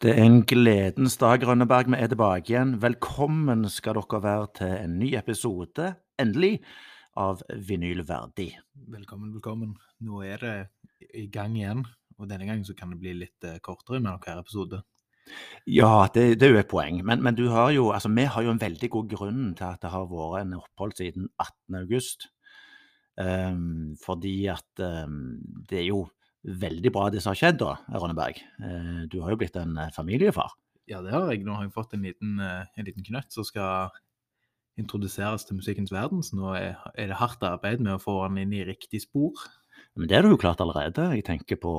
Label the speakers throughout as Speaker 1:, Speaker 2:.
Speaker 1: Det er en gledens dag, Rønneberg. Vi er tilbake igjen. Velkommen skal dere være til en ny episode, endelig, av Vinylverdig.
Speaker 2: Velkommen, velkommen. Nå er det i gang igjen, og denne gangen så kan det bli litt eh, kortere mellom hver episode.
Speaker 1: Ja, det, det er jo et poeng, men, men du har jo, altså, vi har jo en veldig god grunn til at det har vært en opphold siden 18. august. Ehm, fordi at ehm, det er jo veldig bra det som har skjedd da, Rønneberg. Eh, du har jo blitt en eh, familiefar.
Speaker 2: Ja, det har jeg. Nå har jeg fått en liten, eh, en liten knøtt som skal introduseres til musikkens verden, så nå er, er det hardt arbeid med å få han inn i riktig spor.
Speaker 1: Men det har du jo klart allerede. Jeg tenker på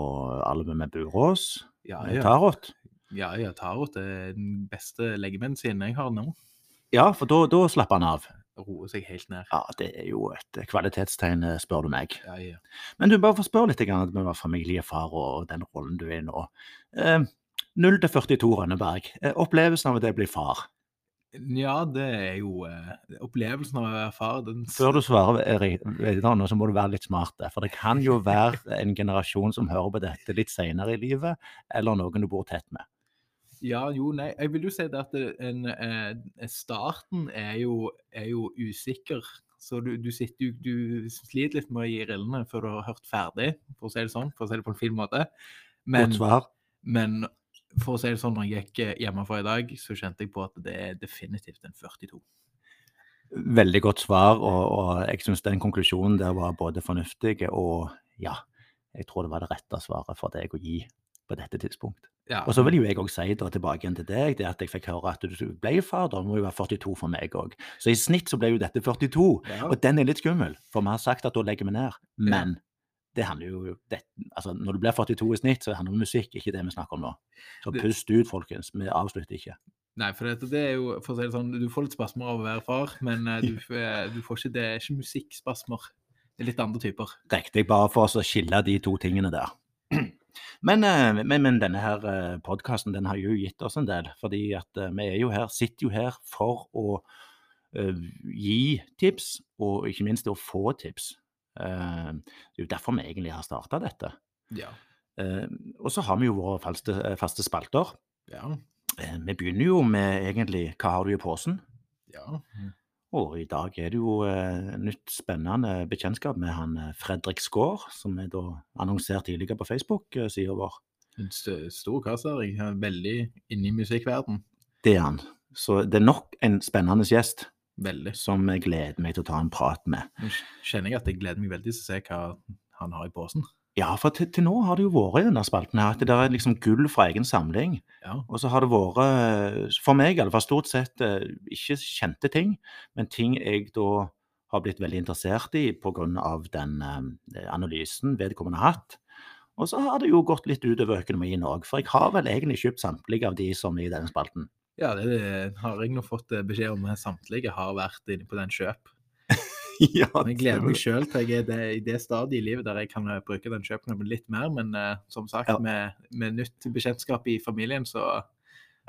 Speaker 1: albumet med Burås,
Speaker 2: Ja,
Speaker 1: eh,
Speaker 2: ja.
Speaker 1: Tarot.
Speaker 2: Ja, ja, tarot er den beste legemedisinen jeg har nå.
Speaker 1: Ja, for da, da slapp han av.
Speaker 2: Roer seg helt ned.
Speaker 1: Ja, det er jo et kvalitetstegn, eh, spør du meg.
Speaker 2: Ja, ja.
Speaker 1: Men du, bare for å spørre litt grann, at vi var familiefar og den rollen du er i nå. Eh, 0 til 42 Rønneberg. Eh, opplevelsen av det å bli far.
Speaker 2: Ja, det er jo eh, opplevelsen av å være far. Den s-
Speaker 1: Før du svarer eh, ri- videre nå, så må du være litt smart. der, For det kan jo være en generasjon som hører på dette litt senere i livet, eller noen du bor tett med.
Speaker 2: Ja, jo, nei, jeg vil jo si det at det- en, eh, starten er jo, er jo usikker. Så du, du, sitter, jo- du sliter litt med å gi rillene før du har hørt ferdig, for å si det sånn, for å si det på en fin måte. Men,
Speaker 1: Godt svar.
Speaker 2: men for å si det sånn, når jeg gikk hjemmefra i dag, så kjente jeg på at det er definitivt en 42.
Speaker 1: Veldig godt svar, og, og jeg syns den konklusjonen der var både fornuftig og ja, jeg tror det var det rette svaret for deg å gi på dette tidspunkt.
Speaker 2: Ja,
Speaker 1: Og så vil jo jeg òg si da, tilbake igjen til deg, det at jeg fikk høre at du ble far, da må jo være 42 for meg òg. Så i snitt så ble jo dette 42,
Speaker 2: ja.
Speaker 1: og den er litt skummel, for vi har sagt at da legger vi ned. Men det handler jo det, altså Når du blir 42 i snitt, så handler det om musikk, ikke det vi snakker om nå. Så
Speaker 2: Det-
Speaker 1: pust ut, folkens. Vi avslutter ikke.
Speaker 2: Nei, for dette, det er jo, for å si det sånn, du får litt spasmer av å være far, men eh, du, f- eh, du får ikke, det er ikke musikkspasmer. Det er litt andre typer.
Speaker 1: Riktig, bare for oss å skille de to tingene der. Men, eh, men, men denne her podkasten den har jo gitt oss en del. fordi at eh, vi er jo her, sitter jo her for å eh, gi tips, og ikke minst å få tips. Eh, det er jo derfor vi egentlig har starta dette.
Speaker 2: Ja.
Speaker 1: Eh, og så har vi jo våre faste, eh, faste spalter.
Speaker 2: Ja.
Speaker 1: Eh, vi begynner jo med egentlig 'Hva har du i posen?'
Speaker 2: Ja.
Speaker 1: Og i dag er det jo eh, nytt spennende bekjentskap med han eh, Fredrik Skaar, som er da annonsert tidligere på Facebook-sida vår.
Speaker 2: En st- stor kasse. Jeg er veldig inne i musikkverden.
Speaker 1: Det er han. Så det er nok en spennende gjest
Speaker 2: Veldig.
Speaker 1: som jeg gleder meg til å ta en prat med.
Speaker 2: Nå kj- kjenner jeg at jeg gleder meg veldig til å se hva han har i posen.
Speaker 1: Ja, for til, til nå har det jo vært i denne spalten her at det der er liksom gull fra egen samling.
Speaker 2: Ja.
Speaker 1: Og så har det vært, eh, for meg i alle fall, stort sett eh, ikke kjente ting, men ting jeg da har blitt veldig interessert i pga. den eh, analysen vedkommende har hatt. Og så har det jo gått litt utover økonomien òg, for jeg har vel egentlig kjøpt samtlige av de som er i denne spalten.
Speaker 2: ja, det det har jeg nå fått eh, beskjed om. at Samtlige har vært inne på den kjøp.
Speaker 1: ja,
Speaker 2: Men jeg gleder meg sjøl til jeg er det, i det stadiet i livet der jeg kan eh, bruke den kjøpknappen litt mer. Men eh, som sagt,
Speaker 1: Ja.
Speaker 2: med, med nytt bekjentskap i familien, så,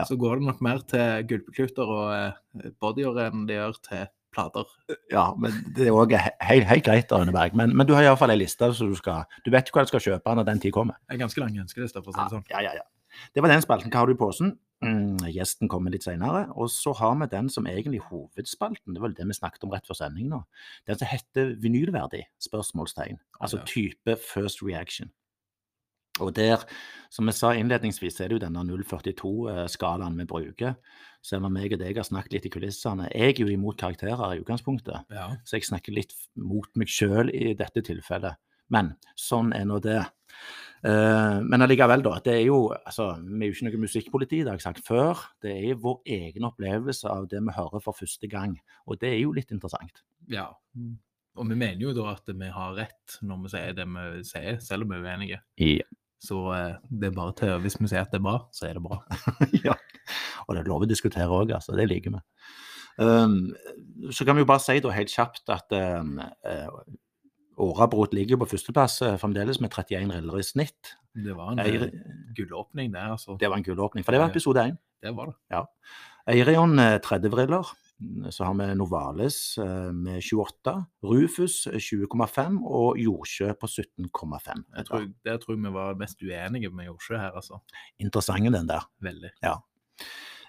Speaker 1: Ja.
Speaker 2: så går det nok mer til gulpekluter og eh, bodyer enn det gjør til plater.
Speaker 1: Ja, men det er òg helt, helt greit, Rune Berg. Men, men du har iallfall ei liste, så du skal Du vet hva du skal kjøpe når den tid kommer.
Speaker 2: Det er ganske lang ønskeliste, for å si det sånn.
Speaker 1: Ja, ja, ja. Det var den spalten. Hva har du i posen? Mm, gjesten kommer litt senere. Og så har vi den som egentlig er hovedspalten. Det var vel det vi snakket om rett før sending nå. Den som heter vinylverdig? Spørsmålstegn. Altså
Speaker 2: Ja.
Speaker 1: type first reaction. Og der, som jeg sa innledningsvis, er det jo denne 042-skalaen vi bruker. Selv om jeg og deg har snakket litt i kulissene. Jeg er jo imot karakterer i utgangspunktet.
Speaker 2: Ja.
Speaker 1: Så jeg snakker litt mot meg sjøl i dette tilfellet. Men sånn er nå det. Eh, men allikevel, da. Det er jo, altså, vi er jo ikke noe musikkpoliti, det har jeg sagt før. Det er vår egen opplevelse av det vi hører for første gang. Og det er jo litt interessant.
Speaker 2: Ja. Og vi mener jo da at vi har rett når vi sier det vi sier, selv om vi er uenige. Så eh, det er bare til, hvis vi sier at det er bra, så er det bra.
Speaker 1: ja. Og det er lov å diskutere òg, altså. Det liker vi. Ehm, så kan vi jo bare si da helt kjapt at um, Årabrot ligger på førsteplass eh, fremdeles med 31 riller i snitt.
Speaker 2: Det var en
Speaker 1: Eir-
Speaker 2: eh, gullåpning, det, altså.
Speaker 1: Det var en kul åpning, for det var episode én.
Speaker 2: Det var det.
Speaker 1: Eirion 30 briller. eh, mm, Så har vi Novales eh, med 28, Rufus eh, 20,5 og Jordsjø på 17,5.
Speaker 2: Jeg tror, der tror jeg vi var mest uenige med Jordsjø her, altså.
Speaker 1: Interessant den der.
Speaker 2: Veldig.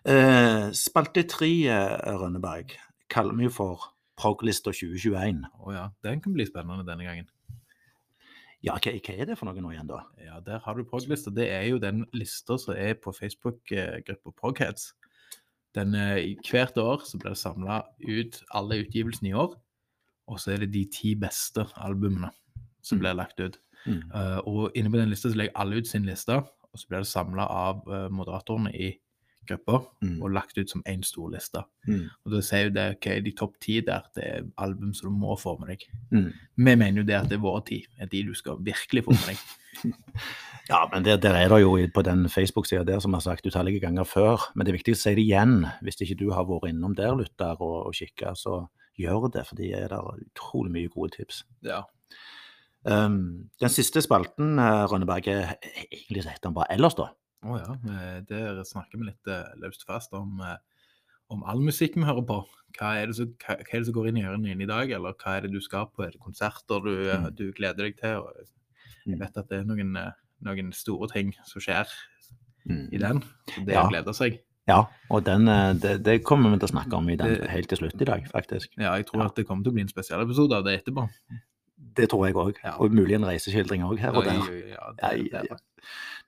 Speaker 1: Eh, Spalte tre, eh, Rønneberg, kaller vi jo for Proglista 2021.
Speaker 2: Å ja, den kan bli spennende denne gangen.
Speaker 1: Ja, hva, hva er det for noe nå igjen, da?
Speaker 2: Ja, der har du proglista. Det er jo den lista som er på Facebook-gruppa Progheads. Den, eh, hvert år så blir det samla ut alle utgivelsene i år, og så er det de ti beste albumene som
Speaker 1: Mm.
Speaker 2: blir lagt ut.
Speaker 1: Mm.
Speaker 2: Eh, og inne på den lista så legger alle ut sin liste, og så blir det samla av eh, moderatorene i gruppa
Speaker 1: Mm.
Speaker 2: og lagt ut som én stor liste.
Speaker 1: Mm.
Speaker 2: Og da sier jo det ok, de topp ti der, det er album som du må få med deg.
Speaker 1: Mm.
Speaker 2: Vi mener jo det at det er våre ti, er de du skal virkelig få med deg.
Speaker 1: Ja, men det, der er det jo i- på den Facebook-sida der, som jeg har sagt utallige ganger før. Men det er viktig å si det igjen. Hvis ikke du har vært innom der, lytter, og, og kikka, så gjør det. For det er der utrolig mye gode tips.
Speaker 2: Ja.
Speaker 1: Um, den siste spalten, eh, Rønneberg, er egentlig så heter den bare Ellers, da.
Speaker 2: Å ja. eh, Der snakker vi litt eh, løst fast om, eh, om all musikk vi hører på. Hva er, det som, hva, hva er det som går inn i ørene dine i dag, eller hva er det du skal på? Er det konserter du, eh,
Speaker 1: Mm.
Speaker 2: du gleder deg til? Og
Speaker 1: Mm.
Speaker 2: jeg vet at det er noen, eh, noen store ting som skjer i
Speaker 1: Mm.
Speaker 2: den. så Det
Speaker 1: Ja.
Speaker 2: å glede seg.
Speaker 1: Ja, og den, eh, det, det kommer vi til å snakke om i den
Speaker 2: Det-
Speaker 1: helt til slutt i dag, faktisk.
Speaker 2: Ja, jeg tror
Speaker 1: Ja.
Speaker 2: at det kommer til å bli en spesialepisode av det etterpå.
Speaker 1: Det tror jeg òg.
Speaker 2: Ja.
Speaker 1: Og mulig en reiseskildring òg her og der.
Speaker 2: Oi, oi, ja, det,
Speaker 1: Ai,
Speaker 2: det,
Speaker 1: ai,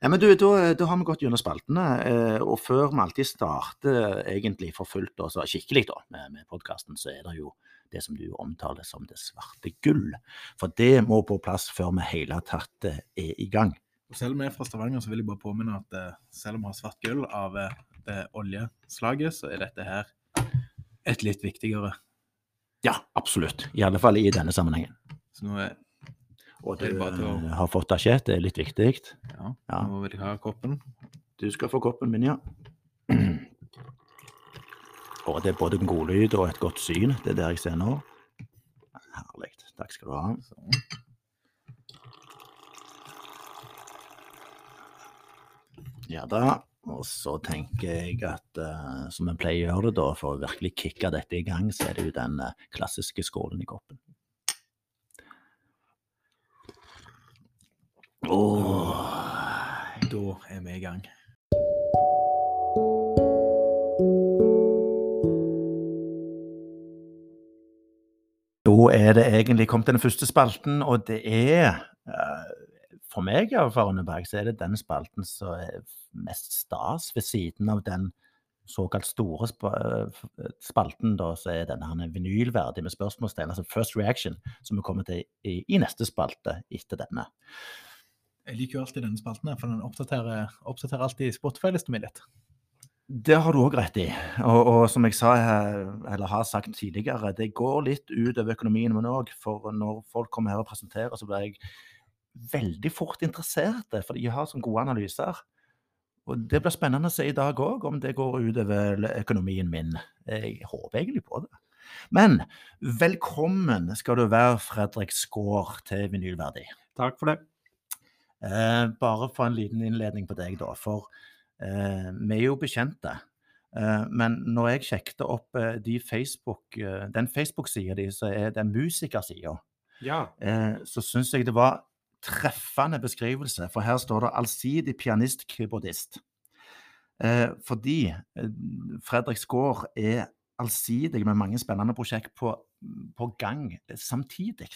Speaker 1: Nei, men du, da, eh, da har vi gått gjennom spaltene, eh, og før vi alltid starter eh, egentlig for fullt og så skikkelig da, med, med podkasten, så er det jo det som du omtaler som det svarte gull. For det må på plass før vi hele tatt eh, er i gang.
Speaker 2: Og selv om jeg er fra Stavanger, så vil jeg bare påminne at eh, selv om vi har svart gull av eh, det oljeslaget, så er dette her et litt viktigere.
Speaker 1: Ja, absolutt. I alle fall i denne sammenhengen.
Speaker 2: Så nå eh, er
Speaker 1: Og du
Speaker 2: Det er bare til å-
Speaker 1: eh, har fått det skjedd, det er litt viktig.
Speaker 2: Ja,
Speaker 1: Ja.
Speaker 2: nå vil jeg ha koppen.
Speaker 1: Du skal få koppen min, ja. Og det er både en god lyd og et godt syn, det er det jeg ser nå. Herlig. Takk skal du ha.
Speaker 2: Sånn.
Speaker 1: Ja da. Og så tenker jeg at eh, som en pleier å gjøre det, da, for å virkelig kicke dette i gang, så er det jo den eh, klassiske skålen i koppen. Åh.
Speaker 2: Da er vi i gang.
Speaker 1: Da er det egentlig kommet til den første spalten, og det er eh, For meg, ja, for Rønneberg, så er det den spalten som er mest stas, ved siden av den såkalt store sp eh, f- spalten, da, så er denne her vinylverdig med spørsmålstegn, altså First Reaction, som vi kommer til i, i neste spalte etter denne.
Speaker 2: Jeg liker jo alltid denne spalten, her, for den oppdaterer, oppdaterer alltid Spotify-listen min litt.
Speaker 1: Det har du òg rett i. Og, og som jeg sa, eh, eller har sagt tidligere, det går litt ut over økonomien min òg. For når folk kommer her og presenterer, så blir jeg veldig fort interessert. For de har sånne gode analyser. Og det blir spennende å se i dag òg, om det går ut over økonomien min. Jeg håper egentlig på det. Men velkommen skal du være, Fredrik Skaar, til Vinylverdi.
Speaker 2: Takk for det.
Speaker 1: Eh, bare for en liten innledning på deg, da. For eh, vi er jo bekjente. Eh, men når jeg sjekket opp eh, de Facebook, eh, den Facebook-sida di, som er den musikersida,
Speaker 2: Ja.
Speaker 1: eh, så syns jeg det var treffende beskrivelse. For her står det 'allsidig pianist-keyboardist'. Eh, fordi eh, Fredrik Skaar er allsidig med mange spennende prosjekt på, på gang samtidig.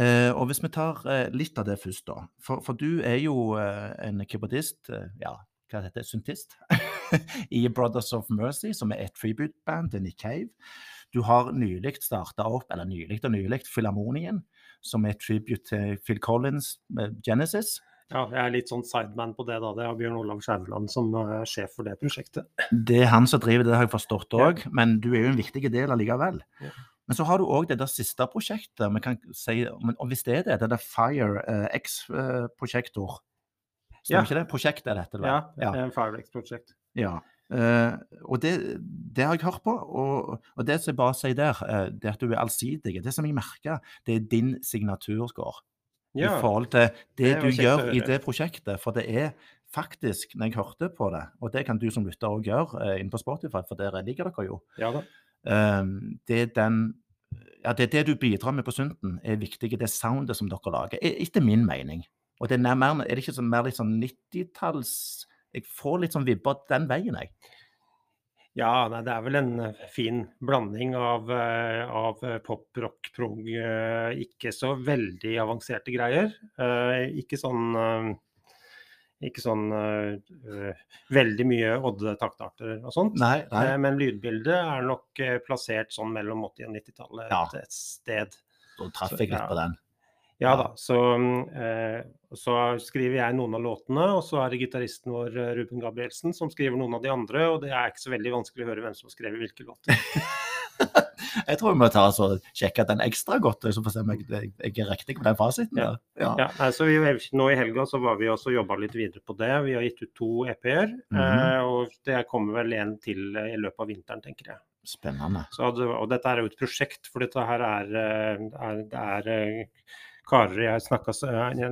Speaker 1: Eh, og hvis vi tar eh, litt av det først, da. For, for du er jo eh, en keyboardist, eh, ja, hva heter det, syntist, i Brothers of Mercy, som er et tribute-band til Nick Cave. Du har nylig starta opp, eller nylig og nylig, Filharmonien, som er et tribute til Phil Collins, eh, Genesis.
Speaker 3: Ja, jeg er litt sånn sideman på det, da. Det er Bjørn Olav Skjæveland som eh, er sjef for det prosjektet.
Speaker 1: Det er han som driver det, har jeg forstått òg, men du er jo en viktig del allikevel.
Speaker 3: Ja.
Speaker 1: Men så har du òg det der siste prosjektet, vi kan si, men- og hvis det er det, det der Fire eh, X-prosjektor. Stemmer
Speaker 3: Ja.
Speaker 1: ikke det? Prosjektet er dette, vel?
Speaker 3: Ja,
Speaker 1: ja.
Speaker 3: eh, Firex-prosjekt.
Speaker 1: Ja. eh, og det, det har jeg hørt på, og, og det som jeg bare sier der, eh, det er at du er allsidig. Det som jeg merker, det er din signaturskår i
Speaker 3: Ja.
Speaker 1: forhold til det,
Speaker 3: er
Speaker 1: du
Speaker 3: jo kjekt å
Speaker 1: gjør i
Speaker 3: høre.
Speaker 1: det prosjektet. For det er faktisk, når jeg hørte på det, og det kan du som lytter òg gjøre eh, inne på Spotify, for der ligger dere jo,
Speaker 3: Ja da.
Speaker 1: eh, det er den ja, det, er det du bidrar med på Sunten, er viktig. Det er soundet som dere lager, e- etter min mening. Og det er, nær- mer, er det ikke sånn, mer litt sånn 90-talls Jeg får litt sånn vibber den veien, jeg.
Speaker 3: Ja, nei, det er vel en eh, fin blanding av, eh, av eh, pop, rock, prog, eh, ikke så veldig avanserte greier. Eh, Ikke sånn eh, ikke sånn eh, eh, veldig mye odde taktarter og sånt.
Speaker 1: Nei,
Speaker 3: Eh, Men lydbildet er nok eh, plassert sånn mellom 80- og 90-tallet
Speaker 1: Ja.
Speaker 3: et- et sted.
Speaker 1: Da traff jeg litt på den. Ja.
Speaker 3: Ja da, så, mm, eh, så skriver jeg noen av låtene, og så er det gitaristen vår eh, Ruben Gabrielsen som skriver noen av de andre, og det er ikke så veldig vanskelig å høre hvem som har skrevet hvilke låter.
Speaker 1: Jeg tror vi må ta oss og sjekke den ekstra godt, så får vi se om jeg, jeg, jeg er riktig på den fasiten.
Speaker 3: Ja.
Speaker 1: der. Ja.
Speaker 3: Ja, nei, så vi, nå i helga så var vi også og jobba litt videre på det. Vi har gitt ut to EP-er, eh, og det kommer vel en til eh, i løpet av vinteren, tenker jeg.
Speaker 1: Spennende.
Speaker 3: Så, hadde- og dette er jo et prosjekt, for dette her er, eh, er, det er eh, karer jeg snakka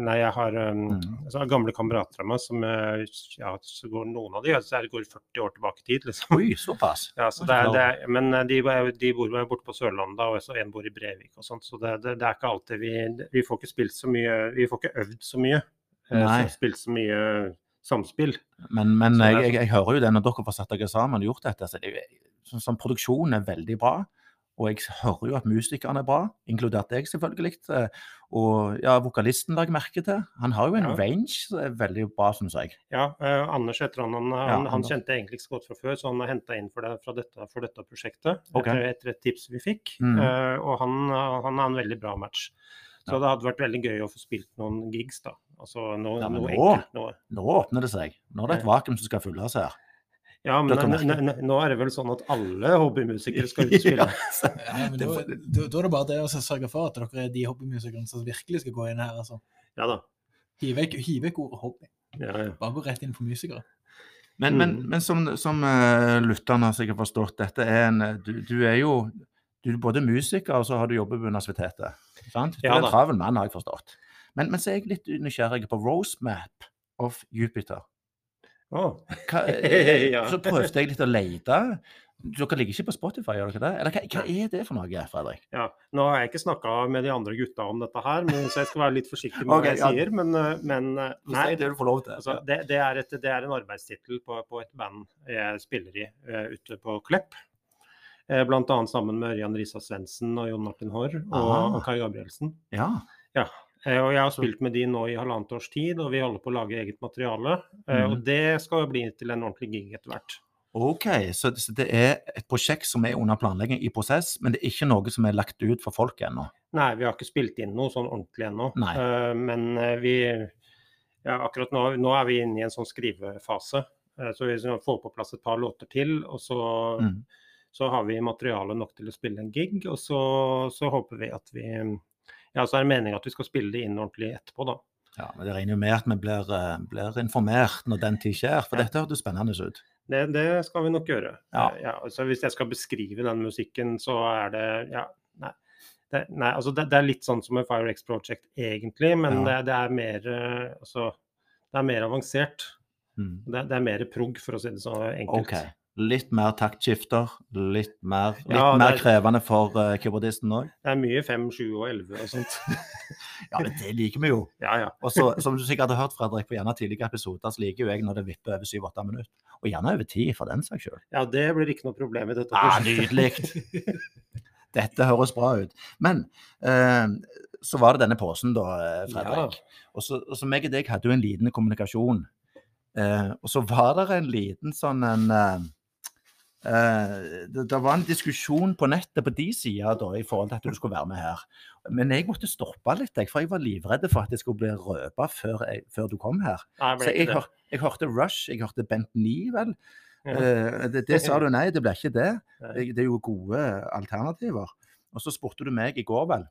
Speaker 3: Nei, jeg har um,
Speaker 1: Mm.
Speaker 3: altså, gamle kamerater av meg som eh, ja, så går noen av de, altså, det går 40 år tilbake i tid, liksom.
Speaker 1: Oi, såpass.
Speaker 3: Ja, så
Speaker 1: Oi,
Speaker 3: det er,
Speaker 1: wow.
Speaker 3: det er, men eh, de, var- de bor jo borte på Sørlandet, og så en bor i Brevik og sånt. Så det, det, det er ikke alltid vi Vi får ikke spilt så mye Vi får ikke øvd så mye. eh,
Speaker 1: Nei.
Speaker 3: så Spilt så mye samspill.
Speaker 1: Men, men
Speaker 3: Så det er
Speaker 1: jeg, jeg, jeg hører jo det når dere får satt dere sammen og gjort dette. Så det, er jo- sånn, sånn, produksjonen er veldig bra, og jeg hører jo at musikerne er bra, inkludert deg selvfølgelig. Eh, Og ja, vokalisten la jeg merke til. Han har jo en
Speaker 3: Ja.
Speaker 1: range som er veldig bra, syns jeg.
Speaker 3: Ja, eh, Anders heter han. Han, han, han
Speaker 1: Anders.
Speaker 3: kjente jeg egentlig ikke så godt fra før, så han er henta inn for, det, fra dette, for dette prosjektet
Speaker 1: Ok.
Speaker 3: etter, etter et tips vi fikk.
Speaker 1: Mhm.
Speaker 3: Eh, og han, han er en veldig bra match. Så
Speaker 1: Ja.
Speaker 3: det hadde vært veldig gøy å få spilt noen gigs, da. Altså noe,
Speaker 1: Ja, men
Speaker 3: noe
Speaker 1: nå-
Speaker 3: enkelt noe.
Speaker 1: Nå åpner det seg. Nå er det et vakuum som skal fylles her.
Speaker 3: Ja, men
Speaker 1: Dere merker.
Speaker 3: n- n- n- nå er det vel sånn at alle hobbymusikere skal ut og spille.
Speaker 1: Ja,
Speaker 2: Ja, men
Speaker 1: Det
Speaker 2: da,
Speaker 1: var-
Speaker 2: da, da er det bare det å sørge for at dere er de hobbymusikerne som virkelig skal gå inn her. altså.
Speaker 3: Ja da.
Speaker 2: Hiv vekk, hiv vekk ordet hobby.
Speaker 3: Ja, ja.
Speaker 2: Bare gå rett inn for musikere.
Speaker 1: Men, men,
Speaker 3: Mm.
Speaker 1: men som, som eh, lytterne har sikkert forstått, dette er en eh, Du, du er jo du er både musiker og så har du jobbet på universitetet. Sant? Du
Speaker 3: Ja
Speaker 1: er en
Speaker 3: da.
Speaker 1: travel mann, har jeg forstått. Men, men så er jeg litt nysgjerrig på Rosemap of Jupiter.
Speaker 3: Å,
Speaker 1: Hva, eh,
Speaker 3: Ja.
Speaker 1: Så prøvde jeg litt å lete. Dere ligger ikke på Spotify, gjør dere det? Eller hva, hva er det for noe, Fredrik?
Speaker 3: ja. Nå har jeg ikke snakka med de andre gutta om dette her, men, så jeg skal være litt forsiktig med
Speaker 1: Ok,
Speaker 3: hva jeg
Speaker 1: ja.
Speaker 3: sier. Men, eh, men eh, nei,
Speaker 1: det du får lov til.
Speaker 3: Altså, det, det, er et, det er en arbeidstittel på, på et band jeg spiller i eh, ute på Klepp. Eh, Blant annet sammen med Ørjan Risa Svendsen og Jon Martin Haarr og,
Speaker 1: Ah.
Speaker 3: og Kai Gabrielsen.
Speaker 1: Ja.
Speaker 3: Eh, Og jeg har spilt med de nå i halvannet års tid, og vi holder på å lage eget materiale. Eh,
Speaker 1: Mhm.
Speaker 3: Og det skal jo bli til en ordentlig gig etter hvert.
Speaker 1: OK, så så det er et prosjekt som er under planlegging i prosess, men det er ikke noe som er lagt ut for folk ennå.
Speaker 3: Nei, vi har ikke spilt inn noe sånn ordentlig ennå.
Speaker 1: Nei.
Speaker 3: Eh, Men eh, vi ja, Akkurat nå, nå er vi inne i en sånn skrivefase. Eh, Så vi skal få på plass et par låter til, og så
Speaker 1: Mm.
Speaker 3: så har vi materiale nok til å spille en gig, og så, så håper vi at vi Ja, så er det meningen at vi skal spille det inn ordentlig etterpå, da.
Speaker 1: Ja, men Det regner jo med at vi blir, eh, blir informert når den tid skjer, for
Speaker 3: Ja.
Speaker 1: dette hørtes spennende ut.
Speaker 3: Det, det skal vi nok gjøre.
Speaker 1: Ja.
Speaker 3: Eh, altså hvis jeg skal beskrive den musikken, så er det Ja, nei. Det, nei altså det, det er litt sånn som en Firex Project egentlig, men det,
Speaker 1: Ja.
Speaker 3: det er mer eh, Altså, det er mer avansert.
Speaker 1: Mm.
Speaker 3: Det, det er mer prog, for å si det så enkelt.
Speaker 1: OK. Litt mer taktskifter, litt mer, litt
Speaker 3: Ja,
Speaker 1: mer
Speaker 3: det er-
Speaker 1: krevende for eh, keyboardisten òg.
Speaker 3: Det er mye fem, sju og elleve og sånt.
Speaker 1: Ja, det, det liker vi jo.
Speaker 3: Ja, ja.
Speaker 1: Og så, som du sikkert har hørt, Fredrik, på gjerne tidligere episoder, så liker jo jeg når det vipper over 7-8 minutter. Og gjerne over 10, for den saks skyld.
Speaker 3: Ja, det blir ikke noe problem i dette.
Speaker 1: Ah,
Speaker 3: prosjektet.
Speaker 1: Nydelig! Dette høres bra ut. Men eh, så var det denne posen, da, eh, Fredrik. Og så, og så meg og deg hadde jo en liten kommunikasjon. Eh, og så var det en liten sånn en eh, eh, det, det var en diskusjon på nettet på de sida da, i forhold til at du skulle være med her. Men jeg måtte stoppe litt, jeg, for jeg var livredd for at jeg skulle bli røpa før, jeg- før du kom her.
Speaker 3: Nei, det
Speaker 1: Så
Speaker 3: ble
Speaker 1: jeg,
Speaker 3: ikke det.
Speaker 1: hør, jeg hørte Rush, jeg hørte Bent 9, vel.
Speaker 3: Ja.
Speaker 1: Eh, det, det sa du nei, det ble ikke det.
Speaker 3: Nei.
Speaker 1: Det, det er jo gode alternativer. Og så spurte du meg i går, vel,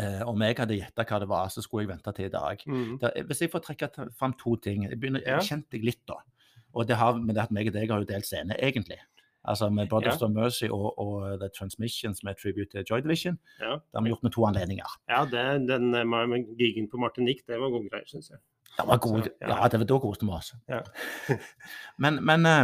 Speaker 1: eh, om jeg hadde gjetta hva det var, så skulle jeg vente til i dag.
Speaker 3: Mhm.
Speaker 1: Da, hvis jeg får trekke t- fram to ting Jeg, begynner,
Speaker 3: Ja.
Speaker 1: jeg kjente deg litt, da. Og det har med det at meg og deg har jo delt scene, egentlig. Altså med Brothers of Mercy og, og The Transmissions med Tribute til Joy Division.
Speaker 3: Ja.
Speaker 1: Det har vi gjort med to anledninger.
Speaker 3: Ja, det, den eh, ma- ma- gigen på Martinique, det var gode greier, syns jeg.
Speaker 1: Det var god,
Speaker 3: Så,
Speaker 1: ja,
Speaker 3: ja.
Speaker 1: det var da koste vi oss.
Speaker 3: Ja.
Speaker 1: men men, eh,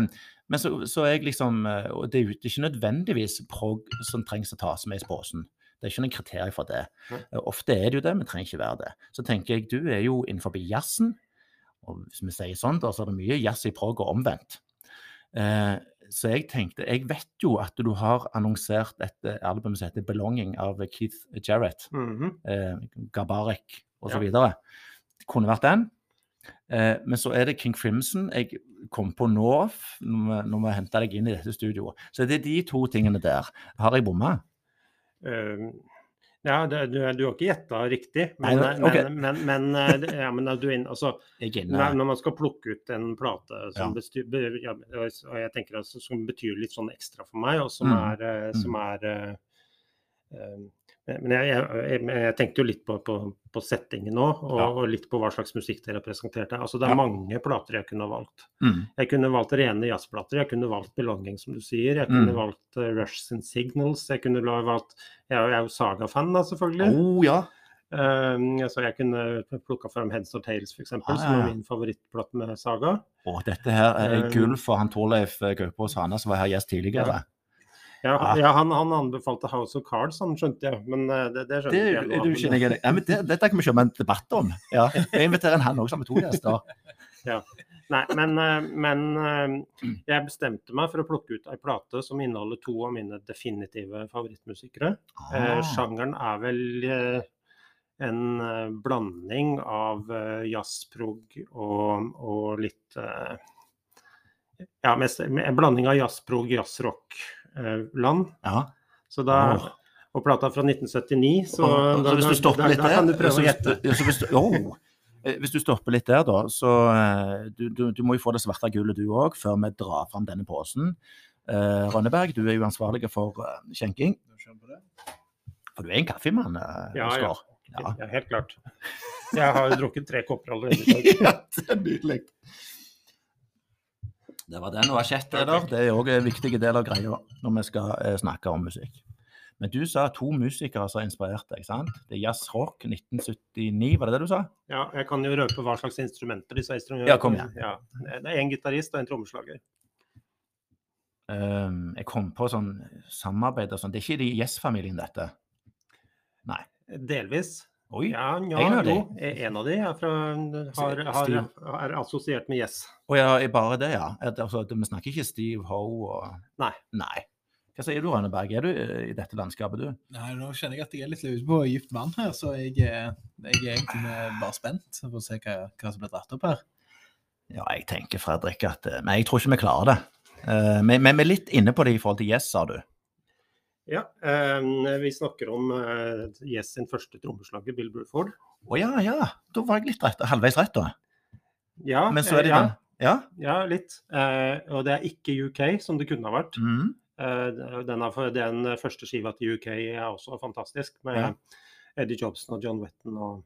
Speaker 1: men så, så er jeg liksom eh, Og det er jo det er ikke nødvendigvis prog som trengs å tas med i posen. Det er ikke noe kriterium for det.
Speaker 3: Nei.
Speaker 1: Eh, Ofte er det jo det, men trenger ikke være det. Så tenker jeg, du er jo innenfor jazzen, og hvis vi sier sånn, da, så er det mye jazz i prog og omvendt. Eh, så jeg tenkte Jeg vet jo at du har annonsert et eh, album som heter 'Belonging' av Keith Jarrett
Speaker 3: Mhm.
Speaker 1: eh, Gabarek
Speaker 3: Ja.
Speaker 1: osv. videre. Det kunne vært den. Eh, men så er det King Crimson jeg kom på nå, f- når vi- når vi henta deg inn i dette studioet. Så det er de to tingene der. Har jeg bomma?
Speaker 3: Eh, ja, det, du, du har ikke gjetta riktig,
Speaker 1: Nei,
Speaker 3: men,
Speaker 1: nei,
Speaker 3: men,
Speaker 1: ok.
Speaker 3: men, men, eh, det- ja, men er du inn, altså,
Speaker 1: Jeg er
Speaker 3: Når,
Speaker 1: inne.
Speaker 3: når man skal plukke ut en plate som,
Speaker 1: Ja.
Speaker 3: besty- be, ja, og jeg tenker altså, som betyr litt sånn ekstra for meg, og som
Speaker 1: Mm.
Speaker 3: er, eh, som er eh, eh, Men jeg, jeg, jeg, jeg tenkte jo litt på, på, på settingen òg, og,
Speaker 1: Ja.
Speaker 3: og litt på hva slags musikk dere presenterte. Altså, det
Speaker 1: Ja.
Speaker 3: er mange plater jeg kunne valgt.
Speaker 1: Mm.
Speaker 3: Jeg kunne valgt rene jazzplater, jeg kunne valgt 'Belonging', som du sier. Jeg
Speaker 1: Mm.
Speaker 3: kunne valgt eh, 'Rush and Signals'. Jeg kunne la- valgt Jeg er jo- jeg er jo Saga-fan, da, selvfølgelig.
Speaker 1: Oh, ja.
Speaker 3: Um, så jeg kunne plukka fram 'Heads or Tails', f.eks.,
Speaker 1: Ah, ja,
Speaker 3: som er
Speaker 1: ja.
Speaker 3: min favorittplate med Saga.
Speaker 1: Og dette her er
Speaker 3: Eh,
Speaker 1: gull for han Torleif eh, Gaupås Hane, som var her gjest tidligere.
Speaker 3: Ja,
Speaker 1: Ah.
Speaker 3: ja han, han anbefalte 'House of Cards', han skjønte jeg, men eh, det, det
Speaker 1: Det
Speaker 3: skjønner
Speaker 1: er
Speaker 3: ikke
Speaker 1: du- er
Speaker 3: jeg.
Speaker 1: du
Speaker 3: nå,
Speaker 1: ikke
Speaker 3: men-
Speaker 1: enig i? Ja, men det- Dette kan vi kjøre en debatt om. Ja. Jeg inviterer en han også, sammen med to gjester.
Speaker 3: Nei, men, eh, men eh,
Speaker 1: Mm.
Speaker 3: jeg bestemte meg for å plukke ut ei plate som inneholder to av mine definitive favorittmusikere. Eh,
Speaker 1: Ah,
Speaker 3: sjangeren er vel eh, en eh, blanding av eh, jazzprog og, og litt eh, Ja, mest, en blanding av jazzprog, jazzrock-land.
Speaker 1: ja.
Speaker 3: Så da,
Speaker 1: Åh.
Speaker 3: Og plata fra 1979, så,
Speaker 1: Og-
Speaker 3: da-
Speaker 1: så hvis du
Speaker 3: da-
Speaker 1: stopper
Speaker 3: da-
Speaker 1: litt
Speaker 3: da kan du
Speaker 1: der
Speaker 3: prøve
Speaker 1: så
Speaker 3: å
Speaker 1: hvis
Speaker 3: gjette.
Speaker 1: du- ja, så hvis du- oh. Eh, Hvis du stopper litt der, da, så eh, du, du, du må jo få det svarte gullet du òg, før vi drar fram denne posen. Eh, Rønneberg, du er jo ansvarlig for eh, skjenking. For du er en kaffemann, eh,
Speaker 3: Ja, ja.
Speaker 1: Oskar. Ja.
Speaker 3: Ja, helt klart. Jeg har jo drukket tre kopper allerede. i dag.
Speaker 1: ja, det er nydelig. Det var den. Og asjett er der. Det er òg en viktig del av greia når vi skal eh, snakke om musikk. Men du sa to musikere som inspirerte deg, sant? Det er Jazz Rock 1979, var det det du sa?
Speaker 3: Ja, jeg kan jo røpe hva slags instrumenter disse instrumentene
Speaker 1: Ja, kom igjen.
Speaker 3: Ja. Det er én gitarist og en trommeslager.
Speaker 1: Ehm, jeg kom på sånn samarbeid og sånn. Det er ikke de Yes-familien, dette?
Speaker 3: Delvis.
Speaker 1: Oi. Å ja.
Speaker 3: Ja, ja,
Speaker 1: En av de?
Speaker 3: jo, en av de er, fra, har, har, er assosiert med Yes.
Speaker 1: er bare det, ja. At, altså, at vi snakker ikke Steve Hoe og
Speaker 3: Nei.
Speaker 1: Nei. Hva sier du, Rønneberg? Er du eh, i dette landskapet, du?
Speaker 2: Nei, nå kjenner jeg at jeg er litt ute på dypt vann her, så jeg, er- jeg er egentlig bare spent på å se hva, hva som blir dratt opp her.
Speaker 1: Ja, jeg tenker, Fredrik, at eh, Nei, jeg tror ikke vi klarer det. Eh, men, men vi er litt inne på det i forhold til Yes, sa du.
Speaker 3: Ja, eh, vi snakker om eh, Yes sin første trommeslager, Bill Bruford.
Speaker 1: Å ja, ja. Da var jeg litt rett, halvveis rett, da.
Speaker 3: Ja,
Speaker 1: Men så er
Speaker 3: eh,
Speaker 1: det
Speaker 3: ja,
Speaker 1: den. Ja.
Speaker 3: ja, litt. Eh, og det er ikke UK, som det kunne ha vært.
Speaker 1: Mm.
Speaker 3: Eh, den, er, for- den første skiva til UK er også fantastisk, med
Speaker 1: Ja.
Speaker 3: Eddie Jobson og John Wetton. Og...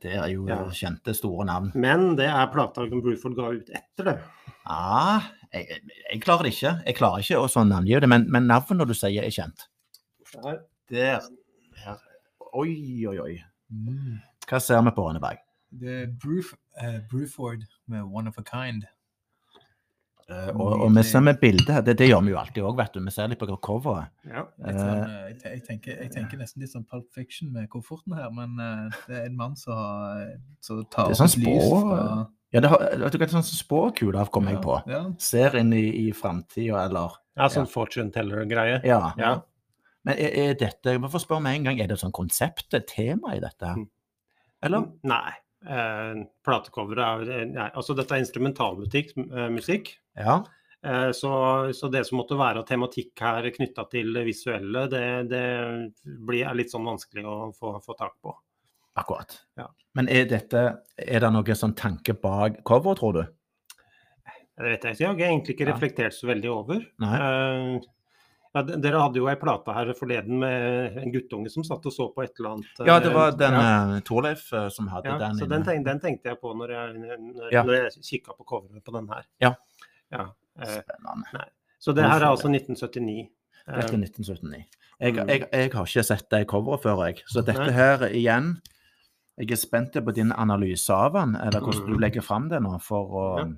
Speaker 1: Det er jo
Speaker 3: Ja.
Speaker 1: kjente, store navn.
Speaker 3: Men det er plata som Bruford ga ut etter det.
Speaker 1: Ja, Ah, jeg, jeg- jeg klarer det ikke. Jeg klarer ikke å sånn navngi det, men, men navnet når du sier er kjent.
Speaker 3: Så Her.
Speaker 1: Der. Her. Oi, oi, oi.
Speaker 2: Mm.
Speaker 1: Hva ser vi på, Rønneberg?
Speaker 2: Det er Bruf, eh, Bruford med One of a Kind.
Speaker 1: Eh, Og, og vi ser med bildet her. Det, det gjør vi jo alltid òg, vet du. Vi ser litt på coveret.
Speaker 3: Ja.
Speaker 2: Litt sånn, eh, jeg, te- jeg, tenker, jeg tenker nesten litt sånn Pulp Fiction med kofferten her, men eh, det er en mann som, har- eh, som tar
Speaker 1: Det er sånn
Speaker 2: opp et lys
Speaker 1: spå-
Speaker 2: fra-
Speaker 1: Ja, det har, vet du hva, det er sånn spåkule av, kom jeg på.
Speaker 2: Ja, ja.
Speaker 1: Ser inn i, i framtida, eller
Speaker 3: ja, sånn fortune teller-greie.
Speaker 1: Ja.
Speaker 3: Ja.
Speaker 1: Men er, er dette Jeg må få spørre med en gang, er det sånn konsept, et tema i dette? her?
Speaker 3: Mm.
Speaker 1: Eller?
Speaker 3: Nei. Eh, platecoveret er nei, Altså, dette er instrumentalmusikk. eh, musikk.
Speaker 1: Ja.
Speaker 3: Eh, så, så det som måtte være av tematikk her knytta til det visuelle, det, det blir, er litt sånn vanskelig å få, få tak på.
Speaker 1: Akkurat.
Speaker 3: Ja.
Speaker 1: Men er dette Er det noen sånn tanke bak coveret, tror du?
Speaker 3: Det vet jeg ikke. Jeg har egentlig ikke
Speaker 1: Nei.
Speaker 3: reflektert så veldig over.
Speaker 1: Nei?
Speaker 3: Eh, ja, d- dere hadde jo ei plate her forleden med en guttunge som satt og så på et eller annet. eh,
Speaker 1: Ja, det var den
Speaker 3: ja.
Speaker 1: ja. Torleif eh, som hadde
Speaker 3: Ja,
Speaker 1: den.
Speaker 3: så
Speaker 1: inne.
Speaker 3: den, tenk, den tenkte jeg på når jeg, når,
Speaker 1: Ja.
Speaker 3: når jeg kikka på coveret på den her.
Speaker 1: Ja.
Speaker 3: Ja, eh,
Speaker 1: Spennende.
Speaker 3: Så det her er
Speaker 1: Hvorfor
Speaker 3: altså 1979.
Speaker 1: Dette er
Speaker 3: Eh,
Speaker 1: 1979. Jeg,
Speaker 3: Mm.
Speaker 1: jeg, jeg har ikke sett det coveret før, jeg. Så dette
Speaker 3: Nei.
Speaker 1: her igjen Jeg er spent på din analyse av den, eller hvordan du legger fram det nå. for å...
Speaker 3: Mm.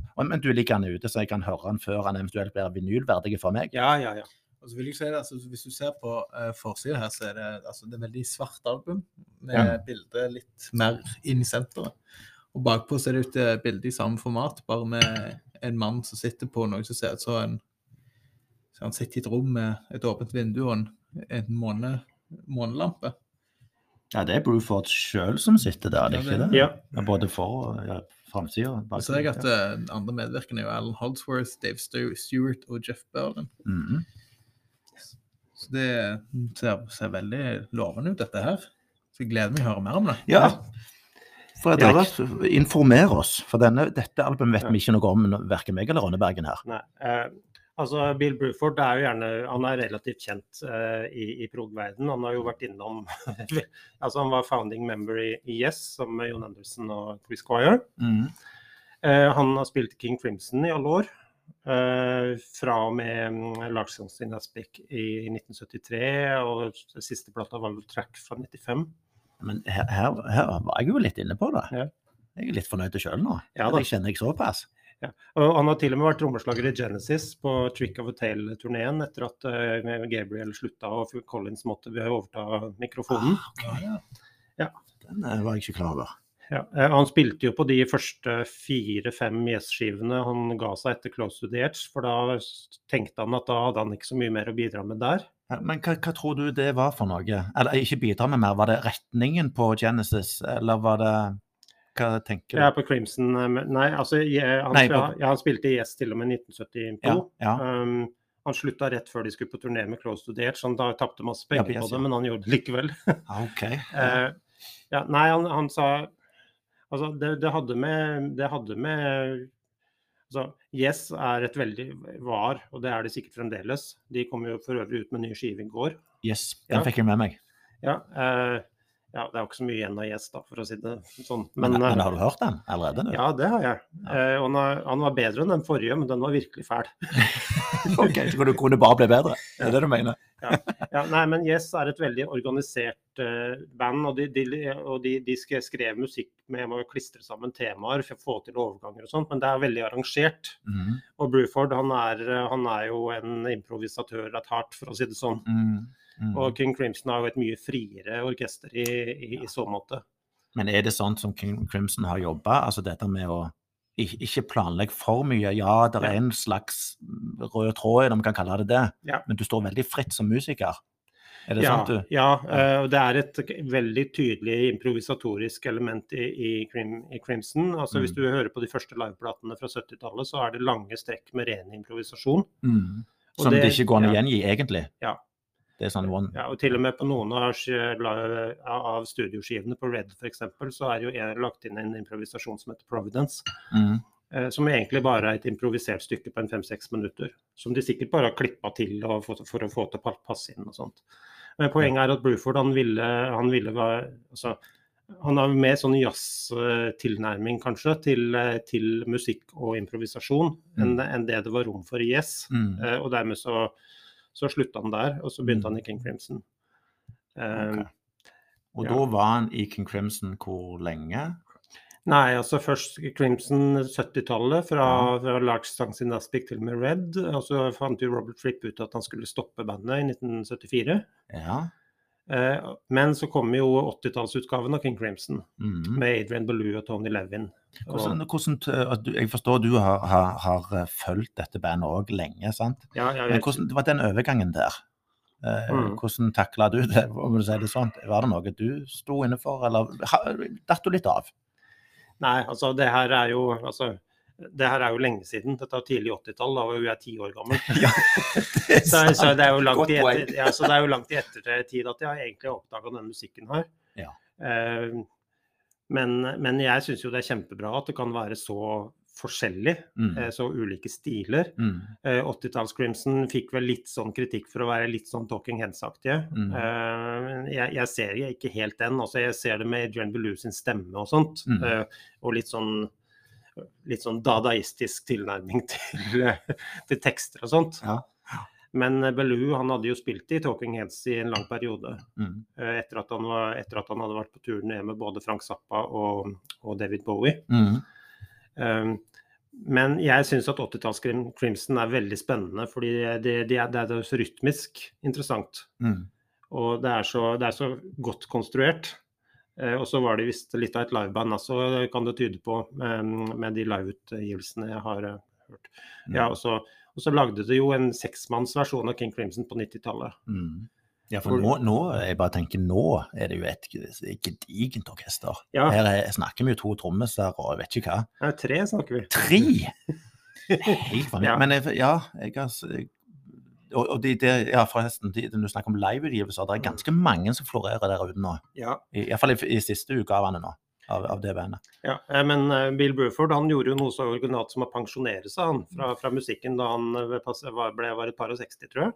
Speaker 3: Ja.
Speaker 1: Og- Men du ligger den ute, så jeg kan høre den før han eventuelt blir vinylverdig for meg.
Speaker 3: Ja, ja, ja.
Speaker 2: Og så vil jeg si det, altså, Hvis du ser på uh, forsida her, så er det, altså, det er veldig svart album med
Speaker 1: Ja.
Speaker 2: bildet litt mer inn i senteret. Og bakpå så er det et eh, bilde i samme format, bare med en mann som sitter på noe som ser ut som en så Han sitter i et rom med et åpent vindu og en, en måne, månelampe.
Speaker 1: Ja, det er Bruford sjøl som sitter der, er det ikke det?
Speaker 3: ja.
Speaker 1: Ja, både for og ja, framsida.
Speaker 2: Og så ser jeg at eh, andre medvirkende er jo Alan Holdsworth, Dave Stu- Stewart og Jeff Burlin.
Speaker 1: Mhm.
Speaker 2: Så det mm, ser, ser veldig lovende ut, dette her. Så jeg gleder meg til å høre mer om det.
Speaker 1: ja. For
Speaker 3: Ja.
Speaker 1: Dallas, informer oss, for denne, dette albumet vet vi ikke noe om, verken meg eller Ronne Bergen her.
Speaker 3: Nei. Eh, altså, Bill Bruford er jo gjerne, han er relativt kjent eh, i, i prog-verden. Han har jo vært innom altså Han var founding member i i Yes sammen med Jon Andersen og Chris Squire.
Speaker 1: Mm.
Speaker 3: Eh, han har spilt i King Crimson i alle år. eh, fra og med mm, Lars Johnsen Aspik i 1973, og siste plata var vel Track fra 95.
Speaker 1: Men her, her, her var jeg jo litt inne på det.
Speaker 3: Ja.
Speaker 1: Jeg er litt fornøyd sjøl nå.
Speaker 3: Ja da.
Speaker 1: Jeg kjenner jeg såpass.
Speaker 3: Og han har til og med vært trommeslager i Genesis på Trick of a Tale-turneen etter at eh, Gabriel slutta og Phil Collins måtte overta mikrofonen.
Speaker 2: Ja, ja.
Speaker 1: Den eh, var jeg ikke klar over.
Speaker 3: Ja, eh, han spilte jo på de første fire-fem Yes-skivene han ga seg etter Close to the Edge, for da s- tenkte han at da hadde han ikke så mye mer å bidra med der.
Speaker 1: Ja, Men hva, hva tror du det var for noe? Eller ikke bidra med mer, var det retningen på Genesis, eller var det Hva tenker du?
Speaker 3: Jeg er på Crimson eh, men- Nei, altså jeg, han,
Speaker 1: Nei, på-
Speaker 3: ja, ja, han spilte i Yes til og med 1972.
Speaker 1: ja, ja.
Speaker 3: Um, han slutta rett før de skulle på turné med Close to the Edge, så han da tapte masse
Speaker 1: Ja,
Speaker 3: penger
Speaker 1: på Yes,
Speaker 3: på det,
Speaker 1: ja.
Speaker 3: men han gjorde det likevel.
Speaker 1: Ah, OK.
Speaker 3: Eh, ja, nei, han, han sa Altså, det, det hadde med Det hadde med Altså, Yes er et veldig var, og det er det sikkert fremdeles. De kom jo for øvrig ut med ny skive i går.
Speaker 1: Yes, den
Speaker 3: ja.
Speaker 1: fikk jeg med meg.
Speaker 3: Ja, eh, ja, det er jo ikke så mye igjen av Yes, da, for å si det sånn.
Speaker 1: Men,
Speaker 3: Men,
Speaker 1: men,
Speaker 3: eh,
Speaker 1: har du hørt den allerede? nå?
Speaker 3: ja, det har jeg. Eh, og han, er- han var bedre enn den forrige, men den var virkelig fæl.
Speaker 1: OK, så kunne du kunne bare bli bedre. Er det det du mener?
Speaker 3: Ja, nei, men Yes er et veldig organisert eh, band, og de, de, og de, de skre- skrev musikk med å klistre sammen temaer for å få til overganger og sånt, men det er veldig arrangert.
Speaker 1: Mhm,
Speaker 3: Og Bruford han er, eh, han er jo en improvisatør av et hardt, for å si det sånn.
Speaker 1: mhm, mhm.
Speaker 3: Og King Crimson er jo et mye friere orkester i, i, i så måte.
Speaker 1: Men er det sånn som King Crimson har jobba, altså dette med å ik- ikke planlegge for mye. Ja, det
Speaker 3: Ja.
Speaker 1: er en slags mm, rød tråd, om man kan kalle det det,
Speaker 3: Ja.
Speaker 1: men du står veldig fritt som musiker. Er det
Speaker 3: ja,
Speaker 1: sant, du?
Speaker 3: ja, eh, og det er et k- veldig tydelig improvisatorisk element i, i, Crim, i Crimson. Altså, Hvis
Speaker 1: Mm.
Speaker 3: du hører på de første liveplatene fra 70-tallet, så er det lange strekk med ren improvisasjon.
Speaker 1: Mm.
Speaker 3: Og
Speaker 1: Som det,
Speaker 3: det-
Speaker 1: ikke går an å
Speaker 3: ja.
Speaker 1: gjengi, egentlig.
Speaker 3: Ja.
Speaker 1: Det er sånn one
Speaker 3: Ja, og til og med på noen av, sk- la- av studioskivene på Red f.eks., så er jo en- lagt inn en improvisasjon som heter Providence.
Speaker 1: mm.
Speaker 3: eh, Som egentlig bare er et improvisert stykke på en fem-seks minutter. Som de sikkert bare har klippa til og fått, for å få til å passe inn og sånt. Men poenget er at Bruford han ville, han ville være altså, Han har mer sånn jazz-tilnærming, kanskje, til, eh, til musikk og improvisasjon enn enn det det var rom for i Yes.
Speaker 1: Mm.
Speaker 3: Eh, Og dermed så, så slutta han der, og så begynte han i King Crimson. Eh,
Speaker 1: Ok. Og
Speaker 3: ja.
Speaker 1: da var han i King Crimson hvor lenge?
Speaker 3: Nei, altså først Crimson 70-tallet, fra, fra Large Stang sin Aspik til og med Red. Og så fant jo Robert Fripp ut at han skulle stoppe bandet i 1974.
Speaker 1: Ja.
Speaker 3: Eh, men så kom jo 80-tallsutgaven av King Crimson,
Speaker 1: Mm.
Speaker 3: med Adrian Ballou og Tony Levin. Og,
Speaker 1: Hvordan, hvordan, t- at du- jeg forstår du har, har, har eh, fulgt dette bandet òg lenge, sant?
Speaker 3: ja, ja,
Speaker 1: Men
Speaker 3: jeg,
Speaker 1: Eh, hvordan det var den overgangen der? Eh,
Speaker 3: Mm.
Speaker 1: Hvordan takla du det, om du sier det sånn? Var det noe du sto inne for, eller ha- datt du litt av?
Speaker 3: nei, altså det her er jo altså, det her er jo lenge siden. Dette er tidlig 80-tall, da var jo jeg ti år gammel. så, så, det er jo langt i
Speaker 1: Godt
Speaker 3: etter, ja, så det er jo langt i ettertid at jeg egentlig har oppdaga den musikken her.
Speaker 1: Ja.
Speaker 3: Eh, men, men jeg syns jo det er kjempebra at det kan være så forskjellig,
Speaker 1: Mm.
Speaker 3: eh, så ulike stiler.
Speaker 1: Mm.
Speaker 3: Eh, 80-talls-Crimson fikk vel litt sånn kritikk for å være litt sånn Talking Heads-aktige.
Speaker 1: Mm.
Speaker 3: Eh, men jeg, jeg ser jeg ikke helt den. Altså, jeg ser det med Adrian Belew sin stemme og sånt.
Speaker 1: Mm.
Speaker 3: eh, og litt sånn litt sånn dadaistisk tilnærming til, til eh, tekster og sånt.
Speaker 1: Ja.
Speaker 3: Men eh, Bellew han hadde jo spilt i Talking Heads i en lang periode.
Speaker 1: Mm.
Speaker 3: eh, Etter at han, var, etter at han hadde vært på turné med både Frank Zappa og, og David Bowie.
Speaker 1: Mm.
Speaker 3: Um, men jeg syns at 80-talls-Crimson er veldig spennende, fordi det, det, er, det er så rytmisk interessant.
Speaker 1: Mm.
Speaker 3: Og det er så, det er så godt konstruert. Eh, og så var det visst litt av et liveband også, kan det tyde på, med, med de liveutgivelsene jeg har eh, hørt.
Speaker 1: Mm.
Speaker 3: Ja, og så, og så lagde det jo en seksmannsversjon av King Crimson på 90-tallet.
Speaker 1: Mm. Ja, for nå, nå, jeg bare tenker, nå er det jo et gedigent orkester.
Speaker 3: Ja,
Speaker 1: Her er, snakker vi jo to trommiser og jeg vet ikke hva.
Speaker 3: det er tre snakker vi.
Speaker 1: Tre! Helt vanvittig.
Speaker 3: Ja.
Speaker 1: Men jeg, ja, jeg har s- jeg- og, og de, de, ja, forresten, de, når du snakker om liveutgivelser, det er ganske mange som florerer der ute nå.
Speaker 3: Ja,
Speaker 1: I, i hvert fall i, i siste utgavene nå, av, av det bandet.
Speaker 3: Ja, eh, men eh, Bill Bruford han gjorde jo noe så originalt som å pensjonere seg han, fra, fra musikken da han eh, pass- var, ble, var et par og 60, tror jeg.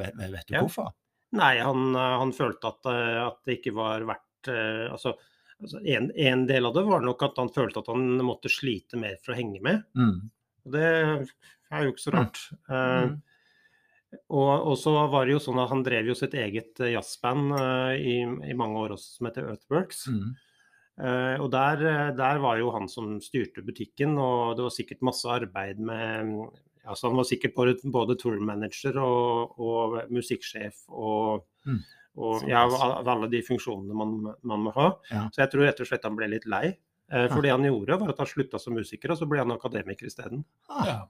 Speaker 1: Vet, vet vet du
Speaker 3: Ja.
Speaker 1: hvorfor?
Speaker 3: Nei, han, eh, han følte at, eh, at det ikke var verdt eh, Altså, altså en, en del av det var nok at han følte at han måtte slite mer for å henge med.
Speaker 1: Mm.
Speaker 3: Og det er jo ikke så rart. Eh,
Speaker 1: Mm.
Speaker 3: og, og så var det jo sånn at han drev jo sitt eget eh, jazzband eh, i, i mange år også, som heter Earthworks.
Speaker 1: Mm.
Speaker 3: Eh, og der, eh, der var jo han som styrte butikken, og det var sikkert masse arbeid med mm, altså Han var sikkert både, både tourmanager og, og musikksjef og,
Speaker 1: Mm.
Speaker 3: og
Speaker 1: Såpass.
Speaker 3: ja, av av alle de funksjonene man, man må ha.
Speaker 1: Ja.
Speaker 3: Så jeg tror rett og slett han ble litt lei. Eh, For det han gjorde, var at han slutta som musiker, og så ble han akademiker isteden.
Speaker 1: Ah,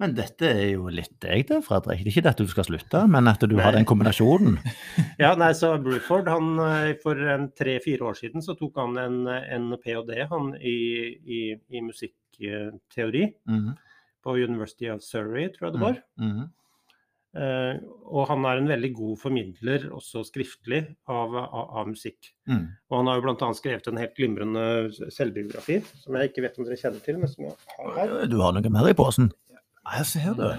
Speaker 1: men dette er jo litt deg, det, Fredrik. Det er ikke det at du skal slutte, men at du har
Speaker 3: Nei.
Speaker 1: den kombinasjonen.
Speaker 3: Ja, nei, så Bruford, han eh, for en tre-fire år siden så tok han en, en ph.d. han i, i, i musikkteori.
Speaker 1: Mm.
Speaker 3: på University of Surrey, tror jeg det var.
Speaker 1: Mm.
Speaker 3: Eh, og han er en veldig god formidler, også skriftlig, av, av, av musikk.
Speaker 1: Mm.
Speaker 3: Og han har jo bl.a. skrevet en helt glimrende selvbiografi, som jeg ikke vet om dere kjenner til, men som jeg har her.
Speaker 1: Du har noe mer i posen? Jeg ser det.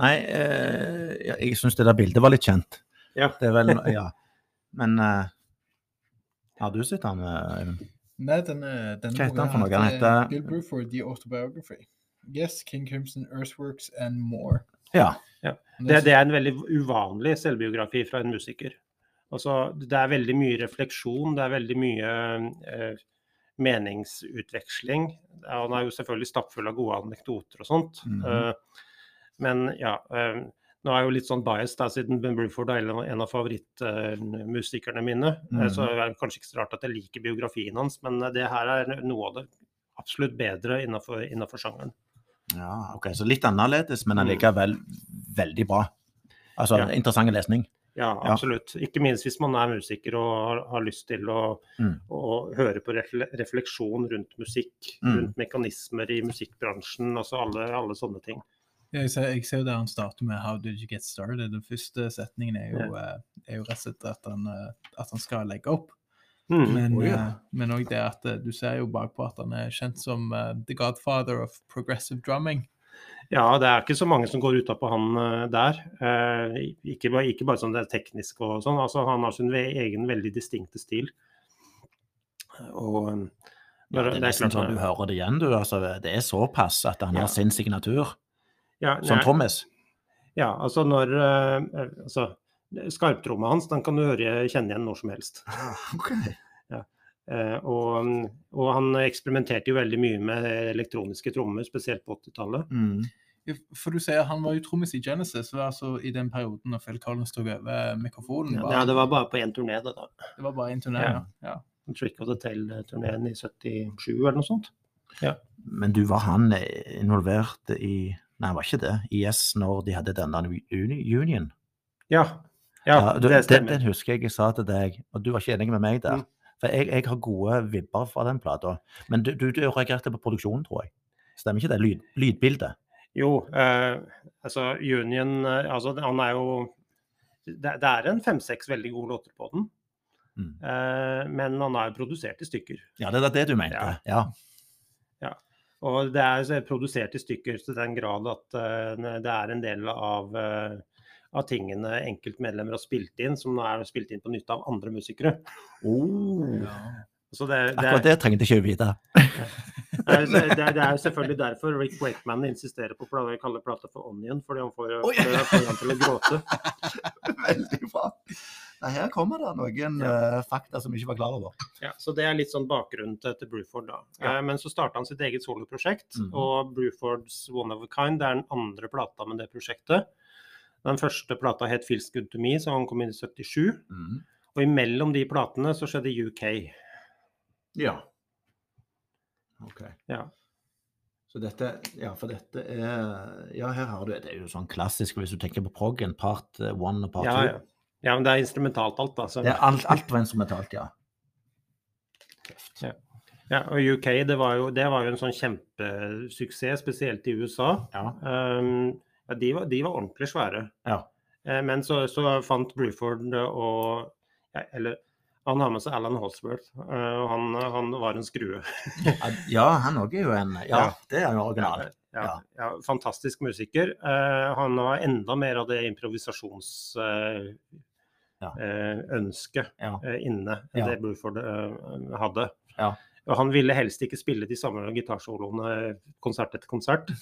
Speaker 1: Nei, eh, ja, jeg syns det der bildet var litt kjent.
Speaker 3: Ja.
Speaker 1: Det er vel, ja. Men eh, har du sett han, eh, Øyvind?
Speaker 2: Nei, denne, denne
Speaker 1: Hva heter han for noe?
Speaker 2: boka
Speaker 1: Han
Speaker 2: heter
Speaker 1: heter-
Speaker 2: Bill Bruford, The Autobiography. Yes, King Crimson, Earthworks and More.
Speaker 1: Ja.
Speaker 3: Det, det er en veldig uvanlig selvbiografi fra en musiker. Altså, det er veldig mye refleksjon, det er veldig mye eh, meningsutveksling. Ja, Han er jo selvfølgelig stappfull av gode anekdoter og sånt.
Speaker 1: Mhm.
Speaker 3: Eh, men ja eh, Nå er jeg jo litt sånn biased, da, siden Ben Bruford er en- en av favorittmusikerne mine. eh, Så er det kanskje ikke så rart at jeg liker biografien hans, men eh, det her er noe av det absolutt bedre innafor sjangeren.
Speaker 1: ja. Ok, så litt annerledes, men allikevel veldig bra. Altså
Speaker 3: Ja.
Speaker 1: interessant lesning.
Speaker 3: Ja,
Speaker 1: Ja.
Speaker 3: absolutt. Ikke minst hvis man er musiker og har, har lyst til å,
Speaker 1: Mm.
Speaker 3: å høre på refle refleksjon rundt musikk,
Speaker 1: Mm.
Speaker 3: rundt mekanismer i musikkbransjen, altså alle, alle sånne ting.
Speaker 2: Ja, Jeg ser, jeg ser jo der han starter med 'How did you get started?' Den første setningen er jo, eh, er jo rett og slett at han, eh, at han skal legge opp.
Speaker 3: Mm.
Speaker 2: Men
Speaker 1: Oi, ja.
Speaker 2: eh, men òg det at eh, du ser jo bakpå at han er kjent som eh, the godfather of progressive drumming.
Speaker 3: Ja, det er ikke så mange som går utapå han eh, der. Eh, ikke, bare, ikke bare sånn det er teknisk og sånn, altså han har sin ve egen veldig distinkte stil. Og eh,
Speaker 1: Ja, det er nesten
Speaker 3: klart-
Speaker 1: sånn du hører det igjen, du. Altså, det er såpass at han
Speaker 3: Ja.
Speaker 1: har sin signatur
Speaker 3: ja,
Speaker 1: som
Speaker 3: nei,
Speaker 1: trommis.
Speaker 3: Ja, altså når eh, altså, Skarptromma hans den kan du høre, kjenne igjen når som helst.
Speaker 1: Ah,
Speaker 3: Eh, og, og han eksperimenterte jo veldig mye med elektroniske trommer, spesielt på 80-tallet.
Speaker 1: Mm.
Speaker 2: Ja, For du ser, han var jo trommis i Genesis, og altså i den perioden når Phil Collins tok over mikrofonen.
Speaker 3: Ja,
Speaker 2: var-
Speaker 3: det var bare på én turné, det da.
Speaker 2: det var bare en turné.
Speaker 3: Ja.
Speaker 2: Ja. Ja.
Speaker 3: Trick of the Tail-turneen i 77 eller noe sånt.
Speaker 1: Men du, var han eh, involvert i Nei, han var ikke det. IS når de hadde den der uni union.
Speaker 3: Ja, ja,
Speaker 1: Ja, du,
Speaker 3: det
Speaker 1: den,
Speaker 3: stemmer.
Speaker 1: den husker jeg jeg sa til deg, og du var ikke enig med meg der.
Speaker 3: Mm.
Speaker 1: For jeg, jeg har gode vibber fra den plata. Men du, du, du reagerte på produksjonen, tror jeg. Stemmer ikke det? Lyd, lydbildet?
Speaker 3: Jo, eh, altså Union eh, altså, Han er jo Det, det er en fem-seks veldig gode låter på den,
Speaker 1: Mm.
Speaker 3: eh, men han er jo produsert i stykker.
Speaker 1: Ja, det er det du mente.
Speaker 3: Ja.
Speaker 1: Ja.
Speaker 3: Og det er så produsert i stykker til den grad at eh, det er en del av, eh, av tingene enkeltmedlemmer har spilt inn, som er spilt inn på nytt av andre musikere.
Speaker 1: Oh.
Speaker 2: Ja.
Speaker 3: Så det, det,
Speaker 1: Akkurat det trengte ikke jeg vite.
Speaker 3: Det er, jo- det, er, det er jo selvfølgelig derfor Rick Wakeman insisterer på å kalle plata for Onion, fordi han får,
Speaker 4: Oi.
Speaker 3: får- får han til å gråte.
Speaker 4: Veldig bra. Nei, her kommer det noen eh, fakta som vi ikke var klar over.
Speaker 3: Ja, så Det er litt sånn bakgrunnen til, til Bruford. da. Eh, men så starta han sitt eget soloprosjekt.
Speaker 1: Mhm.
Speaker 3: Og Brufords One of a Kind det er den andre plata med det prosjektet. Den første plata het Feels Good To Me, så han kom inn i 77.
Speaker 1: Mm.
Speaker 3: Og imellom de platene så skjedde UK.
Speaker 4: Ja. OK.
Speaker 3: Ja.
Speaker 4: Så dette, ja, for dette er Ja, her har du
Speaker 1: Det er jo sånn klassisk hvis du tenker på proggen, part eh, one og part
Speaker 3: Ja,
Speaker 1: two.
Speaker 3: ja. ja, men det er instrumentalt alt, da. Så.
Speaker 1: Det er alt, alt var instrumentalt, ja.
Speaker 3: Ja, og UK det var, jo, det var jo en sånn kjempesuksess, spesielt i USA.
Speaker 1: Ja.
Speaker 3: Um, ja, de, var, de var ordentlig svære.
Speaker 1: Ja.
Speaker 3: Eh, men så, så fant Bruford og ja, Eller han har med seg Alan Holsworth, eh, og han, han var en skrue.
Speaker 1: Ja, han òg er jo en Ja,
Speaker 3: Ja.
Speaker 1: det er jo original.
Speaker 3: Ja, ja, fantastisk musiker. Eh, han har enda mer av det eh, improvisasjonsønsket
Speaker 1: Ja.
Speaker 3: eh,
Speaker 1: Ja.
Speaker 3: inne enn
Speaker 1: Ja.
Speaker 3: det Bruford eh, hadde.
Speaker 1: Ja.
Speaker 3: Og han ville helst ikke spille de samme gitarsoloene eh, konsert etter konsert.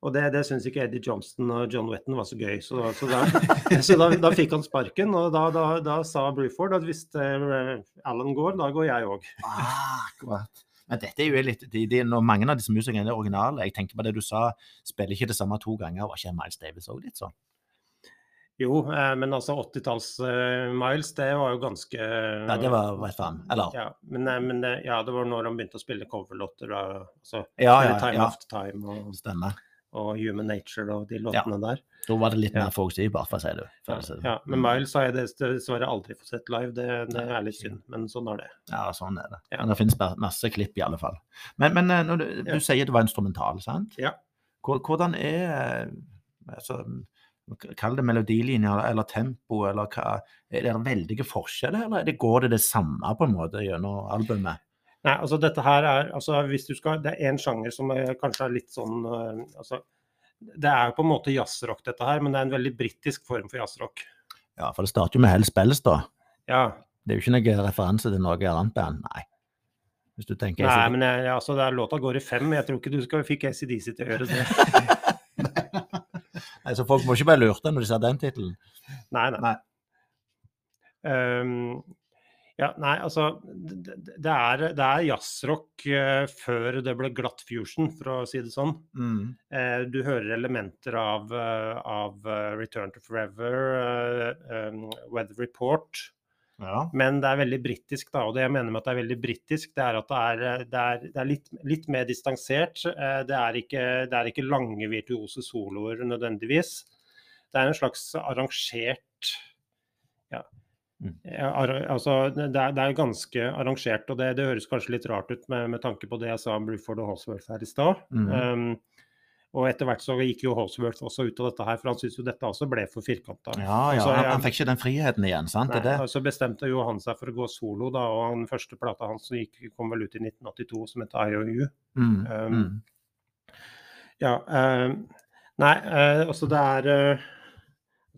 Speaker 3: Og det, det syns ikke Eddie Johnston og John Wetton var så gøy, så, så, da, så da, da fikk han sparken. Og da, da, da sa Bruford at hvis eh, Alan går, da går jeg òg.
Speaker 1: Akkurat. Men dette er jo litt de, de, når Mange av disse musikerne er originale. Jeg tenker på det du sa, spiller ikke det samme to ganger. Var ikke Miles Davis òg litt sånn?
Speaker 3: Jo, eh, men altså 80-talls-Miles, det var jo ganske
Speaker 1: Ja, det var rett fram. Eller
Speaker 3: Ja, men, eh, men eh, ja, det var når han begynte å spille coverlåter. da, Altså,
Speaker 1: Ja, ja,
Speaker 3: eller Time
Speaker 1: ja.
Speaker 3: After Time og,
Speaker 1: Stemmer.
Speaker 3: og Human Nature og de låtene der.
Speaker 1: Da var det litt
Speaker 3: Ja.
Speaker 1: mer forutsigbart, for å si det. for å si det.
Speaker 3: Ja, men Miles har jeg dess- dessverre aldri fått sett live, det, det er litt synd, men sånn er det.
Speaker 1: Ja, sånn er det.
Speaker 3: Ja.
Speaker 1: Men det finnes bare masse klipp, i alle fall. Men, men eh, når du, du
Speaker 3: Ja.
Speaker 1: sier det var instrumental, sant?
Speaker 3: Ja.
Speaker 1: Hvor- Hvordan er eh, altså, Kall det melodilinjer eller- eller tempo, eller hva Er det veldige forskjeller, eller er det, går det det samme på en måte gjennom albumet?
Speaker 3: Nei, altså dette her er altså hvis du skal, Det er én sjanger som er, kanskje er litt sånn eh, altså, Det er jo på en måte jazzrock, dette her, men det er en veldig britisk form for jazzrock.
Speaker 1: Ja, for det starter jo med Hell Spells, da.
Speaker 3: Ja,
Speaker 1: Det er jo ikke noen referanse til noe annet band, nei. Hvis du tenker
Speaker 3: Nei, men jeg, altså, det er, låta går i fem. Jeg tror ikke du skal, fikk ACDC til å gjøre det.
Speaker 1: Nei, Så altså, folk må ikke bli lurte når de ser den tittelen.
Speaker 3: Nei, nei.
Speaker 1: Nei.
Speaker 3: Ehm, ja, nei, altså Det, det- det er, det er jazzrock eh, før det ble glatt fusion, for å si det sånn.
Speaker 1: Mm.
Speaker 3: Eh, du hører elementer av, eh, av eh, Return to Forever, eh, em, Weather Report.
Speaker 1: Ja.
Speaker 3: Men det er veldig britisk, da. Og det jeg mener med at det er veldig britisk, det er at det er, eh, det er, det er litt, litt mer distansert. Eh, Det er, ikke, det er ikke lange, virtuose soloer nødvendigvis. Det er en slags arrangert Ja.
Speaker 1: Mm.
Speaker 3: ja, ar- altså, det er, det er ganske arrangert, og det, det høres kanskje litt rart ut med, med tanke på det jeg sa om Bruford og Holsworth her i stad.
Speaker 1: Mhm.
Speaker 3: Um, og etter hvert så gikk jo Holsworth også ut av dette her, for han syntes jo dette også ble for firkanta.
Speaker 1: Ja, ja.
Speaker 3: Altså,
Speaker 1: Han,
Speaker 3: jeg-
Speaker 1: han fikk ikke den friheten igjen, sant? det
Speaker 3: Nei,
Speaker 1: er det?
Speaker 3: altså bestemte jo han seg for å gå solo, da, og han første plata hans som gikk, kom vel ut i 1982, som het IOU.
Speaker 1: Mm.
Speaker 3: Um,
Speaker 1: Mm.
Speaker 3: Ja, eh, nei, eh, altså det er eh,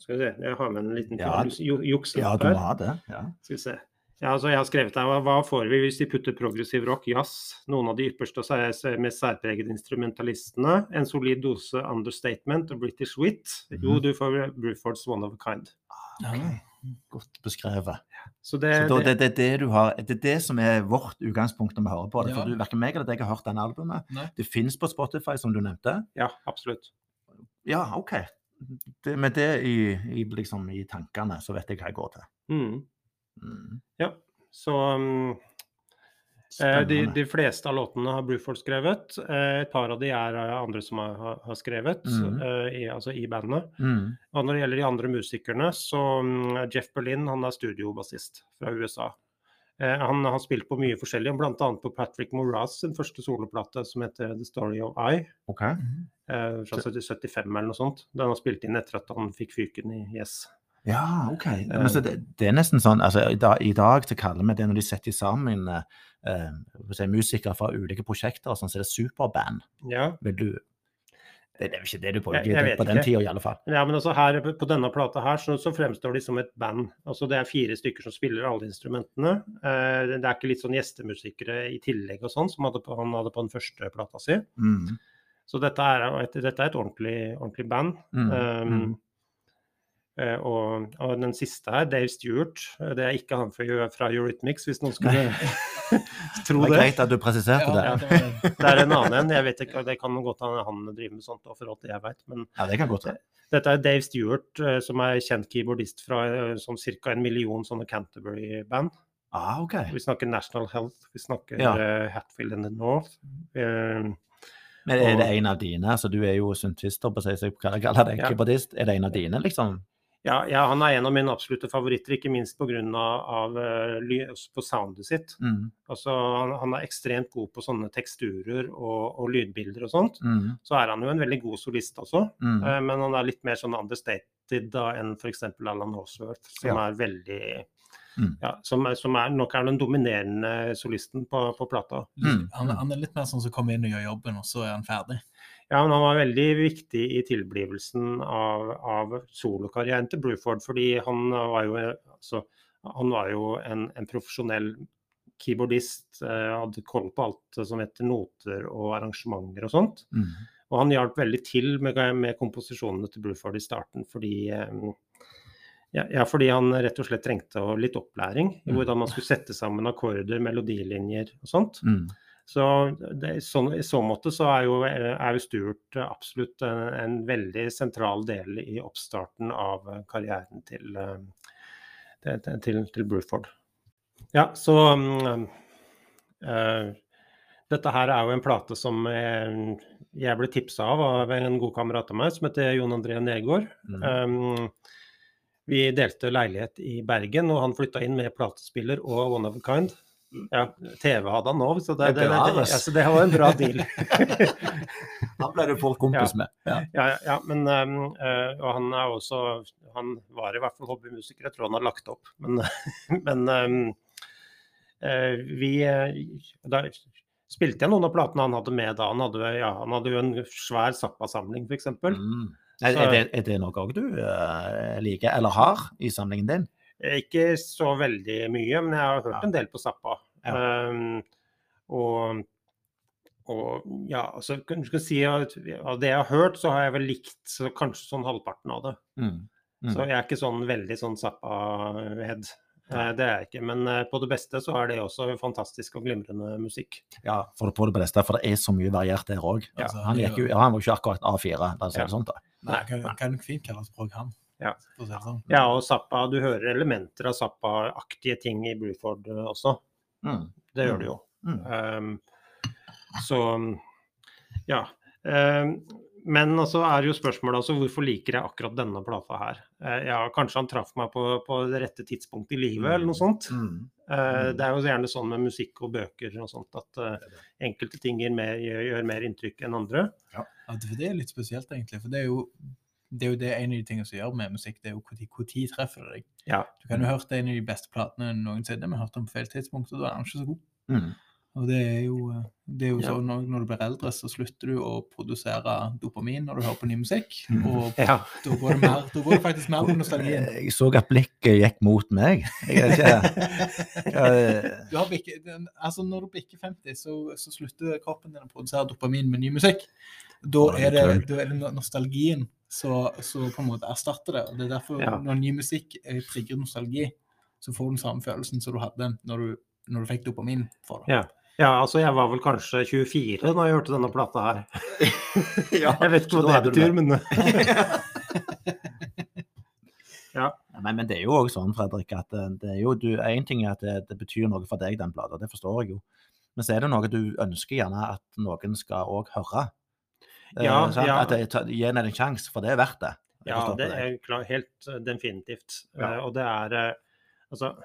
Speaker 3: Skal vi se, jeg har med en liten
Speaker 1: Ja,
Speaker 3: jus- ju-
Speaker 1: Ja,
Speaker 3: jukselapp
Speaker 1: du må
Speaker 3: her.
Speaker 1: ha det. Ja.
Speaker 3: Skal vi se. Ja, altså jeg har skrevet her, hva, hva får vi hvis de putter progressiv rock, jazz, noen av de ypperste og sær- sær- mest særpregede instrumentalistene, en solid dose understatement og British wit? Jo,
Speaker 1: Mhm.
Speaker 3: du får Brufords one of a kind.
Speaker 1: Godt beskrevet.
Speaker 3: Så
Speaker 1: Så
Speaker 3: det,
Speaker 1: da,
Speaker 3: Eh, det,
Speaker 1: det, det, er det, du har, det er det som er vårt utgangspunkt når vi hører på det.
Speaker 2: Ja.
Speaker 1: For du, Verken meg eller deg har hørt den albumet.
Speaker 2: Nei.
Speaker 1: Det finnes på Spotify, som du nevnte.
Speaker 3: ja, absolutt.
Speaker 1: Ja, OK. Det, med det i, i, liksom, i tankene, så vet jeg hva jeg går til.
Speaker 3: Mhm.
Speaker 1: Mm.
Speaker 3: Så um, eh, de,
Speaker 1: Spennende.
Speaker 3: de fleste av låtene har Bruford skrevet. Eh, Et par av de er eh, andre som har, har- har skrevet,
Speaker 1: Mhm.
Speaker 3: eh, i, altså i bandet.
Speaker 1: Mm.
Speaker 3: Og når det gjelder de andre musikerne, så mm, Jeff Berlin han er studiobassist fra USA. Eh, Han har spilt på mye forskjellig, bl.a. på Patrick Moraz sin første soloplate som heter 'The Story of I',
Speaker 1: OK.
Speaker 2: Mhm.
Speaker 3: eh, fra 75 eller noe sånt. Den har spilt inn etter at han fikk fyken i Yes.
Speaker 1: Ja, OK.
Speaker 3: Eh.
Speaker 1: Men, så det, det er nesten sånn altså, i, dag, I dag så kaller vi det, når de setter sammen eh, eh, hva skal jeg si, musikere fra ulike prosjekter, og sånn, så er det superband.
Speaker 3: Ja,
Speaker 1: Vil du Det er jo ikke det du
Speaker 3: Jeg- jeg
Speaker 1: bruker
Speaker 3: vet
Speaker 1: på den
Speaker 3: ikke.
Speaker 1: tida, i alle fall.
Speaker 3: Ja, men altså her, På denne plata her så, så fremstår de som et band. Altså Det er fire stykker som spiller alle instrumentene. Eh, det er ikke litt sånn gjestemusikere i tillegg og sånn, som hadde på, han hadde på den første plata si.
Speaker 4: Mm.
Speaker 3: Så dette er et, dette er et ordentlig, ordentlig band.
Speaker 4: Mm.
Speaker 3: Um, eh, og, og den siste her, Dave Stewart, eh, det er ikke han fra, fra Eurythmics, hvis noen skulle
Speaker 4: Det
Speaker 3: tro
Speaker 4: var
Speaker 3: det.
Speaker 4: greit at du presiserte det.
Speaker 2: ja, det var-
Speaker 3: Det er en annen en. jeg vet ikke, Det kan godt hende han driver med sånt, da, for alt jeg vet. Men
Speaker 4: Ja, det kan godt være.
Speaker 3: dette er Dave Stewart, eh, som er kjent keyboardist fra eh, sånn ca. en million sånne Canterbury-band.
Speaker 4: Ah, ok.
Speaker 3: Vi snakker National Health, vi snakker
Speaker 1: Ja.
Speaker 3: eh, Hatfield and the North. Eh,
Speaker 1: Men er det en av dine? Altså, du er jo syntister, på å si seg hva jeg kaller deg,
Speaker 3: Ja.
Speaker 1: keyboardist. Er det en av dine, liksom?
Speaker 3: Ja, ja, han er en av mine absolutte favoritter, ikke minst pga. Av, eh, ly- på soundet sitt.
Speaker 1: Mm,
Speaker 3: Altså, han, han er ekstremt god på sånne teksturer og, og lydbilder og sånt.
Speaker 1: mm,
Speaker 3: Så er han jo en veldig god solist også,
Speaker 1: mm.
Speaker 3: eh, men han er litt mer sånn understated da enn f.eks. Alan Horsworth, som
Speaker 1: Ja.
Speaker 3: er veldig
Speaker 1: Mm.
Speaker 3: ja, som, er- som er, nok er den dominerende solisten på, på plata.
Speaker 1: Mm.
Speaker 2: Han, han er litt mer sånn som kommer inn og gjør jobben, og så er han ferdig.
Speaker 3: Ja, men han var veldig viktig i tilblivelsen av, av solokarrieren til Bruford, fordi han var jo, altså, han var jo en, en profesjonell keyboardist, eh, hadde koll på alt som heter noter og arrangementer og sånt.
Speaker 1: Mm.
Speaker 3: Og han hjalp veldig til med, med komposisjonene til Bruford i starten, fordi eh, ja, ja, fordi han rett og slett trengte å- litt opplæring i
Speaker 1: Mm.
Speaker 3: hvordan man skulle sette sammen akkorder, melodilinjer og sånt.
Speaker 1: Mm.
Speaker 3: Så det, sånn, I så måte så er jo, er jo Stuart absolutt en, en veldig sentral del i oppstarten av karrieren til, eh, til, til, til Bruford. Ja, så mm, eh, Dette her er jo en plate som eh, jeg ble tipsa av av en god kamerat av meg som heter Jon André Nergård.
Speaker 1: Mm.
Speaker 3: Um, vi delte leilighet i Bergen, og han flytta inn med platespiller og One of a Kind. Ja, TV hadde han òg, så det, det, det,
Speaker 1: Bra,
Speaker 3: det,
Speaker 1: ass.
Speaker 3: altså, det var en bra deal.
Speaker 1: Han ble du fort kompis med. Ja.
Speaker 3: Ja, ja, ja, men um, eh, Og han er også Han var i hvert fall hobbymusiker, jeg tror han har lagt opp. Men, men um, eh, vi eh, Da spilte jeg noen av platene han hadde med da. Han hadde, ja, han hadde jo en svær Zappa-samling, f.eks. eksempel
Speaker 1: Mm. Er,
Speaker 3: Så-
Speaker 1: er, det, er det noe òg du eh, liker, eller har, i samlingen din?
Speaker 3: Eh, Ikke så veldig mye, men jeg har hørt en del på Zappa.
Speaker 1: Ja.
Speaker 3: Ehm, og, og ja, altså kan- du kan si at av det jeg har hørt, så har jeg vel likt så kanskje sånn halvparten av det.
Speaker 1: Mm. Mm.
Speaker 3: Så jeg er ikke sånn veldig sånn Zappa-head. Eh, Det er jeg ikke. Men eh, på det beste så er det også fantastisk og glimrende musikk.
Speaker 1: Ja, for, på det beste, for det er så mye variert der òg.
Speaker 3: Ja,
Speaker 2: Altså,
Speaker 1: Han, gikk jo, ja, han var jo ikke akkurat A4. Altså,
Speaker 3: Ja.
Speaker 1: sånt, da.
Speaker 2: Nei, kan, kan nok fint kalles program.
Speaker 3: Ja.
Speaker 2: For å si det sånn.
Speaker 1: Mm.
Speaker 3: Ja, og Zappa, du hører elementer av Zappa-aktige ting i Bruford eh, også.
Speaker 1: Mm.
Speaker 3: Det gjør du jo.
Speaker 1: Mm.
Speaker 3: Um, så um, ja. Um, men altså er jo spørsmålet altså hvorfor liker jeg akkurat denne plata her? Eh, ja, kanskje han traff meg på, på det rette tidspunktet i livet, eller noe sånt.
Speaker 1: Mm.
Speaker 3: Eh, det er jo gjerne sånn med musikk og bøker og sånt at eh, enkelte ting gir mer, gjør, gjør mer inntrykk enn andre.
Speaker 2: Ja, det- for det er litt spesielt, egentlig. For det er jo det, er jo det en av de tingene som gjør med musikk, det er jo hvor tid- hvor tid treffer det deg.
Speaker 3: Ja.
Speaker 2: Du kan jo ha hørt en av de beste platene noensinne, men hørt om feil tidspunkt, og da er den ikke så god.
Speaker 1: Mm.
Speaker 2: Og det er jo, eh, det er jo
Speaker 3: Ja.
Speaker 2: sånn når, når du blir eldre, så slutter du å produsere dopamin når du hører på ny musikk.
Speaker 1: Mm.
Speaker 2: Og
Speaker 3: Ja.
Speaker 2: da går det, mer, da går det faktisk mer på nostalgien.
Speaker 1: Jeg så at blikket gikk mot meg. Jeg vet ikke hva-
Speaker 2: Du har bikket, den- altså når du bikker 50, så, så slutter kroppen din å produsere dopamin med ny musikk. Da
Speaker 1: Da er
Speaker 2: er
Speaker 1: det
Speaker 2: det, da er det no- nostalgien som som på en måte erstatter det. og Det er derfor
Speaker 3: Ja.
Speaker 2: når ny musikk eh, trigger nostalgi, så får du den samme følelsen som du hadde når du, når du fikk dopamin for det.
Speaker 3: Ja. ja, altså jeg var vel kanskje 24 da jeg hørte denne plata her.
Speaker 1: Ja,
Speaker 3: Jeg vet
Speaker 1: så
Speaker 3: ikke
Speaker 1: da
Speaker 3: hva
Speaker 1: hadde
Speaker 3: det
Speaker 1: du
Speaker 3: betyr, men eh,
Speaker 1: Men, men det er jo òg sånn, Fredrik, at eh, det er jo du, en ting er at det, det betyr noe for deg, den plata. Det forstår jeg jo. Men så er det noe du ønsker gjerne at noen skal òg høre. Eh,
Speaker 3: Ja,
Speaker 1: sant?
Speaker 3: ja.
Speaker 1: At det, ta- gi den en sjanse, for det er verdt det. Jeg
Speaker 3: Ja,
Speaker 1: forstår
Speaker 3: det
Speaker 1: på deg.
Speaker 3: er klar, helt eh, definitivt.
Speaker 1: Ja.
Speaker 3: Eh, og det er eh, altså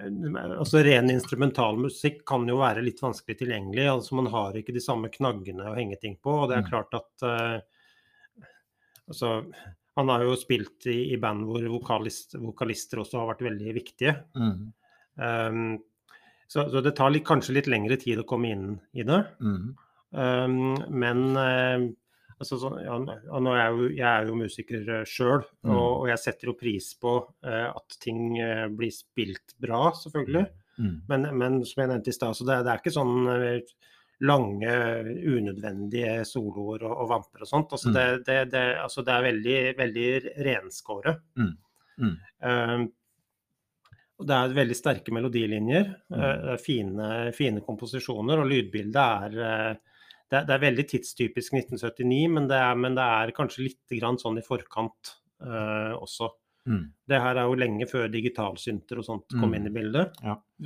Speaker 3: eh, Altså Ren instrumentalmusikk kan jo være litt vanskelig tilgjengelig. altså Man har ikke de samme knaggene å henge ting på. Og det er
Speaker 1: Mm.
Speaker 3: klart at eh, Altså Han har jo spilt i, i band hvor vokalist, vokalister også har vært veldig viktige.
Speaker 1: Mm,
Speaker 3: Um, så, så det tar litt, kanskje litt lengre tid å komme inn i det.
Speaker 1: mm,
Speaker 3: Um, Ehm, men eh, Altså, sånn, ja, ja, nå er jeg, jo, jeg er jo musiker eh, sjøl,
Speaker 1: Mm.
Speaker 3: og, og jeg setter jo pris på eh, at ting eh, blir spilt bra, selvfølgelig.
Speaker 1: Mm.
Speaker 3: Men, men som jeg nevnte i stad, så det, det er ikke sånn eh, lange, unødvendige soloer og, og vamper og sånt. Altså,
Speaker 1: Mm.
Speaker 3: det, det, det, altså, det er veldig, veldig renskåret.
Speaker 1: Mm. Mm.
Speaker 3: Eh, og det er veldig sterke melodilinjer,
Speaker 1: Mm.
Speaker 3: eh, det er fine, fine komposisjoner, og lydbildet er eh, det er, det er veldig tidstypisk 1979, men det er, men det er kanskje litt grann sånn i forkant eh, også.
Speaker 1: Mm.
Speaker 3: Det her er jo lenge før digitalsynter og sånt kom
Speaker 1: Mm.
Speaker 3: inn i bildet.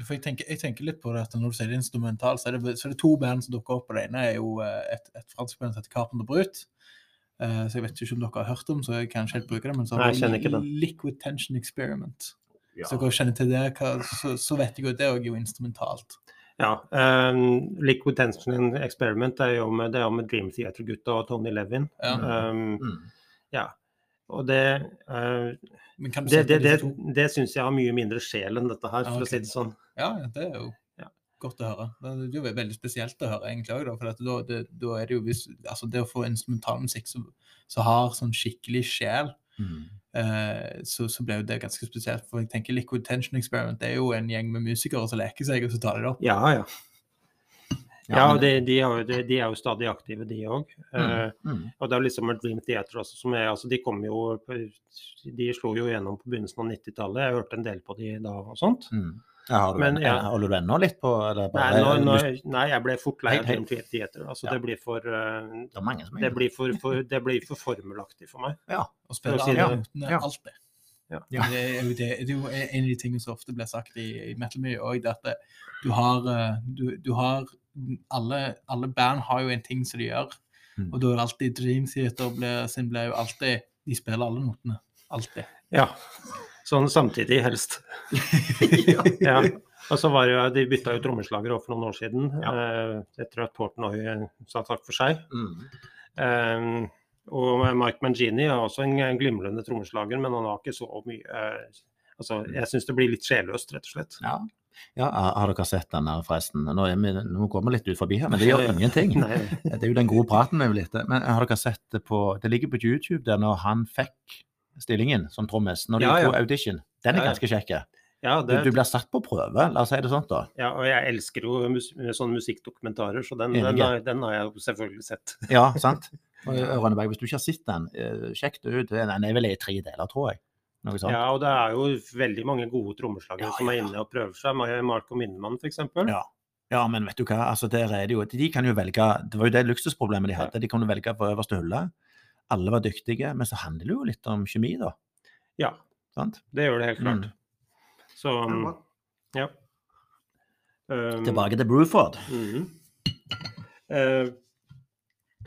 Speaker 2: For jeg tenker, jeg tenker litt på det at når du sier det er instrumental, så er det, så er det to band som dukker opp. og Det ene er jo eh, et, et fransk band som heter Carpenter Brut. Eh, så jeg vet ikke om dere har hørt om, så jeg kan ikke helt bruke det. Men så
Speaker 3: Nei,
Speaker 2: har
Speaker 3: jeg
Speaker 2: vi
Speaker 3: kjenner ikke den.
Speaker 2: Liquid Tension Experiment.
Speaker 1: Ja.
Speaker 2: Så dere kjenner til det, hva, så, så vet jeg jo at det er jo instrumentalt.
Speaker 3: Ja, um, Liquid Tension Experiment er jo med, det er jo med Dream Theater-gutta og Tony Levin.
Speaker 2: Ja.
Speaker 3: Um,
Speaker 1: Mm.
Speaker 3: og det, eh,
Speaker 2: Men kan du
Speaker 3: det,
Speaker 2: si
Speaker 3: det,
Speaker 2: at
Speaker 3: det,
Speaker 2: disse to?
Speaker 3: det syns jeg har mye mindre sjel enn dette her,
Speaker 2: Ja,
Speaker 3: for å
Speaker 2: ok.
Speaker 3: si det sånn.
Speaker 2: Ja, ja, det er jo
Speaker 3: Ja.
Speaker 2: godt å høre. Det er jo ve- veldig spesielt å høre egentlig òg, da. For at da, det, da er det jo hvis Altså, det å få instrumentalmusikk som som har sånn skikkelig sjel,
Speaker 1: Mm.
Speaker 2: eh, så, så ble jo det ganske spesielt. For jeg tenker Liquid Tension Experiment det er jo en gjeng med musikere som leker seg, og så tar de det opp.
Speaker 3: Ja, ja. Ja, og de, de, er jo, de, de er jo stadig aktive, de òg. eh,
Speaker 1: Mm.
Speaker 3: Og det er jo liksom med Dream Theater også, som er, altså de kom jo De slo jo gjennom på begynnelsen av 90-tallet. Jeg hørte en del på de da og sånt.
Speaker 1: Mm. Ja, har, du,
Speaker 3: Men,
Speaker 1: den-
Speaker 3: ja.
Speaker 1: holder du ennå litt på eller
Speaker 3: Nei,
Speaker 1: bare
Speaker 3: nå, nå,
Speaker 1: lyst-
Speaker 3: nei jeg ble fort lei av
Speaker 1: Helt-
Speaker 3: Dream Theater. Altså,
Speaker 1: Ja.
Speaker 3: det blir for eh,
Speaker 1: Det er mange som
Speaker 3: det blir for, for, det blir for formelaktig for meg.
Speaker 2: Og spiller
Speaker 3: For å si
Speaker 2: alle
Speaker 3: det,
Speaker 2: notene,
Speaker 1: ja.
Speaker 2: alt det.
Speaker 3: Ja.
Speaker 2: Men Det, er jo det, det er jo en av de tingene som ofte blir sagt i, i metal mye òg, at det- du har, eh, du, du har mm, alle, alle band har jo en ting som de gjør,
Speaker 1: Mm.
Speaker 2: og da er det alltid Dream Theater blir, sin blir jo alltid De spiller alle notene. Alltid.
Speaker 3: Ja. Sånn samtidig, helst. Ja. Og så var jo, De bytta jo trommeslager også for noen år siden. Eh, jeg tror at Portnoy sa takk for seg.
Speaker 1: Mm.
Speaker 3: Eh, og Mike Mangini er også en glimrende trommeslager, men han har ikke så mye eh, altså, Jeg syns det blir litt sjelløst, rett og slett.
Speaker 1: Ja. ja, har har dere sett den her forresten? Nå, er vi, nå går vi litt ut forbi her, men det gjør ingenting.
Speaker 3: Nei,
Speaker 1: Det er jo den gode praten vi vil etter. Men eh, har dere sett det på Det ligger på YouTube der når han fikk stillingen som trommis, når de
Speaker 3: Ja, ja.
Speaker 1: gjorde audition. Den
Speaker 3: Ja,
Speaker 1: er
Speaker 3: ja.
Speaker 1: ganske kjekk.
Speaker 3: ja,
Speaker 1: Du,
Speaker 3: det,
Speaker 1: du blir satt på prøve, la oss si det sånn, da.
Speaker 3: ja, og jeg elsker jo mus sånne musikkdokumentarer, så den, den,
Speaker 1: Enig.
Speaker 3: har, den har jeg jo selvfølgelig sett.
Speaker 1: Ja, sant? Og eh, Rønneberg, hvis du ikke har sett den, eh, sjekk det ut. Den er vel i tre deler, tror jeg. Noe sånt.
Speaker 3: Ja, og det er jo veldig mange gode trommeslagere
Speaker 1: Ja,
Speaker 3: som er
Speaker 1: ja.
Speaker 3: inne og prøver seg. Mar- Marco Minnemann, f.eks.
Speaker 1: Ja. Ja, men vet du hva, altså der er det jo De kan jo velge Det var jo det luksusproblemet de hadde. De kan jo velge på øverste hylle. Alle var dyktige, men så handler det jo litt om kjemi, da.
Speaker 3: Ja.
Speaker 1: Sant?
Speaker 3: Det gjør det helt klart.
Speaker 1: Mm.
Speaker 3: Så um,
Speaker 4: Ja,
Speaker 3: ja. Um,
Speaker 1: Tilbake til Bruford.
Speaker 3: mhm. Eh,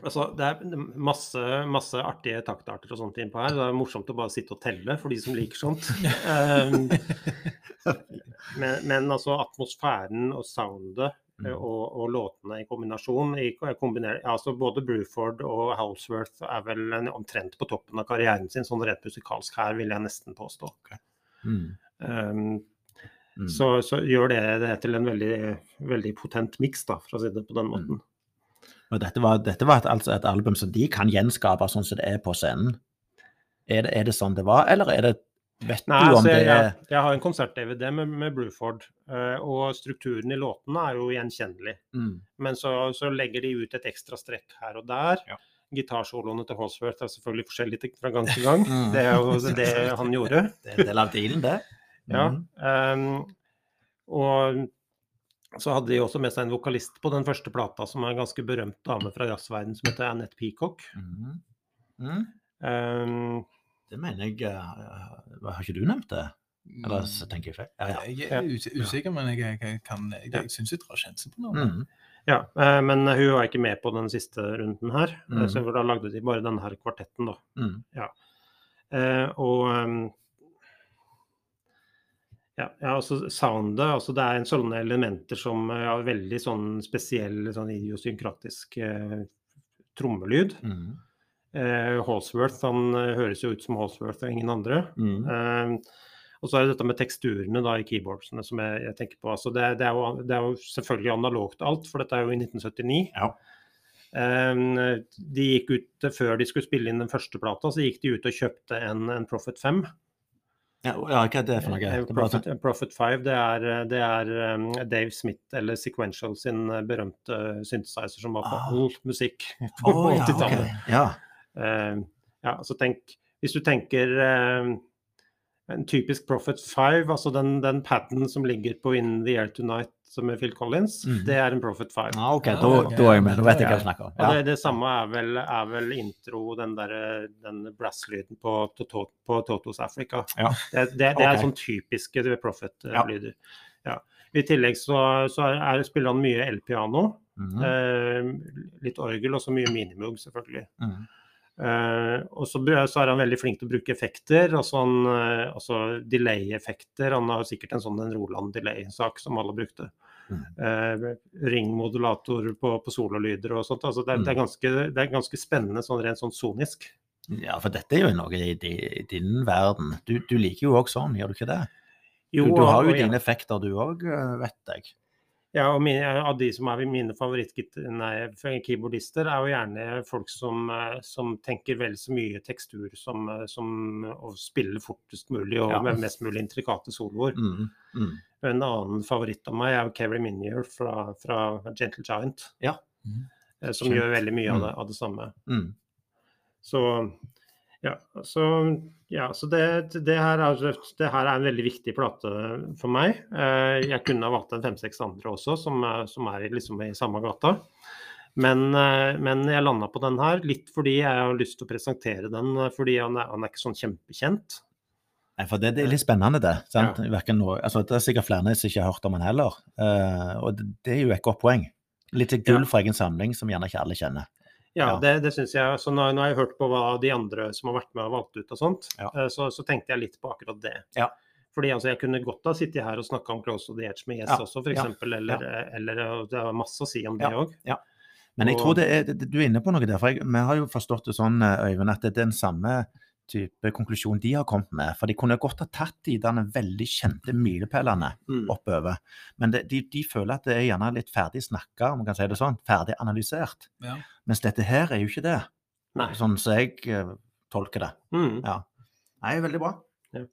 Speaker 3: altså, det er masse, masse artige taktarter og sånt innpå her. Det er morsomt å bare sitte og telle for de som liker sånt. Um, men, men altså atmosfæren og soundet
Speaker 1: Mm.
Speaker 3: eh, og, og låtene i kombinasjon i, kombiner, altså Både Bruford og Houseworth er vel en, omtrent på toppen av karrieren sin, sånn rett musikalsk her, vil jeg nesten påstå.
Speaker 1: Mm.
Speaker 3: Um,
Speaker 1: Mm.
Speaker 3: så, så gjør det det til en veldig, veldig potent miks, da, for å si det
Speaker 1: Mm.
Speaker 3: på den måten.
Speaker 1: Og dette var, dette var et, altså et album som de kan gjenskape sånn som det er på scenen. Er det, er det sånn det var, eller er det Vet
Speaker 3: Nei,
Speaker 1: du om
Speaker 3: altså, jeg,
Speaker 1: det er
Speaker 3: jeg, jeg har en konsert-DVD med, med Bruford, eh, og strukturen i låtene er jo gjenkjennelig.
Speaker 1: mm.
Speaker 3: Men så, så legger de ut et ekstra strekk her og der.
Speaker 1: Ja.
Speaker 3: Gitarsoloene til Holsworth er selvfølgelig forskjellig til- fra gang til gang.
Speaker 1: Mm.
Speaker 3: Det er jo det han gjorde.
Speaker 1: Det er en del av dealen, det.
Speaker 3: Ja.
Speaker 1: Mm.
Speaker 3: ehm, og så hadde de også med seg en vokalist på den første plata, som er en ganske berømt dame fra jazzverdenen som heter Annette Peacock.
Speaker 1: Mm. Mm.
Speaker 3: Ehm,
Speaker 1: Det mener jeg eh, hva- Har ikke du nevnt det? Eller så tenker jeg feil? Ja, ja.
Speaker 2: Jeg er us- usikker, men jeg, jeg, jeg kan, jeg,
Speaker 3: Ja.
Speaker 2: jeg syns jeg drar kjensel på noe.
Speaker 1: Mm.
Speaker 3: ja, eh, men hun var ikke med på den siste runden her, eh,
Speaker 1: Mhm.
Speaker 3: så da lagde de bare denne her kvartetten, da.
Speaker 1: Mm.
Speaker 3: Eh, og ehm, ja, ja, altså soundet altså Det er sånne elementer som eh, har veldig sånn spesiell, sånn idiosynkratisk eh, trommelyd.
Speaker 1: Mm.
Speaker 3: Eh, Halsworth han eh, høres jo ut som Halsworth og ingen andre.
Speaker 1: Mm.
Speaker 3: Eh, og så er det dette med teksturene da i keyboardsene som jeg, jeg tenker på. Altså det, det, er jo, det er jo selvfølgelig analogt alt, for dette er jo i 1979.
Speaker 1: Ja.
Speaker 3: Eh, De gikk ut Før de skulle spille inn den første plata, så gikk de ut og kjøpte en, en Profit 5.
Speaker 1: Ja, og- ja, hva er det for noe? Det
Speaker 3: Eh,
Speaker 1: er bare
Speaker 3: Profit,
Speaker 1: sånn-
Speaker 3: Profit 5 det er, det er eh, Dave Smith eller Sequential sin eh, berømte synthesizer som var på
Speaker 1: Ah.
Speaker 3: all musikk på
Speaker 1: Å, ja,
Speaker 3: 80-tallet.
Speaker 1: ok. ja.
Speaker 3: Eh, ja, så tenk, hvis du tenker eh, en typisk Prophet 5, altså den, den paden som ligger på In the Air Tonight som er Phil Collins,
Speaker 1: Mhm.
Speaker 3: det er en Prophet 5.
Speaker 1: Ja, OK,
Speaker 2: Ja,
Speaker 1: da,
Speaker 2: ok.
Speaker 1: da er jeg med. Da vet jeg hva du
Speaker 3: Ja.
Speaker 1: snakker om.
Speaker 3: Og
Speaker 1: Ja.
Speaker 3: det, det samme er vel, er vel intro, den, der, den brass-lyden på, Toto- på Totos Africa.
Speaker 1: Ja.
Speaker 3: Det, det, det er
Speaker 1: Ok.
Speaker 3: sånn typiske
Speaker 1: Ja.
Speaker 3: Prophet-lyder. Ja. I tillegg så, så er, spiller han mye elpiano,
Speaker 1: Mhm,
Speaker 3: eh, litt orgel og så mye minimug, selvfølgelig.
Speaker 1: mhm.
Speaker 3: Eh, og så, br- så er han veldig flink til å bruke effekter, altså, han, eh, altså delay-effekter. Han har sikkert en sånn en Roland delay-sak som alle brukte.
Speaker 1: Mm.
Speaker 3: Eh, ringmodulator på, på sololyder og sånt. Altså det, er- det,
Speaker 1: Mm.
Speaker 3: er ganske, det er ganske spennende sånn rent sånn sonisk.
Speaker 1: Ja, for dette er jo noe i, di- i din verden. Du, du liker jo òg sånn, gjør du ikke det? Du, du har jo
Speaker 3: og- og-
Speaker 1: dine effekter du òg, vet jeg.
Speaker 3: Ja, og mine, av de som er mine favorittgit- nei, keyboardister, er jo gjerne folk som, eh, som tenker vel så mye tekstur som, eh, som å spille fortest mulig og
Speaker 1: Ja.
Speaker 3: med mest mulig intrikate soloer.
Speaker 1: Mhm, mhm.
Speaker 3: En annen favoritt av meg er jo Kevin Minier fra, fra Gentle Giant.
Speaker 1: Ja.
Speaker 2: Mhm.
Speaker 3: Eh, Som
Speaker 1: Kjent.
Speaker 3: gjør veldig mye av det,
Speaker 1: Mm.
Speaker 3: av det samme.
Speaker 1: Mm.
Speaker 3: Så ja, så, ja, så det, det, her er, det her er en veldig viktig plate for meg. Eh, Jeg kunne ha valgt en fem-seks andre også, som er, som er i- liksom i samme gata. Men, eh, men jeg landa på den her litt fordi jeg har lyst til å presentere den, eh, fordi han er, han er ikke sånn kjempekjent.
Speaker 1: Nei, for det, det er litt spennende, det. Sant? Hverken noe, altså, det er sikkert flere som ikke har hørt om den heller. Eh, og det, det er jo et godt poeng. Litt gull fra egen samling som gjerne ikke alle kjenner.
Speaker 3: Ja,
Speaker 1: Ja.
Speaker 3: det, det syns jeg. Så nå, nå har jeg hørt på hva de andre som har vært med og valgt ut og sånt,
Speaker 1: Ja.
Speaker 3: eh, så, så tenkte jeg litt på akkurat det.
Speaker 1: Ja.
Speaker 3: Fordi altså, jeg kunne godt ha sittet her og snakka om Close to the Edge med Yes
Speaker 1: Ja,
Speaker 3: også, f.eks.
Speaker 1: ja,
Speaker 3: eksempel, Eller, eller eh, det er masse å si om det
Speaker 1: Ja.
Speaker 3: òg.
Speaker 1: Men jeg
Speaker 3: Og-
Speaker 1: tror det er, det- du er inne på noe der. For jeg, vi har jo forstått det sånn, eh, Øyvind, at det er den samme type konklusjon de har kommet med. For de kunne godt ha tatt de der veldig kjente milepælene
Speaker 3: Mm.
Speaker 1: oppover. Men det, de, de føler at det er gjerne litt ferdig snakka, om man kan si det sånn. Ferdig analysert.
Speaker 2: Ja.
Speaker 1: Mens dette her er jo ikke det,
Speaker 3: Nei.
Speaker 1: sånn som jeg eh, tolker det.
Speaker 3: Mm.
Speaker 1: Ja. Nei, veldig bra.
Speaker 3: Ja.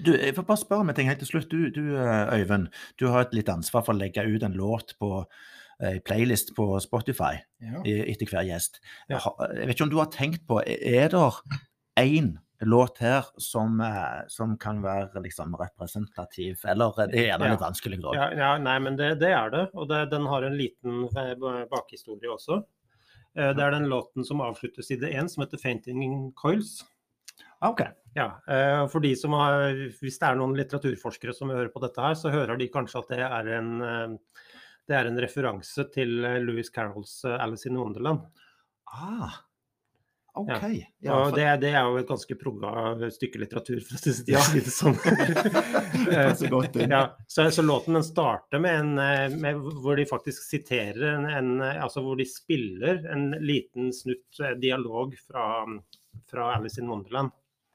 Speaker 1: Du, jeg får bare spørre om en ting helt til slutt. Du, du eh, Øyvind, du har et litt ansvar for å legge ut en låt på eh, playlist på Spotify
Speaker 2: Ja.
Speaker 1: i- etter hver gjest.
Speaker 3: Ja.
Speaker 1: Ha- Jeg vet ikke om du har tenkt på, e, er det én låt her som, eh, som kan være liksom representativ, eller er det er gjerne
Speaker 3: Ja.
Speaker 1: litt vanskelig da?
Speaker 3: Ja, ja, nei, men det, det er det. Og det, den har en liten eh, ba- bakhistorie også. Eh, Det er den låten som avslutter side én, som heter 'Fainting in Coils'.
Speaker 1: Ah, Ok.
Speaker 3: Ja, eh, og for de som har, Hvis det er noen litteraturforskere som hører på dette, her, så hører de kanskje at det er en, eh, det er en referanse til eh, Lewis Carrolls eh, 'Alice in Wonderland'.
Speaker 1: Ah, ok. Ja,
Speaker 3: Og
Speaker 1: for-
Speaker 3: det, det er jo et ganske progga stykke litteratur, for å si det- si det sånn.
Speaker 4: Passer godt inn.
Speaker 3: ja, så, så låten den starter med en eh, med, hvor de faktisk siterer en, en eh, Altså hvor de spiller en liten snutt eh, dialog fra, fra 'Alice in Wonderland'.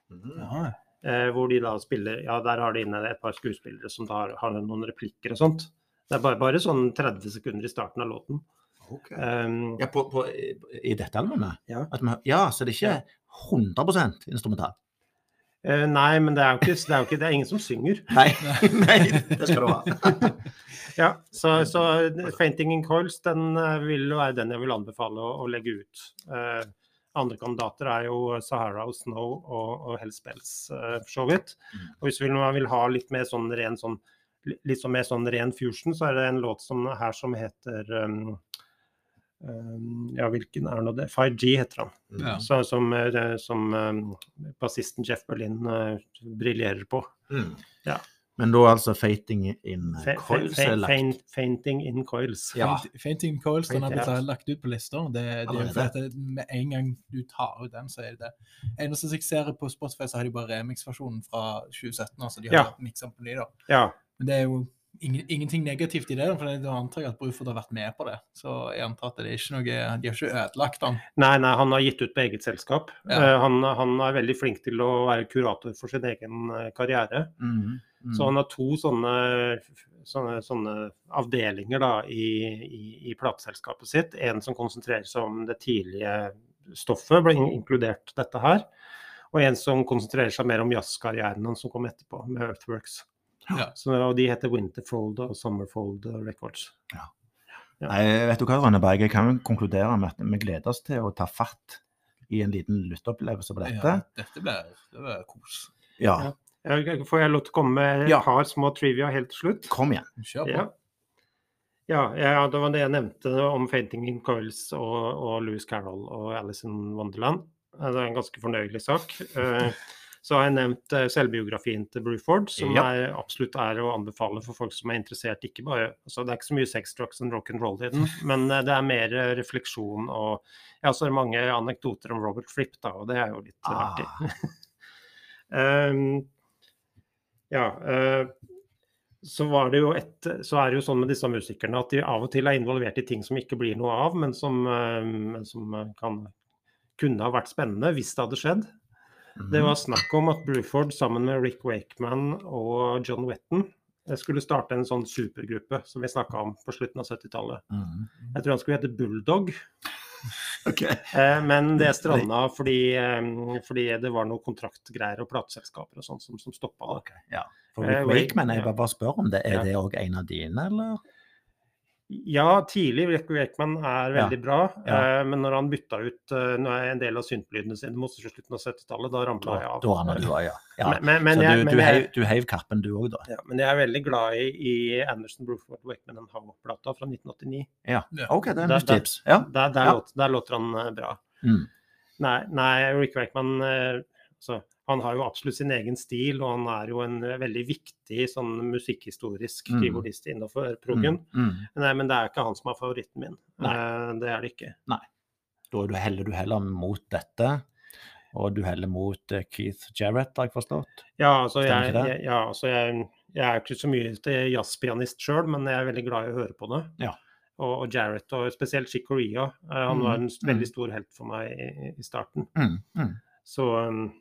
Speaker 4: Mm.
Speaker 2: Ja.
Speaker 3: Eh, hvor de da spiller Ja, der har de inne et par skuespillere som da har, har noen replikker og sånt. Det er bare, bare sånn 30 sekunder i starten av låten.
Speaker 4: Ok.
Speaker 3: Um,
Speaker 1: Ja, på, på, i- I dette albumet?
Speaker 3: Ja.
Speaker 1: At vi, ja, så det er ikke 100 instrumental?
Speaker 3: eh, nei, men det er jo ikke det er, jo ikke, det er ingen som synger.
Speaker 1: Nei. Nei.
Speaker 4: Det skal du ha.
Speaker 3: Ja, så, så eh, 'Fainting in Coils' den eh, vil jo være den jeg vil anbefale å, å legge ut. Eh, andre kandidater er jo Sahara og Snow og, og Hellspells, eh, for så vidt.
Speaker 1: Mm.
Speaker 3: Og hvis vil- man vil ha litt mer sånn ren sånn li- litt sånn mer sånn ren fusion, så er det en låt som, her som heter um, um, Ja, hvilken er nå det? 5G heter han.
Speaker 1: Mm,
Speaker 2: Ja.
Speaker 3: Så, som eh, som um, bassisten Jeff Berlin eh, briljerer på.
Speaker 1: Mm.
Speaker 3: Ja.
Speaker 1: Men da altså 'Fating in
Speaker 3: Fe, fe,
Speaker 1: Coils'
Speaker 3: fe,
Speaker 1: er lagt
Speaker 3: feint- fainting in coils.
Speaker 1: Ja.
Speaker 2: Faint- Fainting Coils den har blitt
Speaker 3: Ja.
Speaker 2: lagt ut på lister. Det, det er
Speaker 1: Allerede?
Speaker 2: jo fordi at det- Med en gang du tar ut den, så er det det. Eneste jeg ser på Spotify, så har de bare remix-versjonen fra 2017. altså de har
Speaker 3: Ja.
Speaker 2: mikset på ny da.
Speaker 3: Ja.
Speaker 2: Men det er jo ingen, ingenting negativt i det, da, for jeg antar jeg at Bruford har vært med på det. Så jeg antar at det er ikke noe, de har ikke ødelagt den.
Speaker 3: Nei, nei, han har gitt ut på eget selskap.
Speaker 2: Ja.
Speaker 3: Eh, han, han er veldig flink til å være kurator for sin egen eh, karriere.
Speaker 1: Mm, mm.
Speaker 3: Så han har to sånne, sånne, sånne avdelinger da, i, i, i plateselskapet sitt. En som konsentrerer seg om det tidlige stoffet, ble in- inkludert dette her. Og en som konsentrerer seg mer om jazzkarrieren hans som kom etterpå, med Earthworks.
Speaker 2: Ja.
Speaker 3: Så, og de heter Winterfold og Summerfold Records.
Speaker 1: Nei, vet du hva, Rønneberg, jeg kan jo konkludere med at vi gleder oss til å ta fatt i en liten lytteopplevelse på dette.
Speaker 2: Ja, dette blir, det blir kos.
Speaker 1: Ja,
Speaker 3: Ja. Jeg- Får jeg lov til å komme med et
Speaker 1: Ja.
Speaker 3: par små trivia helt til slutt?
Speaker 1: kom igjen.
Speaker 2: Kjør på.
Speaker 3: Ja. Ja, ja, det var det jeg nevnte om 'Fainting in Coils' og, og Louis Carroll og 'Alice in Wonderland'. Eh, Det er en ganske fornøyelig sak. Eh, Så har jeg nevnt eh, selvbiografien til Bruford, som
Speaker 1: Ja.
Speaker 3: er, absolutt er å anbefale for folk som er interessert. ikke bare, altså Det er ikke så mye sex, drugs and rock'n'roll i den, men eh, det er mer eh, refleksjon og ja, så er det mange anekdoter om Robert Fripp, da, og det er jo litt eh, artig.
Speaker 1: Ah,
Speaker 3: Ehm, ja. eh, så, var det jo et, så er det jo sånn med disse musikerne at de av og til er involvert i ting som ikke blir noe av, men som, eh, men som eh, kan, kunne ha vært spennende hvis det hadde skjedd.
Speaker 1: Mhm.
Speaker 3: Det var snakk om at Bruford sammen med Rick Wakeman og John Wetton eh, skulle starte en sånn supergruppe som vi snakka om på slutten av 70-tallet.
Speaker 1: Mhm.
Speaker 3: Jeg tror han skulle hete Bulldog.
Speaker 4: Ok.
Speaker 3: Eh,
Speaker 1: Mm,
Speaker 3: Men det stranda fordi, eh, fordi det var noe kontraktgreier og plateselskaper og sånt som, som stoppa det.
Speaker 1: Ok, ja. For
Speaker 3: Eh,
Speaker 1: Rick
Speaker 3: Wake-
Speaker 1: Wakeman, jeg
Speaker 3: ja.
Speaker 1: bare, bare spør om det. Er
Speaker 3: Ja.
Speaker 1: det òg en av dine, eller?
Speaker 3: Ja, tidlig Rick Wakeman er
Speaker 1: Ja.
Speaker 3: veldig bra,
Speaker 1: Ja.
Speaker 3: eh, men når han bytta ut eh, nå er en del av syntlydene sine mot slutten av 70-tallet, da ramla jeg
Speaker 1: Da,
Speaker 3: av.
Speaker 1: da Anna, du var, ja. ja.
Speaker 3: Men, men, men,
Speaker 1: Så
Speaker 3: jeg,
Speaker 1: du,
Speaker 3: men,
Speaker 1: du, heiv,
Speaker 3: jeg,
Speaker 1: du heiv kappen du òg, da?
Speaker 3: ja, men jeg er veldig glad i, i Anderson Bruford Wakeman and Howe-plata fra 1989.
Speaker 1: Ja.
Speaker 2: Ja.
Speaker 1: OK, det er
Speaker 3: Da-
Speaker 1: nytt
Speaker 3: da-
Speaker 1: tips. Ja.
Speaker 3: Der, der,
Speaker 1: Ja.
Speaker 3: låt, der låter han eh, bra.
Speaker 1: Mm.
Speaker 3: Nei, nei Rick Wakeman eh, altså, han har jo absolutt sin egen stil, og han er jo en eh, veldig viktig sånn musikkhistorisk
Speaker 1: Mm.
Speaker 3: keyboardist innenfor proggen.
Speaker 1: Mm.
Speaker 3: Nei, men det er ikke han som er favoritten min.
Speaker 1: Nei.
Speaker 3: Eh, det er det ikke.
Speaker 1: Da er du heller du heller mot dette, og du heller mot eh, Keith Jarrett, har jeg forstått.
Speaker 3: Ja, altså, jeg,
Speaker 1: Stemmer ikke det?
Speaker 3: jeg, ja, altså jeg, jeg er jo ikke så mye til jazzpianist sjøl, men jeg er veldig glad i å høre på det.
Speaker 1: Ja.
Speaker 3: Og, og Jarrett, og spesielt Chick Corea. eh, han
Speaker 1: Mm,
Speaker 3: var en s-
Speaker 1: mm.
Speaker 3: veldig stor helt for meg i, i starten.
Speaker 1: Mm. Mm.
Speaker 3: Så um,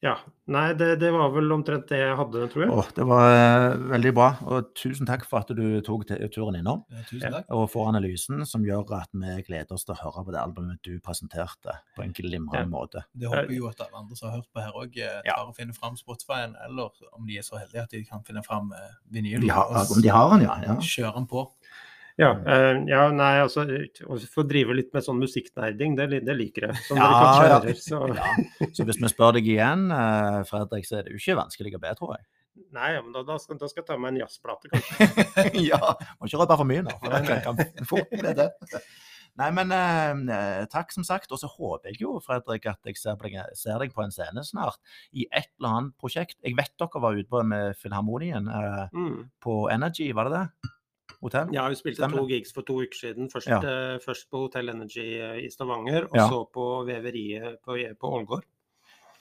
Speaker 3: ja. Nei, det, det var vel omtrent det jeg hadde, tror jeg.
Speaker 1: Åh, det var eh, veldig bra, og tusen takk for at du tok te- turen innom.
Speaker 2: Ja,
Speaker 3: Ja.
Speaker 2: Tusen takk.
Speaker 1: Og for analysen som gjør at vi gleder oss til å høre på det albumet du presenterte på en glimrende
Speaker 3: Ja.
Speaker 1: måte.
Speaker 2: Det håper jeg jo at alle andre som har hørt på her eh, òg,
Speaker 1: Ja.
Speaker 2: tar og finner fram Spotify-en, eller om de er så heldige at de kan finne fram eh, vinylen.
Speaker 1: De har,
Speaker 2: og s-
Speaker 1: om de har den, ja. ja.
Speaker 2: Kjører den på.
Speaker 3: Ja,
Speaker 1: Mm.
Speaker 3: eh, ja nei, altså å få drive litt med sånn musikknerding, det, li- det liker jeg. Som dere kanskje
Speaker 1: Ja,
Speaker 3: hører. Så
Speaker 1: ja. Så hvis vi spør deg igjen, eh, Fredrik, så er det jo ikke vanskelig å be, tror jeg.
Speaker 3: nei, ja, men da, da, skal, da skal jeg ta meg en jazzplate, kanskje.
Speaker 4: Ja,
Speaker 1: Må ikke røpe for mye nå. For
Speaker 4: Nei,
Speaker 1: det
Speaker 4: nei.
Speaker 1: kan fort
Speaker 4: det er det.
Speaker 1: Nei, men eh, eh, takk som sagt. Og så håper jeg jo, Fredrik, at jeg ser, på deg, ser deg på en scene snart i et eller annet prosjekt. Jeg vet dere var ute på med Filharmonien eh,
Speaker 3: Mm.
Speaker 1: på Energy, var det det? Hotell?
Speaker 3: Jeg har jo spilt
Speaker 1: Stemmer.
Speaker 3: to gigs for to uker siden. Først,
Speaker 1: Ja.
Speaker 3: eh, først på Hotell Energy eh, i Stavanger, og
Speaker 1: Ja.
Speaker 3: så på Veveriet på, på Ålgård.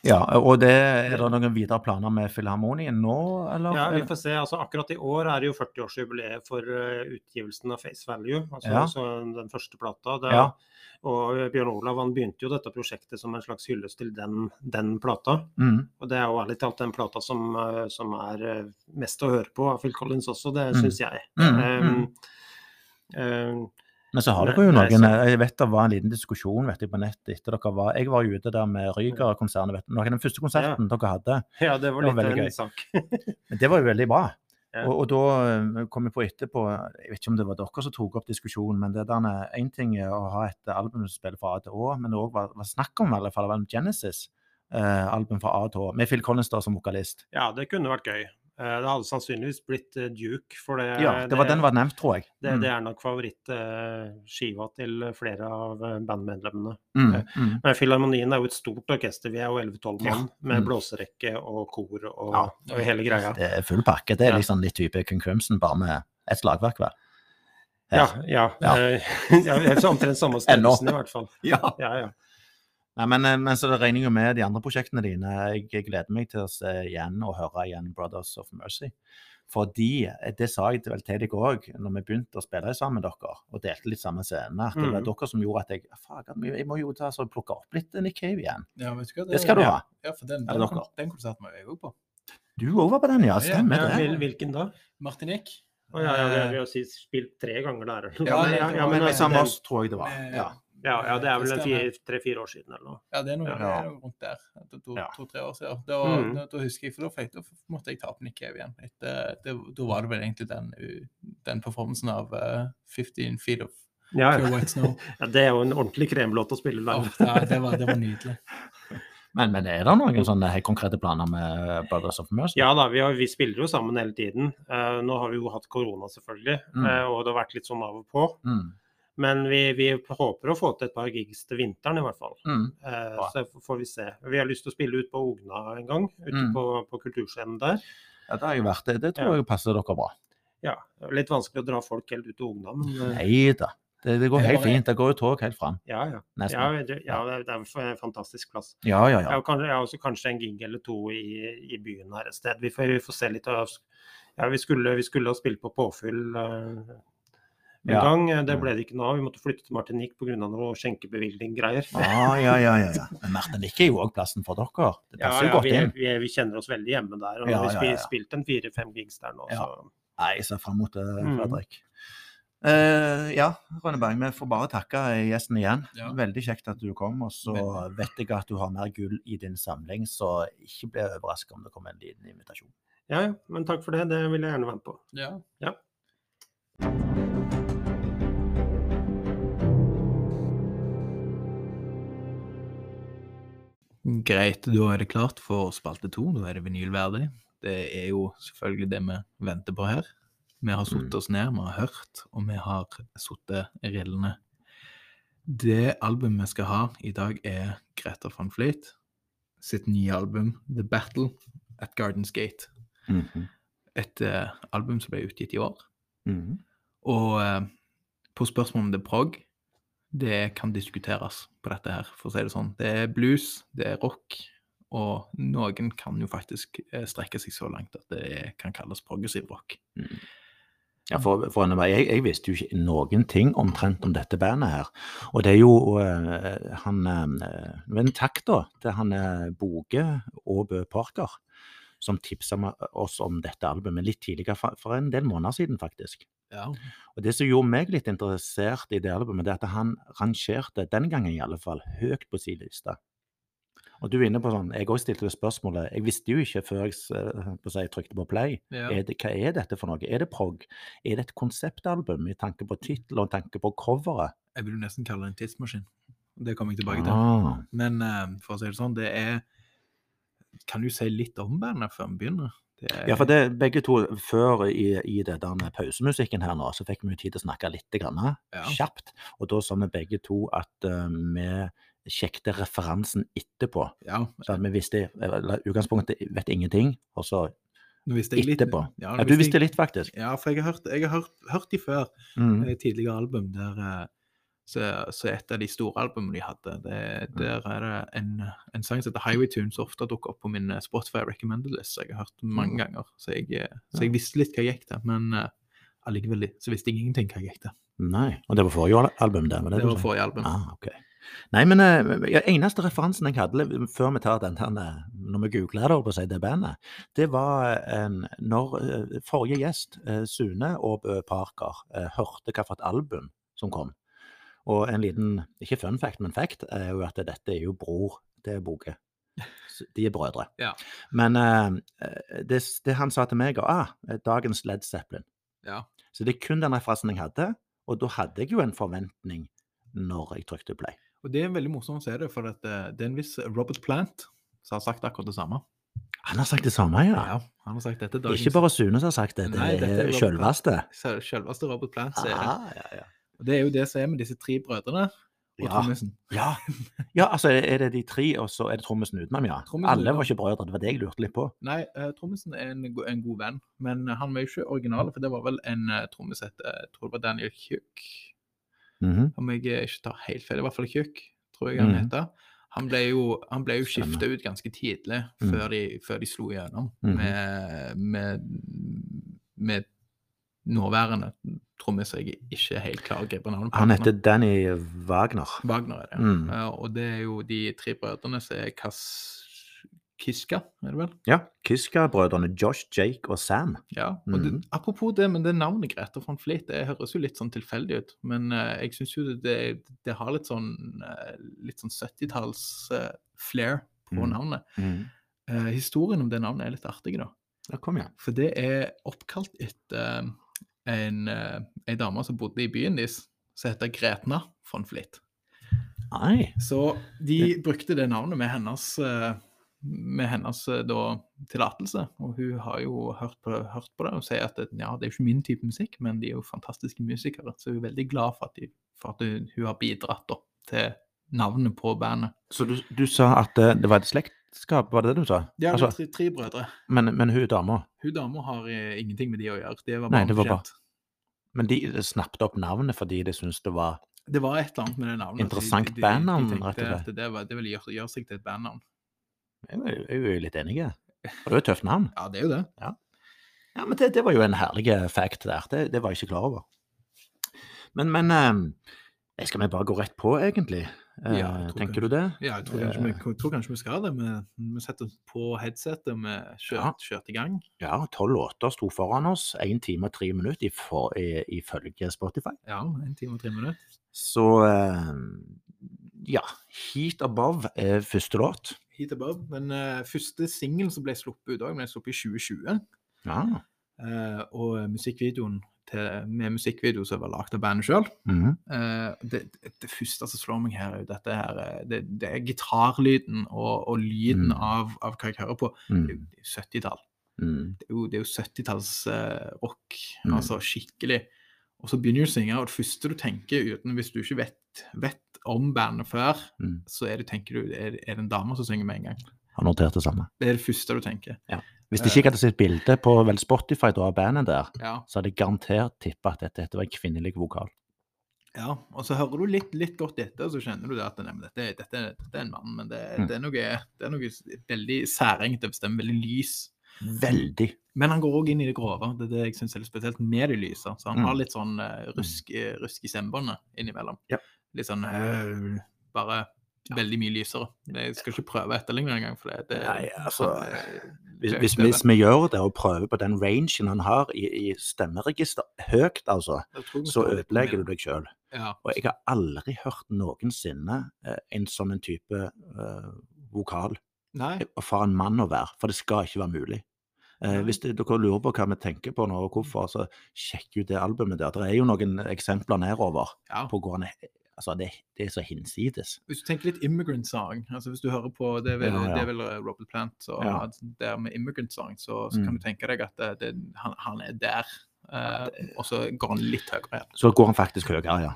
Speaker 1: Ja, og det, er det noen videre planer med Filharmonien nå, eller?
Speaker 3: Ja, vi får se. Altså, akkurat i år er det jo 40-årsjubileet for eh, utgivelsen av Face Value, altså,
Speaker 1: Ja.
Speaker 3: så den første plata. Det,
Speaker 1: Ja.
Speaker 3: Og Bjørn Olav han begynte jo dette prosjektet som en slags hyllest til den, den plata.
Speaker 1: Mm,
Speaker 3: Og det er jo ærlig talt den plata som, eh, som er eh, mest å høre på av Phil Collins også, det
Speaker 1: Mm.
Speaker 3: syns jeg.
Speaker 1: mm, mm.
Speaker 3: Um, um,
Speaker 1: Men så har
Speaker 3: nei,
Speaker 1: dere jo
Speaker 3: nei,
Speaker 1: noen
Speaker 3: så-
Speaker 1: Jeg vet det var en liten diskusjon vet jeg, på nettet etter dere var Jeg var jo ute der med Ryger-konsernet, vet du. Noen av den første konserten dere hadde.
Speaker 3: ja, det var
Speaker 1: Det
Speaker 3: litt
Speaker 1: var
Speaker 3: av
Speaker 1: veldig
Speaker 3: en
Speaker 1: gøy.
Speaker 3: sak.
Speaker 1: Men det var jo veldig bra.
Speaker 3: Ja.
Speaker 1: Og, og da eh, kom jeg på etterpå, jeg vet ikke om det var dere som tok opp diskusjonen, men det der én ting er å ha et album som spiller fra A til Å, men det òg var, var snakk om i alle fall om Genesis. eh, album fra A til Å, med Phil Collins da som vokalist.
Speaker 3: Ja, det kunne vært gøy. Eh, Det hadde sannsynligvis blitt eh, Duke, for Eh, det,
Speaker 1: Ja, det var den var nevnt, tror jeg. Mm,
Speaker 3: det, det er nok favorittskiva til flere av eh, bandmedlemmene.
Speaker 1: Mm, mm, mm.
Speaker 3: Men Filharmonien er jo et stort orkester, vi er jo 11-12
Speaker 1: Ja.
Speaker 3: mann med
Speaker 1: Mm.
Speaker 3: blåserekke og kor og,
Speaker 1: Ja.
Speaker 3: og hele greia.
Speaker 1: Det er full pakke. Det er
Speaker 3: Ja.
Speaker 1: liksom litt type King Crimson, bare med et slagverk hver. Her.
Speaker 3: Ja, ja.
Speaker 1: Ja.
Speaker 3: eh, ja. det er så Omtrent samme
Speaker 1: Ennå.
Speaker 3: størrelsen i hvert fall.
Speaker 4: Ja,
Speaker 3: Ja, ja.
Speaker 1: Nei, men, eh, men så det regner jeg jo med de andre prosjektene dine. Jeg- Jeg gleder meg til å se igjen og høre igjen 'Brothers of Mercy'. Fordi, eh, det sa jeg vel til deg òg når vi begynte å spille sammen med dere, og delte litt samme scene, at det var
Speaker 3: Mhm.
Speaker 1: dere som gjorde at jeg «Ah, Faen, jeg må jo ta så plukke opp litt Nick Cave igjen.
Speaker 2: Ja, vet du hva?
Speaker 1: Det skal du ha.
Speaker 2: Ja, for den,
Speaker 1: Er det
Speaker 2: den,
Speaker 1: dere?
Speaker 2: den konserten var jeg òg på.
Speaker 1: Du òg var på den, ja.
Speaker 2: Ja,
Speaker 1: Stemmer
Speaker 2: ja,
Speaker 1: det.
Speaker 3: Hvil- Hvilken da?
Speaker 2: Martinique.
Speaker 3: Å, ja, ja, det vil jo si spilt tre ganger der. eller noe.
Speaker 2: Ja, men- eh,
Speaker 1: Ja, men med
Speaker 3: altså,
Speaker 1: samme
Speaker 3: den-
Speaker 1: oss, tror jeg det var.
Speaker 2: Med-
Speaker 1: Ja.
Speaker 3: ja, ja, det er vel en
Speaker 2: Stemmer.
Speaker 3: fire- tre-fire år siden eller noe.
Speaker 2: Ja, det er noe,
Speaker 3: Ja.
Speaker 2: det er noe rundt der. To-tre to,
Speaker 1: Ja.
Speaker 2: to-tre år siden. Da,
Speaker 3: Mm.
Speaker 2: da, da husker jeg, for da, fikk, da måtte jeg ta opp Nick Cave igjen. Etter, det, da var det vel egentlig den, u- den performancen av eh, 15 Feet of
Speaker 3: Ja,
Speaker 2: Pure White Snow.
Speaker 3: ja, det er jo en ordentlig kremlåt å spille
Speaker 2: Åh,
Speaker 3: live.
Speaker 2: ja, det, var, det var nydelig.
Speaker 1: Men, men er det noen sånne helt konkrete planer med Brothers of Mercy?
Speaker 3: Ja da, vi, har, vi spiller jo sammen hele tiden. Eh, nå har vi jo hatt korona selvfølgelig,
Speaker 1: Mm.
Speaker 3: eh, og det har vært litt sånn av og på.
Speaker 1: Mm.
Speaker 3: Men vi, vi håper å få til et par gigs til vinteren i hvert fall.
Speaker 1: Mm.
Speaker 3: Eh,
Speaker 1: Bra.
Speaker 3: så får vi se. Vi har lyst til å spille ut på Ogna en gang, ute
Speaker 1: Mm.
Speaker 3: på, på kulturscenen der.
Speaker 1: Ja, det har jo vært det. Det tror jeg passer dere bra.
Speaker 3: Ja, Litt vanskelig å dra folk helt ut til Ogna, men eh,
Speaker 1: Nei da. Det, det går
Speaker 2: Ja,
Speaker 1: helt
Speaker 2: men-
Speaker 1: fint. Det går jo tog helt fram.
Speaker 3: ja, ja. Ja,
Speaker 1: Nesten.
Speaker 3: det, ja, det er en fantastisk plass.
Speaker 1: Ja, ja,
Speaker 3: Jeg
Speaker 1: ja.
Speaker 3: har, kanskje, jeg har også kanskje en gig eller to i, i byen her et sted. Vi får, vi får se litt av ja, vi, skulle, vi skulle ha spilt på påfyll eh, en
Speaker 1: Ja.
Speaker 3: gang. eh, Det
Speaker 1: Mm.
Speaker 3: ble det ikke noe av. Vi måtte flytte til Martinique pga. noe skjenkebevilgning-greier.
Speaker 1: Ah, ja, ja, ja, ja. Men Martinique er jo òg plassen for dere. Det
Speaker 3: Ja,
Speaker 1: passer jo
Speaker 3: ja,
Speaker 1: godt
Speaker 3: vi,
Speaker 1: inn.
Speaker 3: vi, vi kjenner oss veldig hjemme der. og
Speaker 1: Ja,
Speaker 3: Vi
Speaker 1: ja,
Speaker 3: har
Speaker 1: ja.
Speaker 3: spilt en fire-fem gigs der nå.
Speaker 1: Ja.
Speaker 3: Så.
Speaker 1: Nei, jeg ser fram mot det,
Speaker 3: Mm.
Speaker 1: Fredrik. Eh, ja, Rønne Bang, vi får bare takke gjesten igjen.
Speaker 2: Ja.
Speaker 1: Veldig kjekt at du kom. Og så
Speaker 2: Veldig.
Speaker 1: vet jeg at du har mer gull i din samling, så ikke bli overraska om det kommer en liten invitasjon.
Speaker 3: Ja, ja, men takk for det. Det vil jeg gjerne være med på.
Speaker 2: Ja. Greit, da er det klart for spalte to. Da er det vinylverdig. Det er jo selvfølgelig det vi venter på her. Vi har satt
Speaker 1: Mm.
Speaker 2: oss ned, vi har hørt, og vi har satt rillene. Det albumet vi skal ha i dag, er Greta van Fleet sitt nye album The Battle at Gardens Gate.
Speaker 1: Mhm,
Speaker 2: Et eh, album som ble utgitt i år.
Speaker 1: mhm.
Speaker 2: Og eh, på spørsmål om det er prog, det kan diskuteres på dette her, for å si det sånn. Det er blues, det er rock, og noen kan jo faktisk eh, strekke seg så langt at det er- kan kalles progressiv rock.
Speaker 1: Ja, for, for Anne Marie, jeg, jeg visste jo ikke noen ting omtrent om dette bandet her. Og det er jo eh, han eh, Men takk, da, til han eh, Boge Aabø Parker, som tipsa oss om dette albumet litt tidligere, for, for en del måneder siden, faktisk.
Speaker 2: Ja.
Speaker 1: Og Det som gjorde meg litt interessert i det albumet, det er at han rangerte, den gangen i alle fall, høyt på sin liste. Og du er inne på sånn, Jeg også stilte det spørsmålet. Jeg visste jo ikke før jeg s- eh, på å si, trykte på play. Er det, hva er dette for noe? Er det prog? Er det et konseptalbum i tanke på tittel og i tanke på coveret?
Speaker 2: Jeg vil jo nesten kalle det en tidsmaskin. Det kommer jeg tilbake til.
Speaker 1: Ah,
Speaker 2: Men eh, for å si det sånn, det er Kan du si litt om bandet før vi begynner? Det er,
Speaker 1: ja, for det, begge to, før i, i det der med pausemusikken her nå, så fikk vi jo tid til å snakke litt grann, eh,
Speaker 2: Ja.
Speaker 1: kjapt. Og da sa vi begge to at eh, vi sjekket referansen etterpå.
Speaker 2: ja,
Speaker 1: Så at vi visste, eller utgangspunktet vet ingenting, og så
Speaker 2: nå visste jeg litt.
Speaker 1: etterpå.
Speaker 2: Ja, nå
Speaker 1: Ja, du
Speaker 2: visste
Speaker 1: visste
Speaker 2: jeg-
Speaker 1: litt, faktisk.
Speaker 2: Ja, for jeg har hørt, jeg har hørt, hørt de før.
Speaker 1: Mm.
Speaker 2: eh, tidligere album der eh, så, så et av de store albumene de hadde, det,
Speaker 1: Mm.
Speaker 2: der er det en, en sang som heter Highway Tune som ofte dukker opp på min eh, Spotify recommended list, som jeg har hørt
Speaker 1: Mm.
Speaker 2: mange ganger. Så jeg, eh, så jeg visste litt hva jeg gikk til, men eh, allikevel så visste jeg ingenting hva jeg gikk til.
Speaker 1: Nei, og det var forrige album, det. var
Speaker 2: Det
Speaker 1: det du
Speaker 2: var
Speaker 1: sa?
Speaker 2: forrige album.
Speaker 1: Ah, ok. Nei, men eh, ja, eneste referansen jeg hadde eh, før vi tar den, den eh, når vi googler det, holdt på å si, det bandet, det var eh, en- når eh, forrige gjest, eh, Sune og Bø Parker, eh, hørte hva for et album som kom. Og en liten, ikke fun fact, men fact, er jo at dette er jo bror til Boge. Så De er brødre.
Speaker 2: Ja.
Speaker 1: Men eh, eh, det, s- det han sa til meg, var ah, eh, dagens Led Zeppelin.
Speaker 2: Ja.
Speaker 1: Så det er kun den referansen jeg hadde, og da hadde jeg jo en forventning når jeg trykte play.
Speaker 2: Og det er veldig morsomt å se det, for at, eh, det er en viss Robert Plant som har sagt akkurat det samme.
Speaker 1: Han har sagt det samme, ja.
Speaker 2: Ja, han har sagt dette.
Speaker 1: Det er ikke bare Sune som har sagt det, det
Speaker 2: Nei, dette er
Speaker 1: er
Speaker 2: Robert
Speaker 1: sjølveste.
Speaker 2: bare Selveste Robert Plant sier det.
Speaker 1: Ah, ja, ja.
Speaker 2: Og det er jo det som er med disse tre brødrene og
Speaker 1: Ja.
Speaker 2: trommisen.
Speaker 1: Ja. ja, altså er det de tre, og så er det trommisen utenom, ja.
Speaker 2: Trommisen
Speaker 1: Alle
Speaker 2: utenom.
Speaker 1: var ikke brødre, det var det jeg lurte litt på.
Speaker 2: Nei, uh, trommisen er en, go- en god venn, men eh, han var jo ikke original, for det var vel en uh, trommis het eh, jeg tror det var Daniel Kjøk.
Speaker 1: Mhm.
Speaker 2: Om jeg eh, ikke tar helt feil, i hvert fall Kjøk, tror jeg han
Speaker 1: Mhm.
Speaker 2: heter. Han ble jo, han ble jo
Speaker 1: Stemmer.
Speaker 2: skifta ut ganske tidlig,
Speaker 1: Mhm.
Speaker 2: før, de, før de slo igjennom
Speaker 1: Mhm.
Speaker 2: med, med, med nåværende trommis som jeg ikke helt klarer å gripe navnet på.
Speaker 1: Han heter Danny Wagner.
Speaker 2: Wagner, er det.
Speaker 1: Mm.
Speaker 2: Eh, og det er jo de tre brødrene som er Kas... Kiska, er det vel?
Speaker 1: Ja. Kyska-brødrene Josh, Jake og Sam.
Speaker 2: Ja. Og det,
Speaker 1: Mhm.
Speaker 2: apropos det, men det navnet Grete von Flit det høres jo litt sånn tilfeldig ut. Men eh, jeg syns jo det, det, det har litt sånn, eh, litt sånn 70-talls eh, flair på
Speaker 1: Mhm.
Speaker 2: navnet. Eh, historien om det navnet er litt artig, da.
Speaker 1: Ja, kom igjen.
Speaker 2: For det er oppkalt etter eh, en, eh, ei dame som bodde i byen deres, som heter Gretna von Flit.
Speaker 1: Nei.
Speaker 2: Så de brukte det navnet med hennes, eh, med hennes eh, da, tillatelse. Og hun har jo hørt på, hørt på det og sier at ja, det er jo ikke min type musikk, men de er jo fantastiske musikere. Så hun er veldig glad for at, de, for at hun, hun har bidratt da, til navnet på bandet.
Speaker 1: Så du, du sa at eh, det var et slektskap, var det det du sa?
Speaker 2: De har
Speaker 1: Altså,
Speaker 2: tre, tre brødre.
Speaker 1: men, men hun dama,
Speaker 2: Hun dama har eh, ingenting med de å gjøre. Det var
Speaker 1: Nei,
Speaker 2: bare
Speaker 1: det var bare-
Speaker 2: omfortjent.
Speaker 1: men de eh, snappet opp navnet fordi de syntes det var
Speaker 2: Det var et eller annet med det navnet. så de-
Speaker 1: Interessant
Speaker 2: de- de- de
Speaker 1: bandnavn,
Speaker 2: tenkte
Speaker 1: rett og slett.
Speaker 2: at Det, var, det ville gjøre, gjøre seg til et bandnavn.
Speaker 1: Jeg er jo- jeg er jo litt enig. jeg. Og det er jo et tøft navn.
Speaker 2: Ja, det er jo det.
Speaker 1: Ja, men det, det var jo en herlig eh, fact der. Det, det var jeg ikke klar over. Men, men eh, Skal vi bare gå rett på, egentlig? Eh,
Speaker 2: Ja, jeg tror
Speaker 1: tenker du det?
Speaker 2: Ja, jeg tror kanskje, vi, jeg tror kanskje vi skal det. Vi, vi setter oss på headsetet, vi
Speaker 1: Ja.
Speaker 2: kjørt, kjørt i gang.
Speaker 1: Ja, tolv låter sto foran oss. Én time og tre minutter ifå- i- ifølge Spotify.
Speaker 2: Ja, en time og tre minutter.
Speaker 1: Så eh, ja. Heat Above er første låt.
Speaker 2: Hit above. Den eh, første singelen som ble sluppet ut òg, ble sluppet i 2020.
Speaker 1: Ja.
Speaker 2: eh, og musikkvideoen til, med musikkvideo som var lagd av bandet sjøl.
Speaker 1: Mhm.
Speaker 2: det, det første som slår meg her, er jo dette her eh, Det, det er gitarlyden og, og lyden
Speaker 1: Mm.
Speaker 2: av, av hva jeg hører på. Det er
Speaker 1: mm.
Speaker 2: jo- det er jo 70-tall.
Speaker 1: Mm.
Speaker 2: det er jo, det er jo 70-talls eh, rock,
Speaker 1: Mm.
Speaker 2: altså skikkelig. Og så begynner du å synge, og det første du tenker, uten hvis du ikke vet, vet om bandet før,
Speaker 1: Mm.
Speaker 2: så er det, tenker du, er, er det en dame som synger med en gang.
Speaker 1: Har notert det samme.
Speaker 2: Det er det første du tenker.
Speaker 1: Hvis det ikke jeg hadde sett bilde på vel Spotify da, av bandet der,
Speaker 2: Ja,
Speaker 1: så hadde jeg garantert tippa at dette, dette var en kvinnelig vokal.
Speaker 2: ja. Og så hører du litt, litt godt etter, og så kjenner du det at nei, men dette, er- dette, er- dette er en mann, men det,
Speaker 1: Mm.
Speaker 2: det, er noe, det er noe veldig særengt, det bestemmer veldig lys.
Speaker 1: Veldig.
Speaker 2: Men han går òg inn i det grove. Det er det jeg syns er litt spesielt med de lyse. Så han
Speaker 1: Mm.
Speaker 2: har litt sånn eh, rusk, eh, rusk i stemmebåndet innimellom.
Speaker 1: Ja.
Speaker 2: Litt sånn øh, Bare veldig mye lysere. Jeg skal ikke prøve å etterligne det engang, for det, det
Speaker 1: Nei, altså,
Speaker 2: han, eh,
Speaker 1: Hvis,
Speaker 2: det-
Speaker 1: hvis,
Speaker 2: det-
Speaker 1: hvis vi gjør det og prøver på den rangen han har i, i stemmeregister, høyt altså,
Speaker 2: jeg tror vi
Speaker 1: så
Speaker 2: står litt på
Speaker 1: ødelegger du
Speaker 2: midten.
Speaker 1: deg sjøl.
Speaker 2: Ja.
Speaker 1: Og jeg har aldri hørt noensinne eh, en sånn en type eh, vokal
Speaker 2: Nei,
Speaker 1: for en mann å være, for det skal ikke være mulig. Eh,
Speaker 2: Nei.
Speaker 1: hvis det, dere lurer på hva vi tenker på nå og hvorfor, så sjekk ut det albumet der. Det er jo noen eksempler nedover
Speaker 2: ja.
Speaker 1: på hvordan altså det, det er så hinsides.
Speaker 2: Hvis du tenker litt immigrant song altså Hvis du hører på Det er vel,
Speaker 1: Ja, ja.
Speaker 2: Det er vel eh, Robert Plant så,
Speaker 1: Ja.
Speaker 2: at der med immigrant song, så, så kan
Speaker 1: Mm.
Speaker 2: du tenke deg at det, det, han, han er der, eh, og så går han litt høyere igjen.
Speaker 1: Så går han faktisk høyere, ja.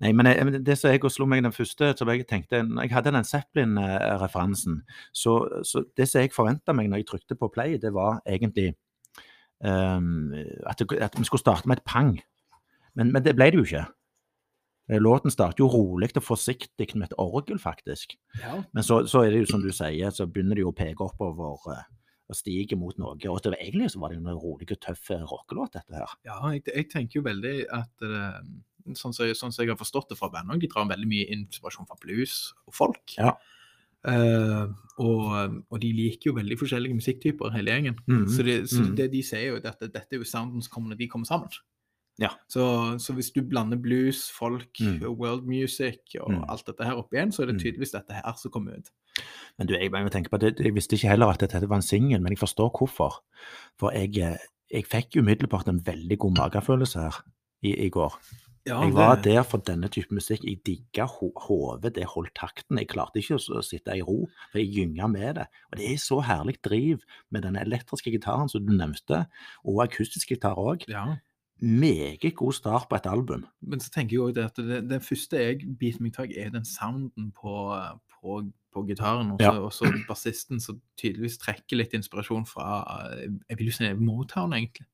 Speaker 1: Nei, men jeg, men det som jeg og slo meg den første, som jeg tenkte når Jeg hadde den Zeppelin-referansen. Så, så det som jeg forventa meg når jeg trykte på play, det var egentlig ehm, at, det, at vi skulle starte med et pang. Men, men det ble det jo ikke. Eh, Låten starter jo rolig og forsiktig med et orgel, faktisk.
Speaker 2: Ja.
Speaker 1: Men så, så er det jo som du sier, så begynner de jo å peke oppover eh, og stige mot noe. Og det var, egentlig så var det jo en rolig og tøff eh, rockelåt, dette her.
Speaker 2: Ja, jeg, jeg tenker jo veldig at eh, sånn, som, sånn som jeg har forstått det fra bandet, også, de drar veldig mye inspirasjon fra blues og folk.
Speaker 1: Ja.
Speaker 2: Eh, og, og de liker jo veldig forskjellige musikktyper, hele gjengen.
Speaker 1: Mhm.
Speaker 2: Så, det, så
Speaker 1: Mhm.
Speaker 2: det de sier, jo er at dette er jo sounden som kommer når de kommer sammen.
Speaker 1: Ja.
Speaker 2: Så, så hvis du blander blues, folk,
Speaker 1: Mhm.
Speaker 2: og world music og
Speaker 1: Mhm.
Speaker 2: alt dette her opp igjen, så er det
Speaker 1: Mhm.
Speaker 2: tydeligvis dette her som kommer ut.
Speaker 1: Men du, jeg, jeg tenker på det, jeg visste ikke heller at dette var en singel, men jeg forstår hvorfor. For jeg, eh, jeg fikk umiddelbart en veldig god magefølelse her i, i går.
Speaker 2: Ja,
Speaker 1: Jeg var der for denne type musikk. Jeg digga ho- hodet, det holdt takten. Jeg klarte ikke å s- å sitte i ro, for jeg gynga med det. Og det er så herlig driv med den elektriske gitaren som du nevnte, og akustisk gitar òg.
Speaker 2: Ja.
Speaker 1: Meget god start på et album.
Speaker 2: Men så tenker jeg også det at det, det første jeg biter meg tak i, er den sounden på, på, på gitaren. Og så
Speaker 1: Ja.
Speaker 2: også bassisten som tydeligvis trekker litt inspirasjon fra eh, jeg vil jo si Motown, egentlig.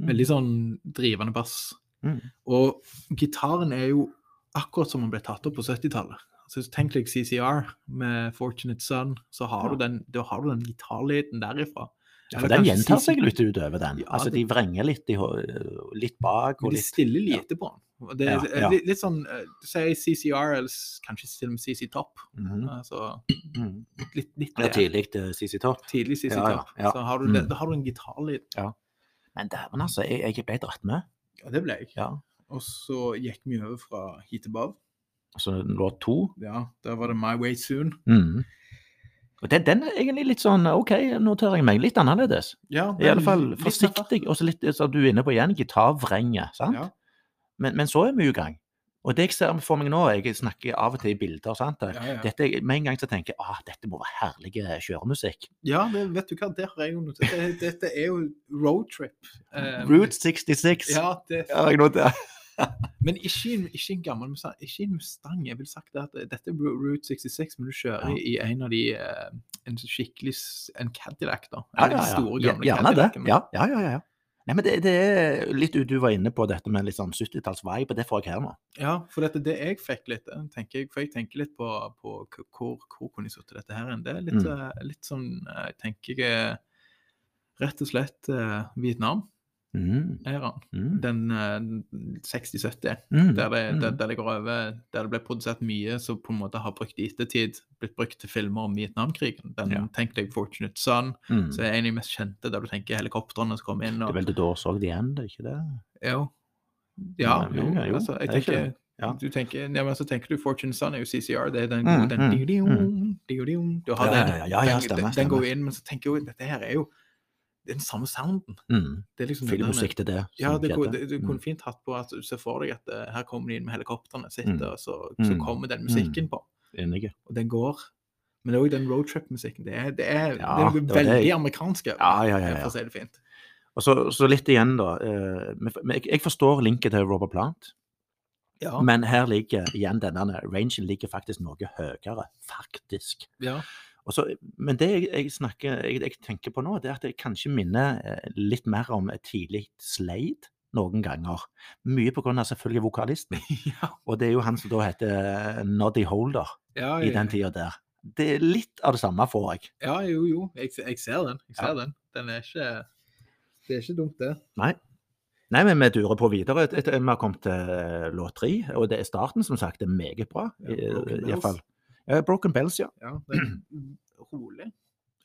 Speaker 2: Veldig sånn drivende bass.
Speaker 1: Mm.
Speaker 2: Og gitaren er jo akkurat som den ble tatt opp på 70-tallet. Så tenk deg CCR med 'Fortunate Son', så har
Speaker 1: Ja.
Speaker 2: du den, da har du den gitarlyden derifra.
Speaker 1: Ja,
Speaker 2: Eller
Speaker 1: for den
Speaker 2: kanskje
Speaker 1: gjentar
Speaker 2: CC
Speaker 1: seg litt utover den.
Speaker 2: Ja,
Speaker 1: altså,
Speaker 2: det-
Speaker 1: De vrenger litt, i, ho- litt bak
Speaker 2: Men
Speaker 1: og
Speaker 2: de
Speaker 1: litt
Speaker 2: stiller lite på den. Og Det
Speaker 1: Ja,
Speaker 2: er
Speaker 1: ja.
Speaker 2: Litt, litt sånn eh, Si CCR, eller s- kanskje til og med CC Topp.
Speaker 1: Mhm.
Speaker 2: Altså,
Speaker 1: Mhm.
Speaker 2: litt, litt
Speaker 1: Det er
Speaker 2: det.
Speaker 1: tidlig til eh, CC Topp.
Speaker 2: tidlig CC
Speaker 1: Ja, ja,
Speaker 2: Topp.
Speaker 1: ja.
Speaker 2: Så har du, det-
Speaker 1: Mm.
Speaker 2: da har du en gitarlyd.
Speaker 1: Men dæven, altså. Jeg, jeg ble dratt med.
Speaker 2: Ja, det ble jeg.
Speaker 1: Ja.
Speaker 2: Og så gikk vi over fra hit above.
Speaker 1: Så låt to.
Speaker 2: Ja, der var det My Way Soon.
Speaker 1: Mhm. Og den, den er egentlig litt sånn OK, noterer jeg meg. Litt annerledes.
Speaker 2: Ja,
Speaker 1: I alle
Speaker 2: den-
Speaker 1: fall
Speaker 2: litt mer
Speaker 1: forsiktig, og så litt som du er inne på igjen, gitarvrenget. sant?
Speaker 2: Ja.
Speaker 1: Men, men så er vi i gang. Og det jeg ser for meg nå, jeg snakker av og til i bilder sant?
Speaker 2: fart. Ja, ja.
Speaker 1: Dette, Med en gang så tenker jeg at dette må være herlig eh, kjøremusikk.
Speaker 2: ja det, vet du hva, det har jeg jo notert. Det- Dette er jo roadtrip. Eh,
Speaker 1: Route 66.
Speaker 2: Ja, det,
Speaker 1: Ja, jeg noterer.
Speaker 2: men ikke en, ikke en gammel Mustang. Ikke en Mustang. Jeg vil sagt at eh, dette er Ru- Route 66, men du kjører
Speaker 1: Ja.
Speaker 2: i en av de eh, En skikkelig s- En Cadillac, da.
Speaker 1: Ja,
Speaker 2: En av
Speaker 1: ja,
Speaker 2: de
Speaker 1: ja.
Speaker 2: store,
Speaker 1: Ja,
Speaker 2: gamle
Speaker 1: Gjerne det.
Speaker 2: Cadillacene.
Speaker 1: Ja, ja, ja. ja. Nei, men det, det er litt du- Du var inne på dette med litt sånn 70-talls-vibe, og det får jeg her nå.
Speaker 2: Ja, for dette, det jeg fikk litt, eh, tenker jeg, for jeg tenker litt på, på k- hvor, hvor kunne jeg satt dette her enn. Det er litt,
Speaker 1: Mm.
Speaker 2: eh, litt sånn, eh, tenker jeg, eh, rett og slett eh, Vietnam-æraen.
Speaker 1: Mm, mm,
Speaker 2: Den eh, 60-70,
Speaker 1: mm,
Speaker 2: der, det- der,
Speaker 1: mm.
Speaker 2: der det går over, der det ble produsert mye som på en måte har brukt i ettertid, blitt brukt til filmer om Vietnamkrigen. Den,
Speaker 1: Ja.
Speaker 2: Tenk deg Fortunate Son,
Speaker 1: Mm.
Speaker 2: som er en av de mest kjente, der du tenker helikoptrene som kommer inn.
Speaker 1: Det er
Speaker 2: Og,
Speaker 1: vel The Doors òg, det igjen, det er ikke det?
Speaker 2: Jo. Ja,
Speaker 1: Ja,
Speaker 2: jo,
Speaker 1: jo, ja, jo.
Speaker 2: altså, jeg
Speaker 1: Det er ikke
Speaker 2: tenker,
Speaker 1: det. Ja.
Speaker 2: du tenker ja, men så tenker du Fortune Sun er jo CCR, det er den
Speaker 1: Mm,
Speaker 2: gode den,
Speaker 1: mm,
Speaker 2: diu-diu,
Speaker 1: mm.
Speaker 2: diu-diu. Du har
Speaker 1: Ja,
Speaker 2: den,
Speaker 1: ja, ja, ja, ja,
Speaker 2: den-
Speaker 1: stemmer,
Speaker 2: den, den
Speaker 1: stemmer.
Speaker 2: går jo inn, men så tenker jeg jo dette her er jo det er den samme sounden.
Speaker 1: Mm.
Speaker 2: Det er liksom den der-
Speaker 1: Filmmusikk til det.
Speaker 2: Ja,
Speaker 1: som
Speaker 2: det, kunne-
Speaker 1: skjedde.
Speaker 2: det, du
Speaker 1: Mm.
Speaker 2: kunne fint hatt på at du ser for deg at eh, her kommer de inn med helikoptrene sitt,
Speaker 1: Mm.
Speaker 2: og så, så
Speaker 1: Mm.
Speaker 2: kommer den musikken på,
Speaker 1: Enige.
Speaker 2: og den går. Men òg den roadtrip-musikken. Det er, det er,
Speaker 1: Ja,
Speaker 2: det er
Speaker 1: det
Speaker 2: noe
Speaker 1: var det
Speaker 2: veldig
Speaker 1: jeg-
Speaker 2: amerikansk over
Speaker 1: Ja, ja, ja,
Speaker 2: det,
Speaker 1: ja.
Speaker 2: for å si det fint.
Speaker 1: Og så, så litt igjen, da. eh, men- men Jeg, jeg forstår linken til Robert Plant,
Speaker 2: Ja,
Speaker 1: men her ligger igjen denne rangen ligger faktisk noe høyere, faktisk.
Speaker 2: ja.
Speaker 1: Og så- men det jeg, jeg, snakker, jeg, jeg tenker på nå, det er at jeg kanskje minner eh, litt mer om et tidlig Slade noen ganger. Mye på grunn av selvfølgelig vokalisten. Og det er jo han som da heter eh, Noddy Holder
Speaker 2: ja,
Speaker 1: i den tida der. Det er litt av det samme, får jeg.
Speaker 2: Ja, jo, jo. Jeg, se- jeg ser den. Jeg ser
Speaker 1: Ja.
Speaker 2: den. Den er ikke Det er ikke dumt, det.
Speaker 1: Nei, men vi durer på videre. Et- et- Vi har kommet til eh, låt tre, og det er starten, som sagt. Det er meget bra.
Speaker 2: Ja,
Speaker 1: i-
Speaker 2: Broken
Speaker 1: i- i
Speaker 2: Bells.
Speaker 1: hvert fall. Ja, Broken Bells, ja.
Speaker 2: Ja, det er rolig.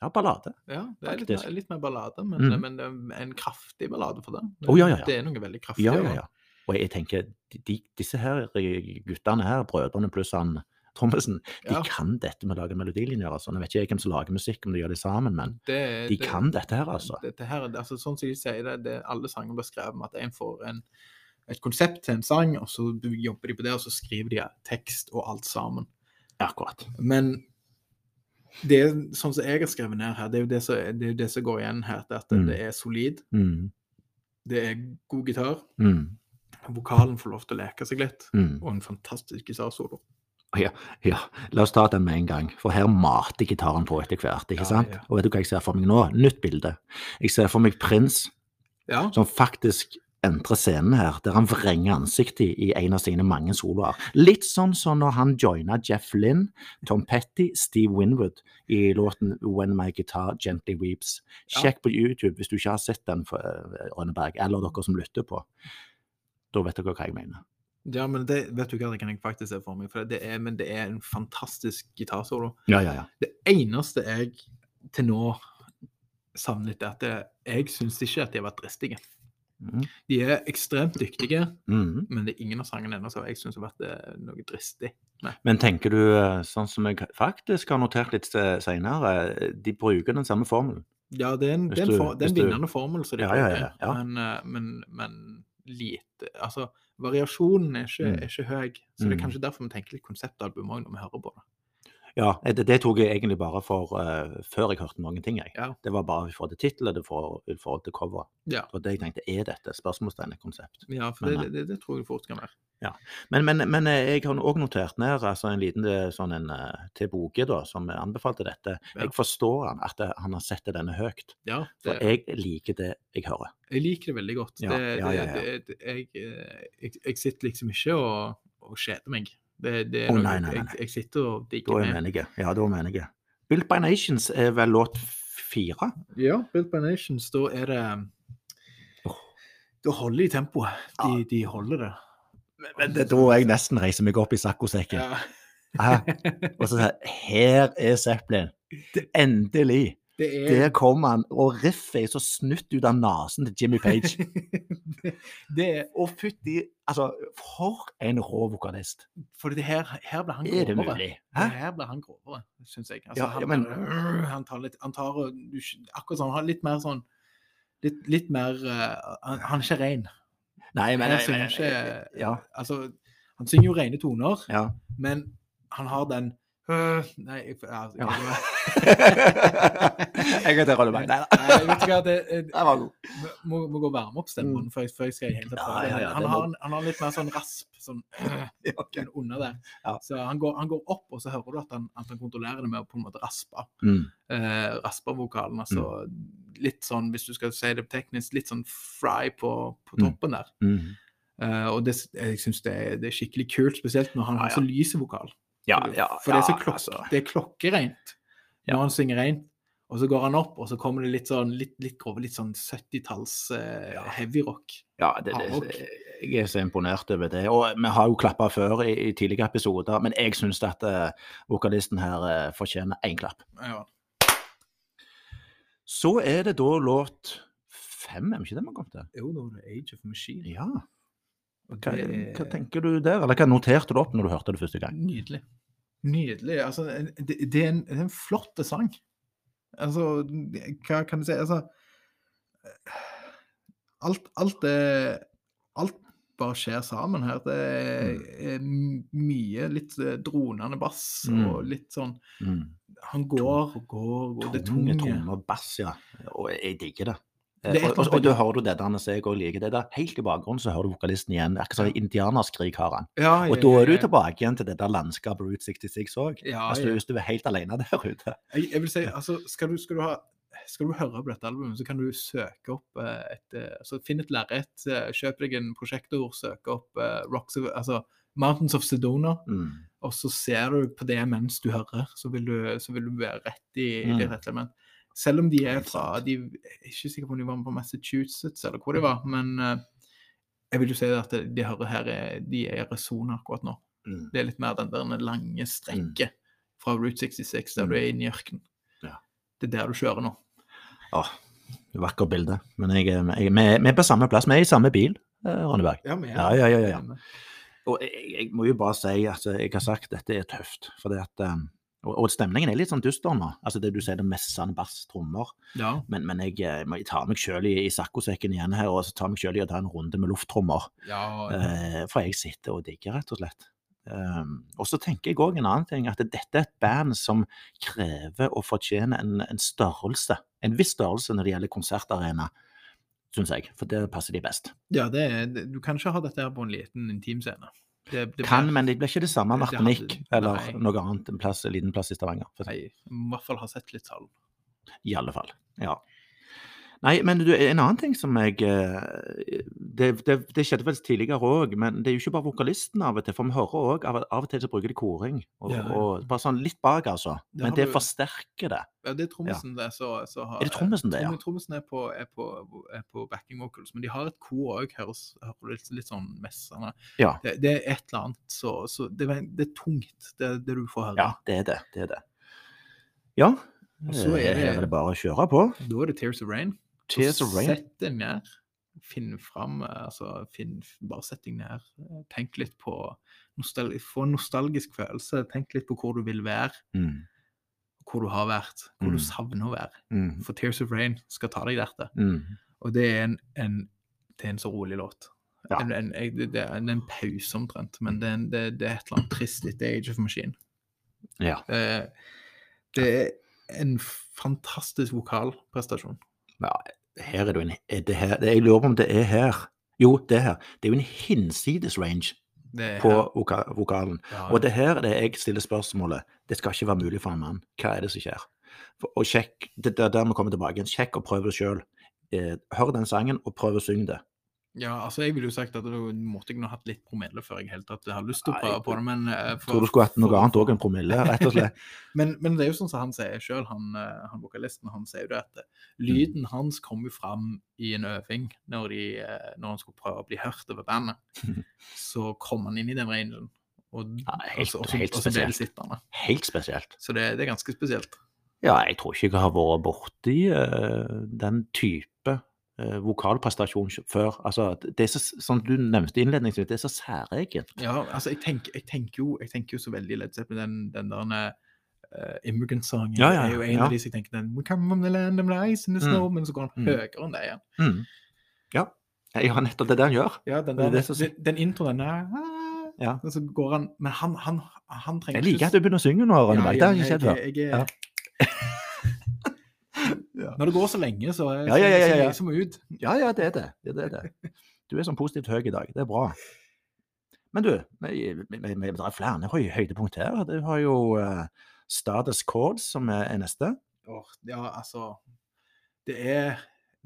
Speaker 1: Ja, ballade.
Speaker 2: Ja, det er litt,
Speaker 1: Faktisk.
Speaker 2: mer- litt mer ballade, men,
Speaker 1: Mm.
Speaker 2: men um, en kraftig ballade for det.
Speaker 1: Å, ja, ja, ja.
Speaker 2: Det er noe veldig kraftig.
Speaker 1: Ja, ja,
Speaker 2: over
Speaker 1: ja. Og jeg tenker, de- de, disse her eh, guttene her, brødrene pluss han Thommessen, de
Speaker 2: Ja.
Speaker 1: kan dette med å lage melodilinjer, altså. Nå vet ikke jeg hvem som lager musikk, om de gjør det sammen, men
Speaker 2: det. er-
Speaker 1: de
Speaker 2: Eh, det-
Speaker 1: kan dette her, altså.
Speaker 2: Dette her, er- altså, sånn som jeg sier det, det alle sanger blir skrevet med at en får en, et konsept til en sang, og så jobber de på det, og så skriver de tekst og alt sammen.
Speaker 1: Akkurat.
Speaker 2: Men det er sånn som jeg har skrevet ned her, det er jo det som, det er jo det som går igjen her, det er at
Speaker 1: Mm.
Speaker 2: det er solid,
Speaker 1: Mm,
Speaker 2: det er god gitar,
Speaker 1: mm,
Speaker 2: vokalen får lov til å leke seg litt,
Speaker 1: mm.
Speaker 2: og en fantastisk gitarsolo.
Speaker 1: Ja, la oss ta den med en gang, for her mater gitaren på etter hvert,
Speaker 2: Ja,
Speaker 1: ikke sant?
Speaker 2: ja.
Speaker 1: Og vet du hva jeg ser for meg nå? Nytt bilde. Jeg ser for meg Prins,
Speaker 2: Ja,
Speaker 1: som faktisk entrer scenen her, der han vrenger ansiktet i, i en av sine mange soloer. Litt sånn som når han joina Jeff Lynn, Tom Petty, Steve Winwood i låten When My Guitar Gently Weeps.
Speaker 2: Ja.
Speaker 1: Sjekk på YouTube hvis du ikke har sett den, for, eh, Rønneberg, eller dere som lytter på. Da vet dere hva jeg mener.
Speaker 2: ja men det vet du hva, det kan jeg faktisk se for meg, for det er, men det er en fantastisk gitarsolo.
Speaker 1: Ja, ja, ja.
Speaker 2: Det eneste jeg til nå savner litt, er at det, jeg syns ikke at de har vært dristige.
Speaker 1: Mm.
Speaker 2: De er ekstremt dyktige,
Speaker 1: Mhm.
Speaker 2: men det er ingen av sangene ennå som jeg syns har vært eh, noe dristig.
Speaker 1: Men tenker du, eh, sånn som jeg faktisk har notert litt eh, senere, eh, de bruker den samme formelen.
Speaker 2: Ja, det er en,
Speaker 1: Hvis
Speaker 2: det er
Speaker 1: du-
Speaker 2: en, for, det er
Speaker 1: hvis
Speaker 2: en
Speaker 1: du-
Speaker 2: vinnende formel, så de
Speaker 1: Ja, ja, ja,
Speaker 2: bruker.
Speaker 1: ja.
Speaker 2: Men, eh, men, men lite Altså, variasjonen er ikke,
Speaker 1: Mm.
Speaker 2: er ikke høy, så det er
Speaker 1: Mm.
Speaker 2: kanskje derfor vi tenker litt konseptalbum òg når vi hører på det.
Speaker 1: Ja, eh, det, det tok jeg egentlig bare for eh, før jeg hørte noen ting, jeg.
Speaker 2: Ja.
Speaker 1: Det var bare i forhold til tittel og i forhold- i forhold til cover.
Speaker 2: Ja.
Speaker 1: Og det jeg tenkte, er dette spørsmålstegn et konsept?
Speaker 2: Ja, for
Speaker 1: Men, eh,
Speaker 2: det, det, det tror jeg fort kan være.
Speaker 1: Men, men, men eh, jeg har òg notert ned altså en liten eh, sånn en eh, til Boge, da, som anbefalte dette.
Speaker 2: Ja.
Speaker 1: Jeg forstår han, at eh, han har sett denne høyt.
Speaker 2: Ja,
Speaker 1: For
Speaker 2: det,
Speaker 1: jeg liker det jeg hører.
Speaker 2: jeg liker det veldig godt.
Speaker 1: Ja,
Speaker 2: det,
Speaker 1: ja, ja, ja.
Speaker 2: Det, det, jeg, eh, jeg, jeg sitter liksom ikke og, og kjeder meg. Det, det er
Speaker 1: Å,
Speaker 2: noe
Speaker 1: nei, nei, nei, nei.
Speaker 2: Jeg, jeg sitter og
Speaker 1: Da
Speaker 2: digger
Speaker 1: er
Speaker 2: med.
Speaker 1: vi enige. Ja, da er vi enige. Built by Nations er vel låt fire?
Speaker 2: Ja, Built by Nations, da er det
Speaker 1: Åh.
Speaker 2: Da holder de tempoet. De, de holder det.
Speaker 1: Men det tror jeg nesten reiser meg opp i saccosekken.
Speaker 2: Ja.
Speaker 1: Hæ? Og så sier jeg her er Zeppelin. Det- Endelig!
Speaker 2: Det er,
Speaker 1: Der kom han, og riffet er så snutt ut av nesen til Jimmy Page.
Speaker 2: det er
Speaker 1: Og fytti Altså, for en rå vokalist.
Speaker 2: For det her, her ble han
Speaker 1: Er det
Speaker 2: grovere.
Speaker 1: mulig?
Speaker 2: Hæ?
Speaker 1: Hæ?
Speaker 2: Her ble han grovere, syns jeg. Altså,
Speaker 1: Ja,
Speaker 2: han,
Speaker 1: ja, men-
Speaker 2: bare, han tar litt han tar, og- du, sk- Akkurat sånn. Han har litt mer sånn Litt, litt mer eh, han, han er ikke ren.
Speaker 1: Nei, men
Speaker 2: Han synger ikke
Speaker 1: Ja.
Speaker 2: Altså, han synger jo rene toner,
Speaker 1: ja.
Speaker 2: men han har den øh, Nei, jeg, ja,
Speaker 1: Ja.
Speaker 2: jeg,
Speaker 1: jeg heter Rolleberg. Nei da.
Speaker 2: Nei, vet du hva, det, jeg
Speaker 1: Den var god.
Speaker 2: må, må gå og varme opp stemmen før, jeg- før jeg skal i hele tatt
Speaker 1: Mm. Ja,
Speaker 2: prøve.
Speaker 1: ja, ja,
Speaker 2: han,
Speaker 1: det
Speaker 2: har,
Speaker 1: må-
Speaker 2: en- han har litt mer sånn rasp. Sånn,
Speaker 1: Ja, ok.
Speaker 2: un- under der.
Speaker 1: Ja.
Speaker 2: Så han går, han går opp, og så hører du at han, at han kontrollerer det med å på en måte raspe.
Speaker 1: Mm.
Speaker 2: Eh, raspe vokalen, altså litt sånn, hvis du skal si det teknisk, litt sånn fry på, på
Speaker 1: Mm.
Speaker 2: toppen der.
Speaker 1: Mm.
Speaker 2: Eh, og det, s- jeg syns det, er- det er skikkelig kult, spesielt når han
Speaker 1: Ja,
Speaker 2: har så lys vokal.
Speaker 1: Ja,
Speaker 2: For det-
Speaker 1: ja,
Speaker 2: For det er så
Speaker 1: ja,
Speaker 2: klok
Speaker 1: altså.
Speaker 2: det er klokkereint når han synger reint. Og så går han opp, og så kommer det litt sånn litt, litt grove, litt sånn 70-talls eh,
Speaker 1: Ja.
Speaker 2: heavy rock.
Speaker 1: Ja, det,
Speaker 2: Hardrock.
Speaker 1: det, jeg er så imponert over det. Og vi har jo klappa før i, i tidligere episoder, men jeg syns at eh, vokalisten her eh, fortjener én klapp.
Speaker 2: Ja.
Speaker 1: Så er det da låt fem, er det ikke det vi kom til?
Speaker 2: Jo, da var det Age of Machine.
Speaker 1: Ja.
Speaker 2: og
Speaker 1: Hva,
Speaker 2: det-
Speaker 1: hva tenker du der, eller hva noterte du opp når du hørte det første gang?
Speaker 2: Nydelig. Nydelig. Altså, det, det, er en, det er en flott sang. Altså, hva kan du si Altså Alt, alt er Alt bare skjer sammen her. Det er, er mye litt eh, dronende bass og
Speaker 1: Mm.
Speaker 2: litt sånn
Speaker 1: Mm.
Speaker 2: Han går og går og går. Det er tunge.
Speaker 1: Tunge og bass, ja. Og jeg digger det. Eh,
Speaker 2: Det er et
Speaker 1: og, og,
Speaker 2: eller annet-
Speaker 1: og da hører du det der, så jeg også liker det der. Helt i bakgrunnen så hører du vokalisten igjen. Akkurat som indianerskrik har han.
Speaker 2: Ja,
Speaker 1: Og da er du tilbake igjen til det der landskapet Route 66 òg.
Speaker 2: Ja,
Speaker 1: Altså,
Speaker 2: ja.
Speaker 1: hvis du er helt alene der ute.
Speaker 2: Jeg, jeg vil si, altså, skal du, skal du ha skal du høre på dette albumet, så kan du søke opp eh, et eh, altså, Finn et lerret, eh, kjøp deg en prosjektor, søk opp eh, Rocks of, altså, Mountains of Sedona,
Speaker 1: Mm.
Speaker 2: og så ser du på det mens du hører. Så vil du, så vil du være rett i i det
Speaker 1: Mm.
Speaker 2: rette element. Selv om de er
Speaker 1: Helt
Speaker 2: fra de, Jeg er ikke sikker på om de var med på Massachusetts eller hvor de var, men eh, jeg vil jo si at det- de hører her, er, de er i Arizona akkurat nå.
Speaker 1: Mm.
Speaker 2: Det er litt mer den der lange strekket fra Route 66 der du er inne i ørkenen.
Speaker 1: Mm. Ja.
Speaker 2: Det er der du kjører nå.
Speaker 1: Åh, vakkert bilde. Men jeg, er- jeg, vi, er- vi er på samme plass. Vi er i samme bil, eh, Ronneberg.
Speaker 2: Ja, men
Speaker 1: Ja, ja, ja. ja, ja. Og jeg, jeg må jo bare si at eh, jeg har sagt dette er tøft. For det at, eh, og, og stemningen er litt sånn dyster nå. Altså det du sier, det er messende bass, trommer. Men, men jeg, eh, må- jeg tar meg sjøl i, i saccosekken igjen her, og så tar meg sjøl i å ta en runde med lufttrommer. Eh, for jeg sitter og digger, rett og slett. Um, og så tenker jeg òg en annen ting, at dette er et band som krever og fortjener en, en størrelse. En viss størrelse når det gjelder konsertarena, syns jeg. For der passer de best.
Speaker 2: Ja, det er, det- du kan ikke ha dette her på en liten intim scene. Det, det
Speaker 1: Kan,
Speaker 2: blir-
Speaker 1: men det blir ikke det samme
Speaker 2: Det- det
Speaker 1: Martinique
Speaker 2: hadde-
Speaker 1: eller
Speaker 2: nei.
Speaker 1: noe annet, en plass, en liten plass i Stavanger. For,
Speaker 2: Nei, jeg må i hvert fall ha sett litt tall.
Speaker 1: I alle fall. Ja. Nei, men du, en annen ting som jeg eh, Det, det, det skjedde vel tidligere òg, men det er jo ikke bare vokalisten av og til. For vi hører òg av, av og til så bruker de koring. Og,
Speaker 2: Ja, ja.
Speaker 1: og bare sånn litt bak, altså.
Speaker 2: Det
Speaker 1: Men
Speaker 2: har
Speaker 1: det
Speaker 2: du-
Speaker 1: forsterker det.
Speaker 2: Ja, det er trommisen det så, så har,
Speaker 1: Er det trommisen det, ja?
Speaker 2: Tromme- Trommisen er på, er, på, er på backing vocals, men de har et kor òg, høres hører du litt, litt sånn messende.
Speaker 1: Ja.
Speaker 2: Det, det er et eller annet så, så det, er- det er tungt, det, det du får høre.
Speaker 1: Ja, det er det. det, er det. Ja,
Speaker 2: Og så er
Speaker 1: her
Speaker 2: det-
Speaker 1: er det bare å kjøre på.
Speaker 2: Da er det Tears of Rain. Så
Speaker 1: Tears of Rain.
Speaker 2: Sett deg ned. Finn fram eh, altså, finn, Bare sett deg ned. eh, Tenk litt på nostal Få en nostalgisk følelse. Tenk litt på hvor du vil være,
Speaker 1: Mm,
Speaker 2: hvor du har vært, hvor
Speaker 1: Mm.
Speaker 2: du savner å være.
Speaker 1: mm,
Speaker 2: For Tears of Rain skal ta deg der.
Speaker 1: mm.
Speaker 2: Og det er en, en, det er en så rolig låt.
Speaker 1: Ja.
Speaker 2: En, en, jeg- det, det er en, en pause omtrent, men det er, en, det, det er et eller annet trist etter Age of Machine.
Speaker 1: Ja.
Speaker 2: Det, er- det er en fantastisk vokalprestasjon.
Speaker 1: Her er det jo en er det her, det, Jeg lurer på om det er her. Jo, det er her. Det er jo en hinsides range
Speaker 2: Det er
Speaker 1: på voka vokalen.
Speaker 2: Ja.
Speaker 1: Og det her er det jeg stiller spørsmålet. Det skal ikke være mulig for en mann. Hva er det som skjer? For- Og Eh, sjekk, det det er der vi kommer tilbake igjen. Sjekk og prøv det sjøl. Hør den sangen og prøv å synge det.
Speaker 2: Ja, altså jeg ville jo sagt at da måtte jeg nå hatt litt promille før jeg helt tatt har lyst til å
Speaker 1: Nei,
Speaker 2: prøve på det, men eh, for-
Speaker 1: Tror du skulle hatt noe
Speaker 2: for-
Speaker 1: annet òg enn promille, rett og slett.
Speaker 2: Men, men det er jo sånn som han sier sjøl, han, eh, han vokalisten, han sier jo det at eh,
Speaker 1: Mm.
Speaker 2: lyden hans kom jo fram i en øving når, de, eh, når han skulle prøve å bli hørt over bandet. Så kom han inn i den rangen, og,
Speaker 1: Ja,
Speaker 2: og,
Speaker 1: helt,
Speaker 2: så- og, så-
Speaker 1: helt
Speaker 2: og så ble det
Speaker 1: spesielt.
Speaker 2: sittende.
Speaker 1: Helt spesielt.
Speaker 2: Så det, det er ganske spesielt.
Speaker 1: Ja, jeg tror ikke jeg har vært borti uh, den type eh, vokalprestasjon sj- før. Altså, det er så, som du nevnte innledningsvis, det er så særegent.
Speaker 2: Ja, altså jeg tenker, jeg tenker, jo, jeg tenker jo så veldig Led Zeppelin, den, den der eh, Immigrant-sangen
Speaker 1: Ja, ja,
Speaker 2: er jo en
Speaker 1: ja.
Speaker 2: av de som jeg tenker den, We come from the land of lies and the
Speaker 1: Mm.
Speaker 2: snow, men så går han
Speaker 1: Mm.
Speaker 2: høyere enn det igjen.
Speaker 1: Mm. Ja. ja, nettopp det er det han gjør.
Speaker 2: Ja, den,
Speaker 1: Det er
Speaker 2: der,
Speaker 1: det som-
Speaker 2: den, den introen den er
Speaker 1: Ja.
Speaker 2: Og så går han Men han, han, han trenger
Speaker 1: Jeg liker at du begynner å synge nå, Rønneberg. Det har jeg ikke sett før.
Speaker 2: jeg, jeg, er-
Speaker 4: Ja.
Speaker 2: Når det går så lenge, så er
Speaker 1: Ja, ja, ja, ja, ja.
Speaker 2: så mye ut.
Speaker 1: Ja, ja, det er det. det, er det, det. Du er sånn positivt høy i dag. Det er bra. Men du, vi- vi- vi- vi- det er flere høy- høydepunkt her. Du har jo eh, Stardust Chords, som er er neste.
Speaker 2: Åh, Ja, altså Det er,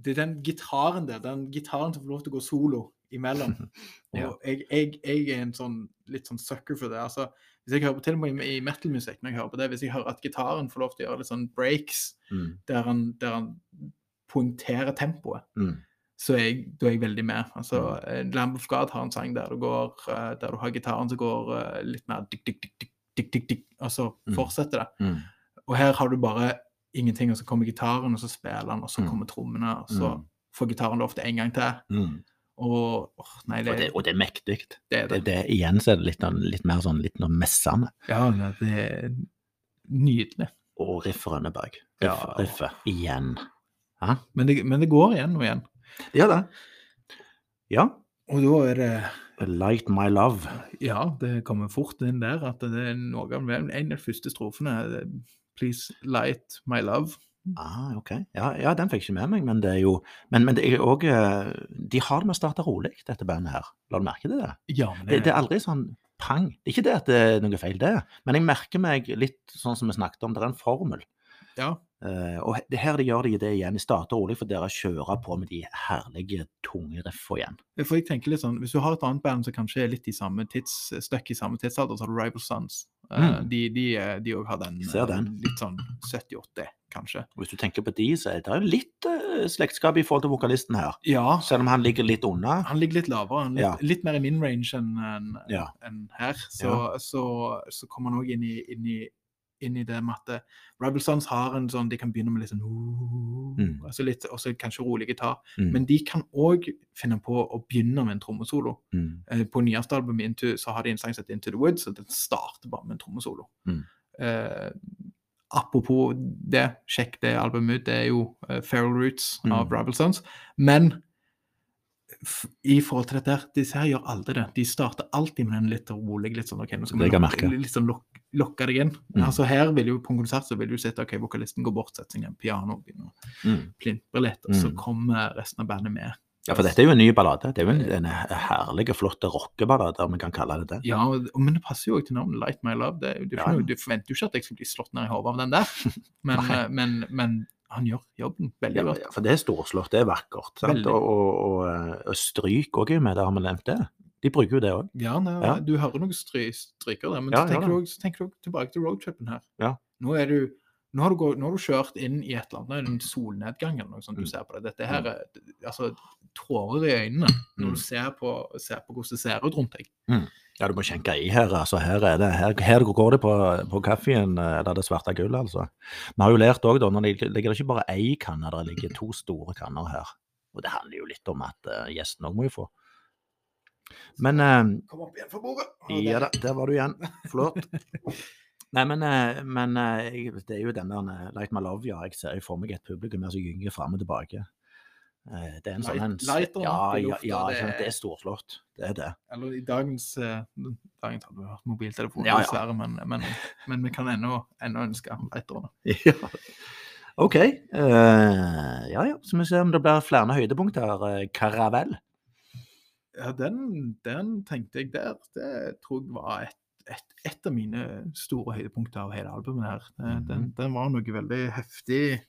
Speaker 2: det er den gitaren der. Den gitaren som får lov til å gå solo imellom. Og
Speaker 1: Ja.
Speaker 2: jeg, jeg, jeg er en sånn litt sånn sucker for det. altså hvis jeg hører på, Til og med i, i metal-musikk, når jeg hører på det, hvis jeg hører at gitaren får lov til å gjøre litt sånn breaks
Speaker 1: Mm,
Speaker 2: der han, der han poengterer tempoet,
Speaker 1: mm,
Speaker 2: så er jeg, da er jeg veldig med. Altså, eh, Lamb of God har en sang der du, går, eh, der du har gitaren som går eh, litt mer dikk, dikk, dikk, dikk, dikk, dikk, dikk, og så
Speaker 1: Mm.
Speaker 2: fortsetter det.
Speaker 1: mm,
Speaker 2: Og her har du bare ingenting, og så kommer gitaren, og så spiller han, og så
Speaker 1: Mm.
Speaker 2: kommer trommene, og så
Speaker 1: Mm.
Speaker 2: får gitaren lov til en gang til.
Speaker 1: mm.
Speaker 2: Og åh, nei,
Speaker 1: Og,
Speaker 2: det,
Speaker 1: det, og det er mektig.
Speaker 2: det er
Speaker 1: Det,
Speaker 2: det.
Speaker 1: det, igjen så er det litt, noe- litt mer sånn litt noe messende.
Speaker 2: Ja, nei, det er nydelig.
Speaker 1: Og Riff Rønneberg. Riff,
Speaker 2: Ja.
Speaker 1: Riffet igjen.
Speaker 2: Men det, men det går igjen og igjen.
Speaker 1: Ja da. Ja.
Speaker 2: Og da er
Speaker 1: eh,
Speaker 2: det
Speaker 1: Light My Love.
Speaker 2: Ja, det kommer fort inn der at det er noe av vel en av de første strofene. eh, Please light my love.
Speaker 1: Ah, ok. Ja, ja, den fikk jeg ikke med meg, men det er jo Men, men det er òg De har det med å starte rolig, dette bandet her. La du merke til det?
Speaker 2: Ja, men
Speaker 1: Det, det er aldri sånn pang. Det er ikke det at det er noe feil, det. Men jeg merker meg litt sånn som vi snakket om, det er en formel.
Speaker 2: Ja.
Speaker 1: Eh, og he- det her de gjør de det igjen. De starter rolig, for dere kjører på med de herlige, tunge riffene igjen.
Speaker 2: For jeg tenker litt sånn, Hvis du har et annet band som kanskje er litt i samme tids, eh, støkk i samme tidsalder, så har du Rival Sons. Eh,
Speaker 1: Mm.
Speaker 2: De òg de, eh, de også har den,
Speaker 1: Ser
Speaker 2: eh,
Speaker 1: den.
Speaker 2: litt sånn 70-80, kanskje.
Speaker 1: Og hvis du tenker på de, så er det jo litt eh, slektskap i forhold til vokalisten her.
Speaker 2: Ja,
Speaker 1: Selv om han ligger litt unna.
Speaker 2: han ligger litt lavere. Han er litt,
Speaker 1: Ja.
Speaker 2: litt mer i min range enn enn-
Speaker 1: Ja.
Speaker 2: enn her. Så,
Speaker 1: Ja.
Speaker 2: så, så kommer han òg inn, i- inn, i- inn i det med at eh, Rival Sons har en sånn De kan begynne med litt sånn
Speaker 1: Mm.
Speaker 2: altså litt, også kanskje rolig gitar.
Speaker 1: Mm.
Speaker 2: Men de kan òg finne på å begynne med en trommesolo.
Speaker 1: mm.
Speaker 2: Eh, På nyeste albumet Into, så har de en sang som heter Into the Woods, og den starter bare med en trommesolo.
Speaker 1: Mm.
Speaker 2: Eh, apropos det, sjekk det albumet ut. Det er jo eh, Feral Roots av
Speaker 1: Mm.
Speaker 2: Rival Sons. Men f i forhold til dette her, disse her gjør aldri det. De starter alltid med den litt rolig, litt sånn ok, nå skal vi
Speaker 1: Det kan
Speaker 2: lok-
Speaker 1: jeg merke.
Speaker 2: litt sånn lok lokke deg inn.
Speaker 1: Mm.
Speaker 2: Altså her vil jo På en konsert så vil du sitte ok, vokalisten går bort, setter seg ned på pianoet, begynner å
Speaker 1: Mm.
Speaker 2: plintre litt, og så
Speaker 1: Mm.
Speaker 2: kommer resten av bandet med.
Speaker 1: Ja, for dette er jo en ny ballade. Det er jo en, en herlig, flott rockeballade, om vi kan kalle det det.
Speaker 2: Ja, og- og- men det passer jo også til navnet Light My Love. Det, er jo- du,
Speaker 1: Ja,
Speaker 2: finner
Speaker 1: ja.
Speaker 2: jo- du forventer jo ikke at jeg skal bli slått ned i hodet av den der, men,
Speaker 1: Nei.
Speaker 2: eh, men, men han gjør jobben veldig
Speaker 1: Ja,
Speaker 2: godt.
Speaker 1: for det er storslått, det er vakkert. Sant?
Speaker 2: Veldig.
Speaker 1: Og, og, og, eh, og stryk òg er jo med, det har vi nevnt det. De bruker jo det òg.
Speaker 2: Ja, nei,
Speaker 1: Ja.
Speaker 2: Du hører noen stry, stryker der, men
Speaker 1: Ja,
Speaker 2: så,
Speaker 1: ja
Speaker 2: tenker
Speaker 1: da.
Speaker 2: du også, så tenker du også tilbake til roadtripen her.
Speaker 1: Ja.
Speaker 2: Nå, er du, nå, har du gå- nå har du kjørt inn i et eller annet, en solnedgang eller noe sånt du
Speaker 1: Mm.
Speaker 2: ser på det. Dette her er altså, tårer i øynene når
Speaker 1: Mm.
Speaker 2: du ser på, ser på hvordan det ser ut rundt deg.
Speaker 1: Ja, du må skjenke i her, altså. Her, er det, her, her går det på, på kaffen, eh, eller det svarte gullet, altså. Vi har jo lært òg, da, når det ligger det ikke bare ei kanne, det ligger to store kanner her. Og det handler jo litt om at eh, gjesten òg må jo få. Men eh,
Speaker 2: Kom opp igjen for bordet!
Speaker 1: Ja da, der var du igjen. Flott. Nei, men, eh, men eh, jeg- det er jo den der eh, Light My Love, ja. Jeg ser jo for meg et publikum her som gynger fram og tilbake. Eh, Det er en sånn en
Speaker 2: Light- lighter opp
Speaker 1: Ja,
Speaker 2: i
Speaker 1: ja,
Speaker 2: lufta,
Speaker 1: ja,
Speaker 2: det
Speaker 1: ikke sant, det
Speaker 2: er-
Speaker 1: er storslått. Det er det.
Speaker 2: Eller i dagens eh, Dagens hadde vi hatt mobiltelefon,
Speaker 1: Ja, ja.
Speaker 2: dessverre, men, men, men vi kan ennå, ennå ønske ham lighterne.
Speaker 1: Ja. OK. eh, ja ja, så vi ser om det blir flere høydepunkt her. Eh, Karavell.
Speaker 2: Ja, den, den tenkte jeg der. Det tror jeg var et, et, et av mine store høydepunkter av hele albumet her. Eh,
Speaker 1: Mhm.
Speaker 2: Den, den var noe veldig heftig.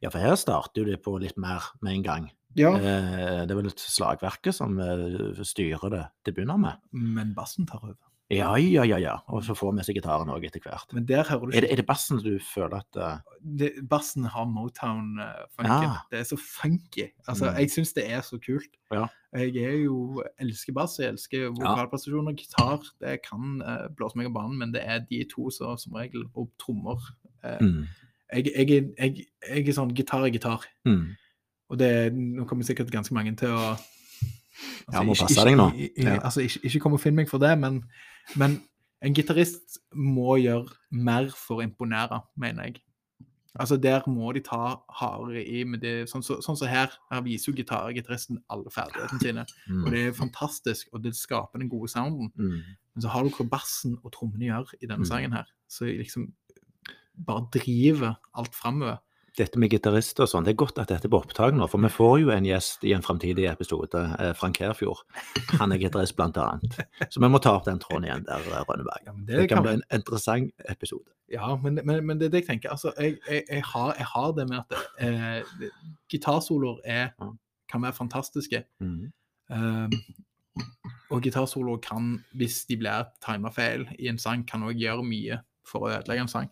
Speaker 1: Ja, for her starter jo det på litt mer med en gang.
Speaker 3: Ja.
Speaker 1: Eh, Det er vel et slagverket som eh, styrer det til å begynne med.
Speaker 2: Men bassen tar over.
Speaker 1: Ja, ja, ja. ja. Og så får vi seg gitaren òg etter hvert.
Speaker 2: Men der hører du
Speaker 1: Er det,
Speaker 2: ikke
Speaker 1: er det bassen du føler at eh,
Speaker 2: det, Bassen har Motown-funken.
Speaker 1: Ah.
Speaker 2: Det er så funky. Altså,
Speaker 1: Mm.
Speaker 2: Jeg syns det er så kult.
Speaker 1: Ja.
Speaker 2: Jeg er jo, elsker bass, jeg elsker vokalprestasjoner. Gitar det kan eh, blåse meg av banen, men det er de to som, som regel, og trommer. Eh,
Speaker 1: mm,
Speaker 2: jeg, jeg, er- jeg, jeg er sånn gitar er gitar.
Speaker 1: mm.
Speaker 2: Og det, nå kommer sikkert ganske mange til å altså,
Speaker 1: Ja, må
Speaker 2: ikke-
Speaker 1: passe
Speaker 2: ikke-
Speaker 1: deg nå.
Speaker 2: i- i-
Speaker 1: Ja.
Speaker 2: Altså, ikke, ikke kom og finn meg for det, men, men en gitarist må gjøre mer for å imponere, mener jeg. Altså, Der må de ta hardere i. med det, Sånn som så, sånn som her. Her viser jo gitar- gitaristen alle ferdighetene sine.
Speaker 1: Mm.
Speaker 2: Og det er fantastisk, og det skaper den gode sounden.
Speaker 1: Mm.
Speaker 2: Men så har du hva bassen og trommene gjør i
Speaker 1: Mm.
Speaker 2: denne sangen her. Så jeg liksom bare driver alt framover.
Speaker 1: Dette med gitarist og sånn, det er godt at dette er på opptak nå, for vi får jo en gjest i en fremtidig episode, eh, Frank Herfjord. Han er gitarist, blant annet. Så vi må ta opp den tråden igjen der, eh, Rønneberg.
Speaker 2: Ja, men
Speaker 1: Det kan bli en interessant episode.
Speaker 2: Ja, men, men, men det er det jeg tenker. Altså, jeg, jeg, jeg, har, jeg har det med at eh, det- gitarsoloer er,
Speaker 1: Mm.
Speaker 2: kan være fantastiske.
Speaker 1: Mm.
Speaker 2: Um, og gitarsoloer kan, hvis de blir timet feil i en sang, kan også gjøre mye for å ødelegge en sang.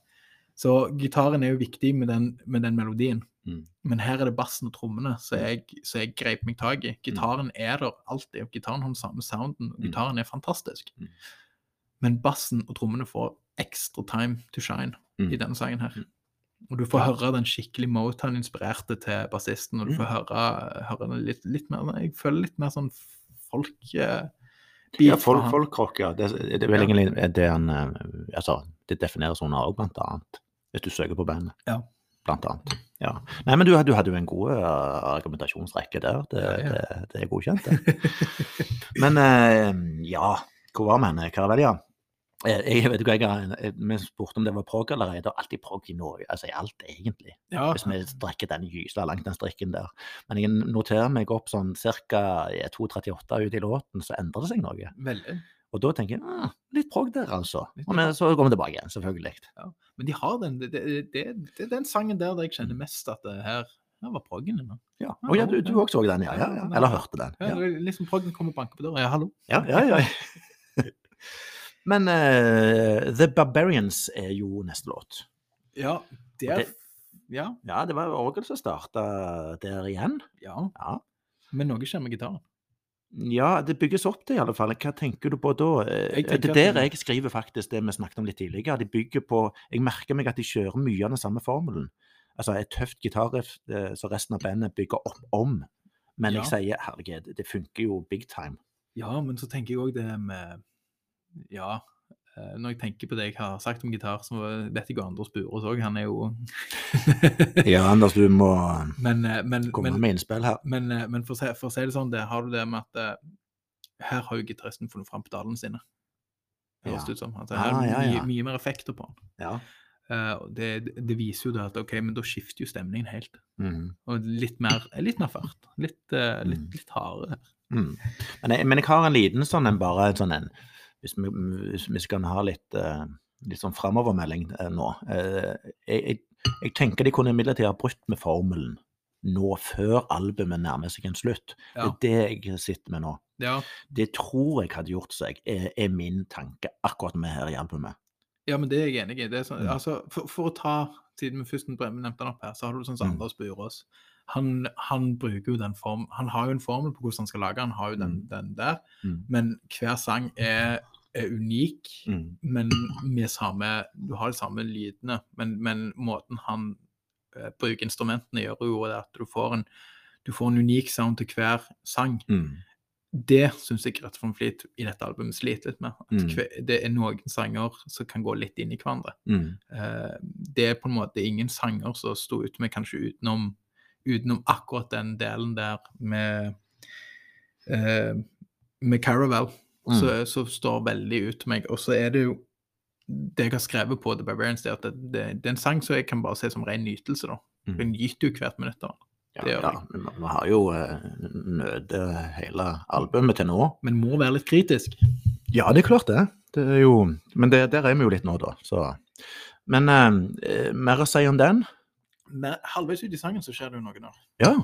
Speaker 2: Så gitaren er jo viktig med den, med den melodien.
Speaker 1: Mm.
Speaker 2: Men her er det bassen og trommene som jeg, som jeg grep meg tak i. Gitaren er der alltid, og gitaren har den samme sounden. og
Speaker 1: Mm.
Speaker 2: Gitaren er fantastisk.
Speaker 1: Mm.
Speaker 2: Men bassen og trommene får ekstra time to shine
Speaker 1: Mm.
Speaker 2: i denne sangen her. Og du får høre den skikkelig Motown-inspirerte til bassisten, og
Speaker 1: Mm.
Speaker 2: du får høre, høre den litt, litt mer Jeg føler litt mer sånn folk... eh, beat
Speaker 1: Ja,
Speaker 2: fra
Speaker 1: folk,
Speaker 2: han.
Speaker 1: folkrock, ja. Det, det er vel
Speaker 2: Ja.
Speaker 1: egentlig det han eh, Altså, det defineres under òg, blant annet. Hvis du søker på bandet.
Speaker 2: Ja.
Speaker 1: Blant annet. Ja. Nei, men du, had- du hadde jo en god eh, argumentasjonsrekke der. Det,
Speaker 2: Ja, ja.
Speaker 1: det, det er godkjent, det. men eh, ja, hvor var vi hen? Karavel, ja. Eh, Jeg vet ikke, jeg, har en- eh, vi spurte om det var prog eller ei. Det er alltid prog i Norge. Altså i alt, egentlig.
Speaker 2: Ja,
Speaker 1: Hvis vi strekker den gysla langt, den strikken der. Men jeg noterer meg opp sånn ca. 2.38 ut i låten, så endrer det seg noe.
Speaker 2: veldig.
Speaker 1: Og da tenker jeg ah, litt prog der, altså.
Speaker 2: Litt
Speaker 1: Og men, så går vi tilbake igjen, selvfølgelig.
Speaker 2: Men de har den, det, det, det, det er den sangen der der jeg kjenner mest at det her, her var proggen inne.
Speaker 1: Ja. Å ja, du, du også så den, ja, ja, ja. Eller hørte den.
Speaker 2: Ja,
Speaker 1: Ja,
Speaker 2: det er Liksom proggen kommer og banker på døra. Ja, hallo.
Speaker 1: ja, ja. ja. Men eh, The Barbarians er jo neste låt.
Speaker 2: Ja, det
Speaker 1: Og
Speaker 2: er...
Speaker 1: det-
Speaker 2: Ja,
Speaker 1: Ja, det var orgel som starta der igjen.
Speaker 2: ja.
Speaker 1: Ja.
Speaker 2: Men noe skjer med gitaren.
Speaker 1: ja, det bygges opp det, i alle fall. Hva tenker du på da? Eh,
Speaker 2: Jeg tenker
Speaker 1: Det
Speaker 2: at-
Speaker 1: der jeg skriver faktisk det vi snakket om litt tidligere. De bygger på Jeg merker meg at de kjører mye av den samme formelen. Altså et tøft gitarriff eh, som resten av bandet bygger opp om. Men jeg
Speaker 2: Ja.
Speaker 1: sier herregud, det funker jo big time.
Speaker 2: Ja, men så tenker jeg òg det med Ja. eh, Når jeg tenker på det jeg har sagt om gitar, så eh, vet jeg jo Anders Bures òg, han er jo
Speaker 1: Ja, Anders, du må
Speaker 2: Men, eh, men,
Speaker 1: komme
Speaker 2: men,
Speaker 1: med innspill her.
Speaker 2: men, eh, men for, å si, for å si det sånn, det har du det med at eh, her har jo gitaristen funnet fram pedalene sine. Høres
Speaker 1: Ja.
Speaker 2: det ut som. At det
Speaker 1: Ah,
Speaker 2: er
Speaker 1: ja, ja.
Speaker 2: mye, mye mer effekter på den.
Speaker 1: Ja.
Speaker 2: Eh, og det, det viser jo det at ok, men da skifter jo stemningen helt.
Speaker 1: Mhm.
Speaker 2: Og litt mer, litt mer fart. Litt, eh, litt,
Speaker 1: Mm.
Speaker 2: litt hardere.
Speaker 1: Mm. Men, jeg, men jeg har en liten sånn en, bare en sånn en Hvis vi, hvis vi skal ha litt, eh, litt sånn framovermelding eh, nå. Eh, jeg, jeg, jeg tenker de kunne imidlertid ha brutt med formelen nå før albumet nærmer seg en slutt.
Speaker 2: Ja.
Speaker 1: Det er det jeg sitter med nå.
Speaker 2: Ja,
Speaker 1: Det tror jeg hadde gjort seg, er, er min tanke akkurat med her i albumet.
Speaker 2: ja men det er jeg enig i. Det er sånn,
Speaker 1: Mm.
Speaker 2: altså, for, for å ta Siden vi først nevnte han opp her, så har du sånn som
Speaker 1: Mm.
Speaker 2: Anders Burås. Han, han bruker jo den form, han har jo en formel på hvordan han skal lage, han har jo den, den der.
Speaker 1: Mm.
Speaker 2: Men hver sang er, er unik.
Speaker 1: Mm.
Speaker 2: men med samme Du har de samme lydene, men, men måten han eh, bruker instrumentene gjør jo det at du får en du får en unik sound til hver sang.
Speaker 1: Mm.
Speaker 2: Det syns jeg Rett von Fleet i dette albumet sliter litt med. At
Speaker 1: Mm.
Speaker 2: hver, det er noen sanger som kan gå litt inn i hverandre.
Speaker 1: Mm.
Speaker 2: Eh, det er på en måte ingen sanger som sto ut med kanskje utenom, utenom akkurat den delen der med eh, med Caravel,
Speaker 1: Mm.
Speaker 2: så, så står veldig ut til meg. Og så er det jo det jeg har skrevet på The Barbarians, det er at det, det, det er en sang som jeg kan bare se som ren nytelse, da.
Speaker 1: Mm.
Speaker 2: Jeg nyter jo hvert minutt av den.
Speaker 1: Ja,
Speaker 2: Det gjør
Speaker 1: ja. Vi vi har jo eh, nøde hele albumet til nå.
Speaker 2: Men må være litt kritisk.
Speaker 1: Ja, det er klart det. det er jo, men det, der er vi jo litt nå, da. Så. Men eh, eh, mer å si om den?
Speaker 2: Men halvveis ut i sangen så skjer det jo noe nå.
Speaker 1: Ja.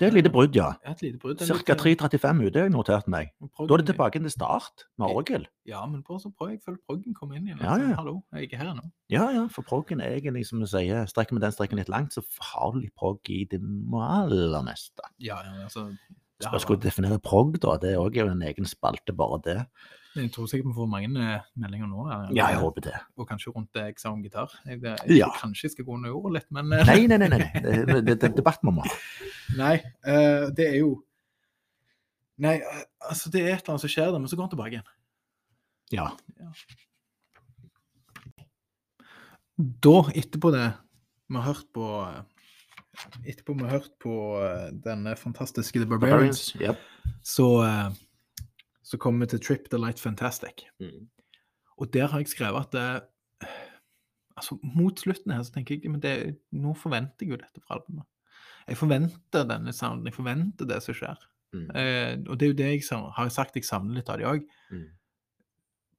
Speaker 1: Det er et lite brudd, ja.
Speaker 2: Jeg har Et lite brudd.
Speaker 1: Ca. 3.35 ute, har jeg notert meg. Da er det tilbake igjen til start med orgel.
Speaker 2: eh, Ja, men på, så prøver jeg å følge proggen komme inn igjen.
Speaker 1: Ja,
Speaker 2: altså.
Speaker 1: ja.
Speaker 2: Hallo, jeg er her nå.
Speaker 1: Ja, ja, for proggen er egentlig, som du sier, strekker vi den strekken litt langt, så har du litt prog i det aller meste.
Speaker 2: Ja, ja, altså. det har
Speaker 1: Spørs hvordan du definerer prog, da. Det er òg en egen spalte, bare det.
Speaker 2: vært- Jeg tror sikkert vi får mange eh, meldinger nå. her.
Speaker 1: Ja, jeg håper det.
Speaker 2: Og kanskje rundt eh, eksamen gitar. Jeg, jeg,
Speaker 1: Ja.
Speaker 2: Kanskje jeg skal gå under jorda litt, men eh,
Speaker 1: Nei, nei, nei. nei. nei. Det- Det det er debatt vi må ha.
Speaker 2: Nei, eh, det er jo Nei, eh, altså det er et eller annet som skjer der, men så går han tilbake igjen.
Speaker 1: Ja.
Speaker 2: Da, etterpå det vi har hørt på eh, Etterpå vi har hørt på eh, denne fantastiske The Barbarians,
Speaker 1: Barbarians. Yep.
Speaker 2: så, eh, så kommer vi til Trip the Light Fantastic.
Speaker 1: Mm.
Speaker 2: Og der har jeg skrevet at eh, altså Mot slutten her så tenker jeg men det, nå forventer jeg jo dette fra albumet. Jeg forventer denne sounden, jeg forventer det som skjer.
Speaker 1: Mm.
Speaker 2: Eh, og det er jo det jeg sam- har sagt jeg savner litt av de òg.
Speaker 1: Mm.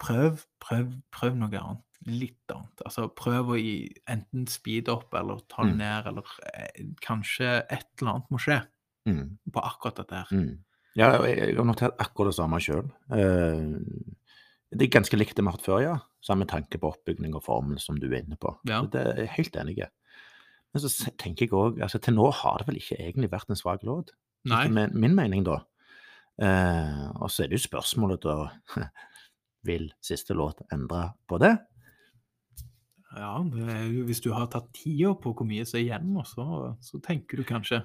Speaker 2: Prøv, prøv, prøv noe annet. Litt annet. Altså prøv å i, enten speede opp eller ta det
Speaker 1: Mm.
Speaker 2: ned, eller eh, kanskje et eller annet må skje
Speaker 1: Mm.
Speaker 2: på akkurat dette her.
Speaker 1: Mm. Ja, og jeg jeg har notert akkurat det samme sjøl. Det er ganske likt det vi har hatt før, ja. Samme tanke på oppbygning og formel som du er inne på.
Speaker 2: Ja.
Speaker 1: Så Det er jeg helt enig i. Men så se- tenker jeg òg altså, Til nå har det vel ikke egentlig vært en svak låt,
Speaker 2: Nei.
Speaker 1: etter min- min mening, da. Eh, og så er det jo spørsmålet, da Vil siste låt endre på det?
Speaker 2: Ja, det er jo, hvis du har tatt tida på hvor mye som er igjen, nå, så, så tenker du kanskje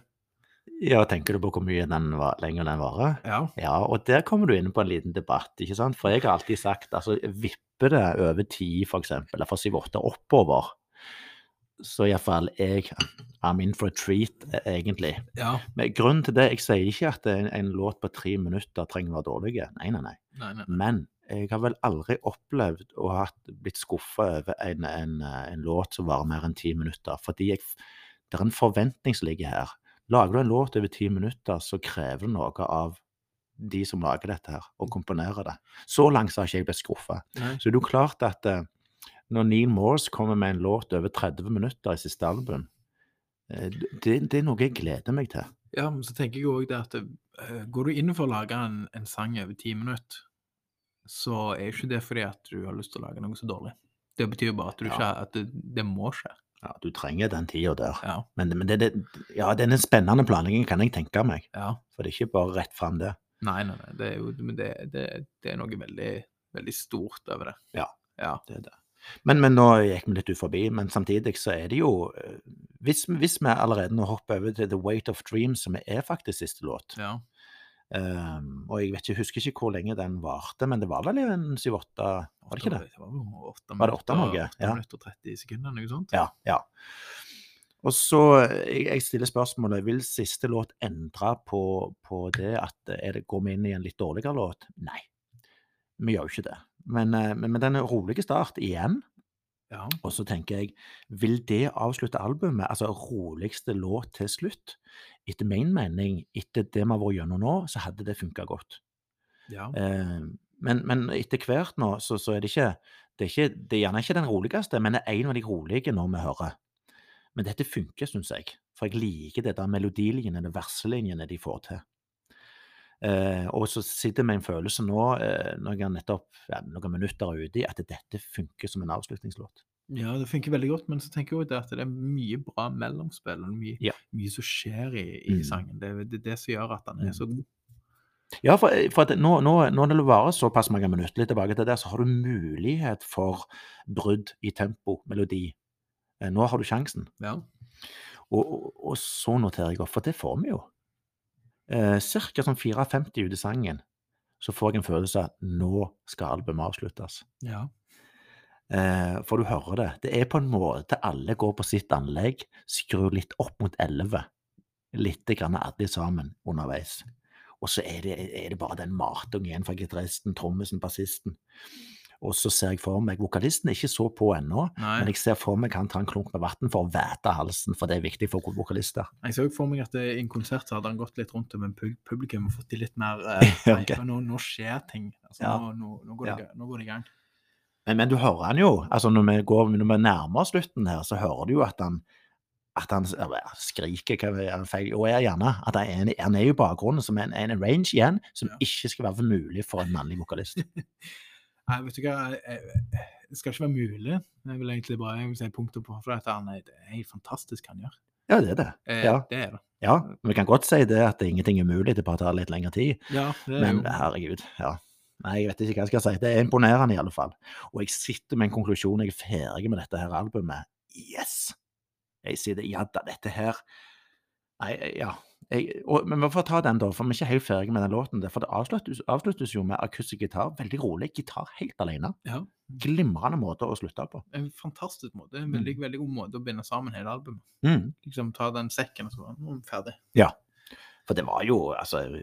Speaker 1: Ja, tenker du på hvor mye den var, lenger den varer?
Speaker 2: Ja,
Speaker 1: Ja, og der kommer du inn på en liten debatt, ikke sant? For jeg har alltid sagt, altså vipper det over 10 for eksempel, eller fra 7-8 oppover, så i hvert fall jeg, I'm in for a treat, eh, egentlig.
Speaker 2: ja.
Speaker 1: Men grunnen til det, jeg sier ikke at en, en låt på tre minutter trenger å være dårlig. Nei, nei, nei.
Speaker 2: Nei, nei.
Speaker 1: Men jeg har vel aldri opplevd å ha blitt skuffet over en, en, eh, en låt som varer mer enn ti minutter, fordi jeg, det er en forventning som ligger her. Lager du en låt over ti minutter, så krever det noe av de som lager dette her, og komponerer det. Så langt så har ikke jeg blitt skuffa.
Speaker 2: nei.
Speaker 1: Så det er jo klart at eh, når Neil Morse kommer med en låt over 30 minutter i siste album, eh, det, det er noe jeg gleder meg til.
Speaker 2: Ja, men så tenker jeg òg det at eh, Går du inn for å lage en, en sang over ti minutter, så er ikke det fordi at du har lyst til å lage noe så dårlig. Det betyr jo bare at, du
Speaker 1: Ja.
Speaker 2: ikke, at det, det må skje.
Speaker 1: Ja, du trenger den tida der.
Speaker 2: Ja.
Speaker 1: Men, men det, det, ja, det er en spennende planlegging, kan jeg tenke meg.
Speaker 2: ja.
Speaker 1: For det er ikke bare rett fram, det.
Speaker 2: Nei, nei, nei. Det er jo men det, det, det er noe veldig, veldig stort over det.
Speaker 1: det, er det. Men, men nå gikk vi litt ut forbi, men samtidig så er det jo eh, Hvis, hvis vi allerede nå hopper over til The Weight of Dreams, som er faktisk siste låt
Speaker 2: Ja.
Speaker 1: ehm, Og jeg vet ikke, husker ikke hvor lenge den varte, men det var vel en syv-åtte Var det ikke det?
Speaker 2: var jo åtte
Speaker 1: Var det åtte
Speaker 2: minutter-
Speaker 1: noe?
Speaker 2: åtte
Speaker 1: Ja.
Speaker 2: minutter og 30 sekunder, noe sånt?
Speaker 1: Ja. ja. Og så jeg, jeg stiller spørsmålet vil siste låt endre på, på det at eh, er det, går vi inn i en litt dårligere låt. Nei, vi gjør jo ikke det. Men, eh, men, men den rolige start igjen.
Speaker 2: Ja.
Speaker 1: Og så tenker jeg, vil det avslutte albumet? Altså roligste låt til slutt? Etter min mening, etter det vi har vært gjennom nå, så hadde det funka godt.
Speaker 2: ja.
Speaker 1: Eh, men, men etter hvert nå, så, så er det ikke det er, ikke, det er gjerne ikke den roligste, men det er en av de rolige når vi hører. Men dette funker, syns jeg. For jeg liker det der melodilinjene, de verselinjene de får til. Eh, og så sitter jeg med en følelse nå, eh, når jeg er nettopp ja, noen minutter ute, i, at dette funker som en avslutningslåt.
Speaker 2: Ja, det funker veldig godt, men så tenker jeg også det at det er mye bra mellomspill, og mye,
Speaker 1: Ja.
Speaker 2: mye som skjer i, i
Speaker 1: Mm.
Speaker 2: sangen. Det er det, er det som gjør at den er så god.
Speaker 1: Ja, for, eh, for at nå, nå, når det varer såpass mange minutter litt tilbake til der, så har du mulighet for brudd i tempo, melodi. Eh, Nå har du sjansen.
Speaker 2: Ja.
Speaker 1: Og, og, og så noterer jeg opp, for det får vi jo. Eh, cirka sånn 4.50 ut i sangen, så får jeg en følelse av at nå skal albumet avsluttes.
Speaker 2: ja.
Speaker 1: Eh, for du hører det. Det er på en måte alle går på sitt anlegg, skrur litt opp mot 11. Litt grann alle sammen underveis. Og så er det, er det bare den matungen igjen fra gitaristen, trommisen, bassisten. Og så ser jeg for meg Vokalisten er ikke så på ennå,
Speaker 2: Nei.
Speaker 1: men jeg ser for meg han tar en klunk med vann for å væte halsen, for det er viktig for vokalister.
Speaker 2: Jeg så jo for meg at eh, i en konsert så hadde han gått litt rundt med pub- publikum og fått de litt mer eh,
Speaker 1: Ja,
Speaker 2: nei,
Speaker 1: ok.
Speaker 2: nå, nå skjer ting. Altså,
Speaker 1: Ja.
Speaker 2: nå, nå, nå, går det, ga- nå går det i gang.
Speaker 1: Men, men du hører han jo. altså Når vi går når vi nærmer oss slutten her, så hører du jo at han at han s- eller, skriker hva er det feil, og er gjerne at han er, en- han er jo i bakgrunnen som en, en range igjen som
Speaker 2: Ja.
Speaker 1: ikke skal være mulig for en mannlig vokalist.
Speaker 2: Nei, vet du hva, jeg- jeg- det skal ikke være mulig. Jeg vil egentlig bare jeg vil si punktum på for at han er, det er helt fantastisk han gjør.
Speaker 1: Ja, det er det.
Speaker 2: Eh,
Speaker 1: Ja.
Speaker 2: Det er det.
Speaker 1: Ja, Vi kan godt si det at ingenting er mulig, det bare tar litt lengre tid.
Speaker 2: Ja, det er
Speaker 1: Men eh,
Speaker 2: Eh, jo.
Speaker 1: herregud, ja. Nei, jeg vet ikke hva jeg skal si. Det er imponerende i alle fall. Og jeg sitter med en konklusjon. Jeg er ferdig med dette her albumet. Yes! Jeg sier det. Ja da, dette her Nei, ja. Jeg, og, men vi får ta den, da, for vi er ikke helt ferdig med den låten. der, For det avsluttes, avsluttes jo med akustisk gitar. Veldig rolig. Gitar helt alene.
Speaker 2: Ja.
Speaker 1: Glimrende måte å slutte på.
Speaker 2: En fantastisk måte. En veldig, veldig god måte å binde sammen hele albumet.
Speaker 1: Mm.
Speaker 2: Liksom ta den sekken og så bare, nå er vi ferdig.
Speaker 1: For det var jo altså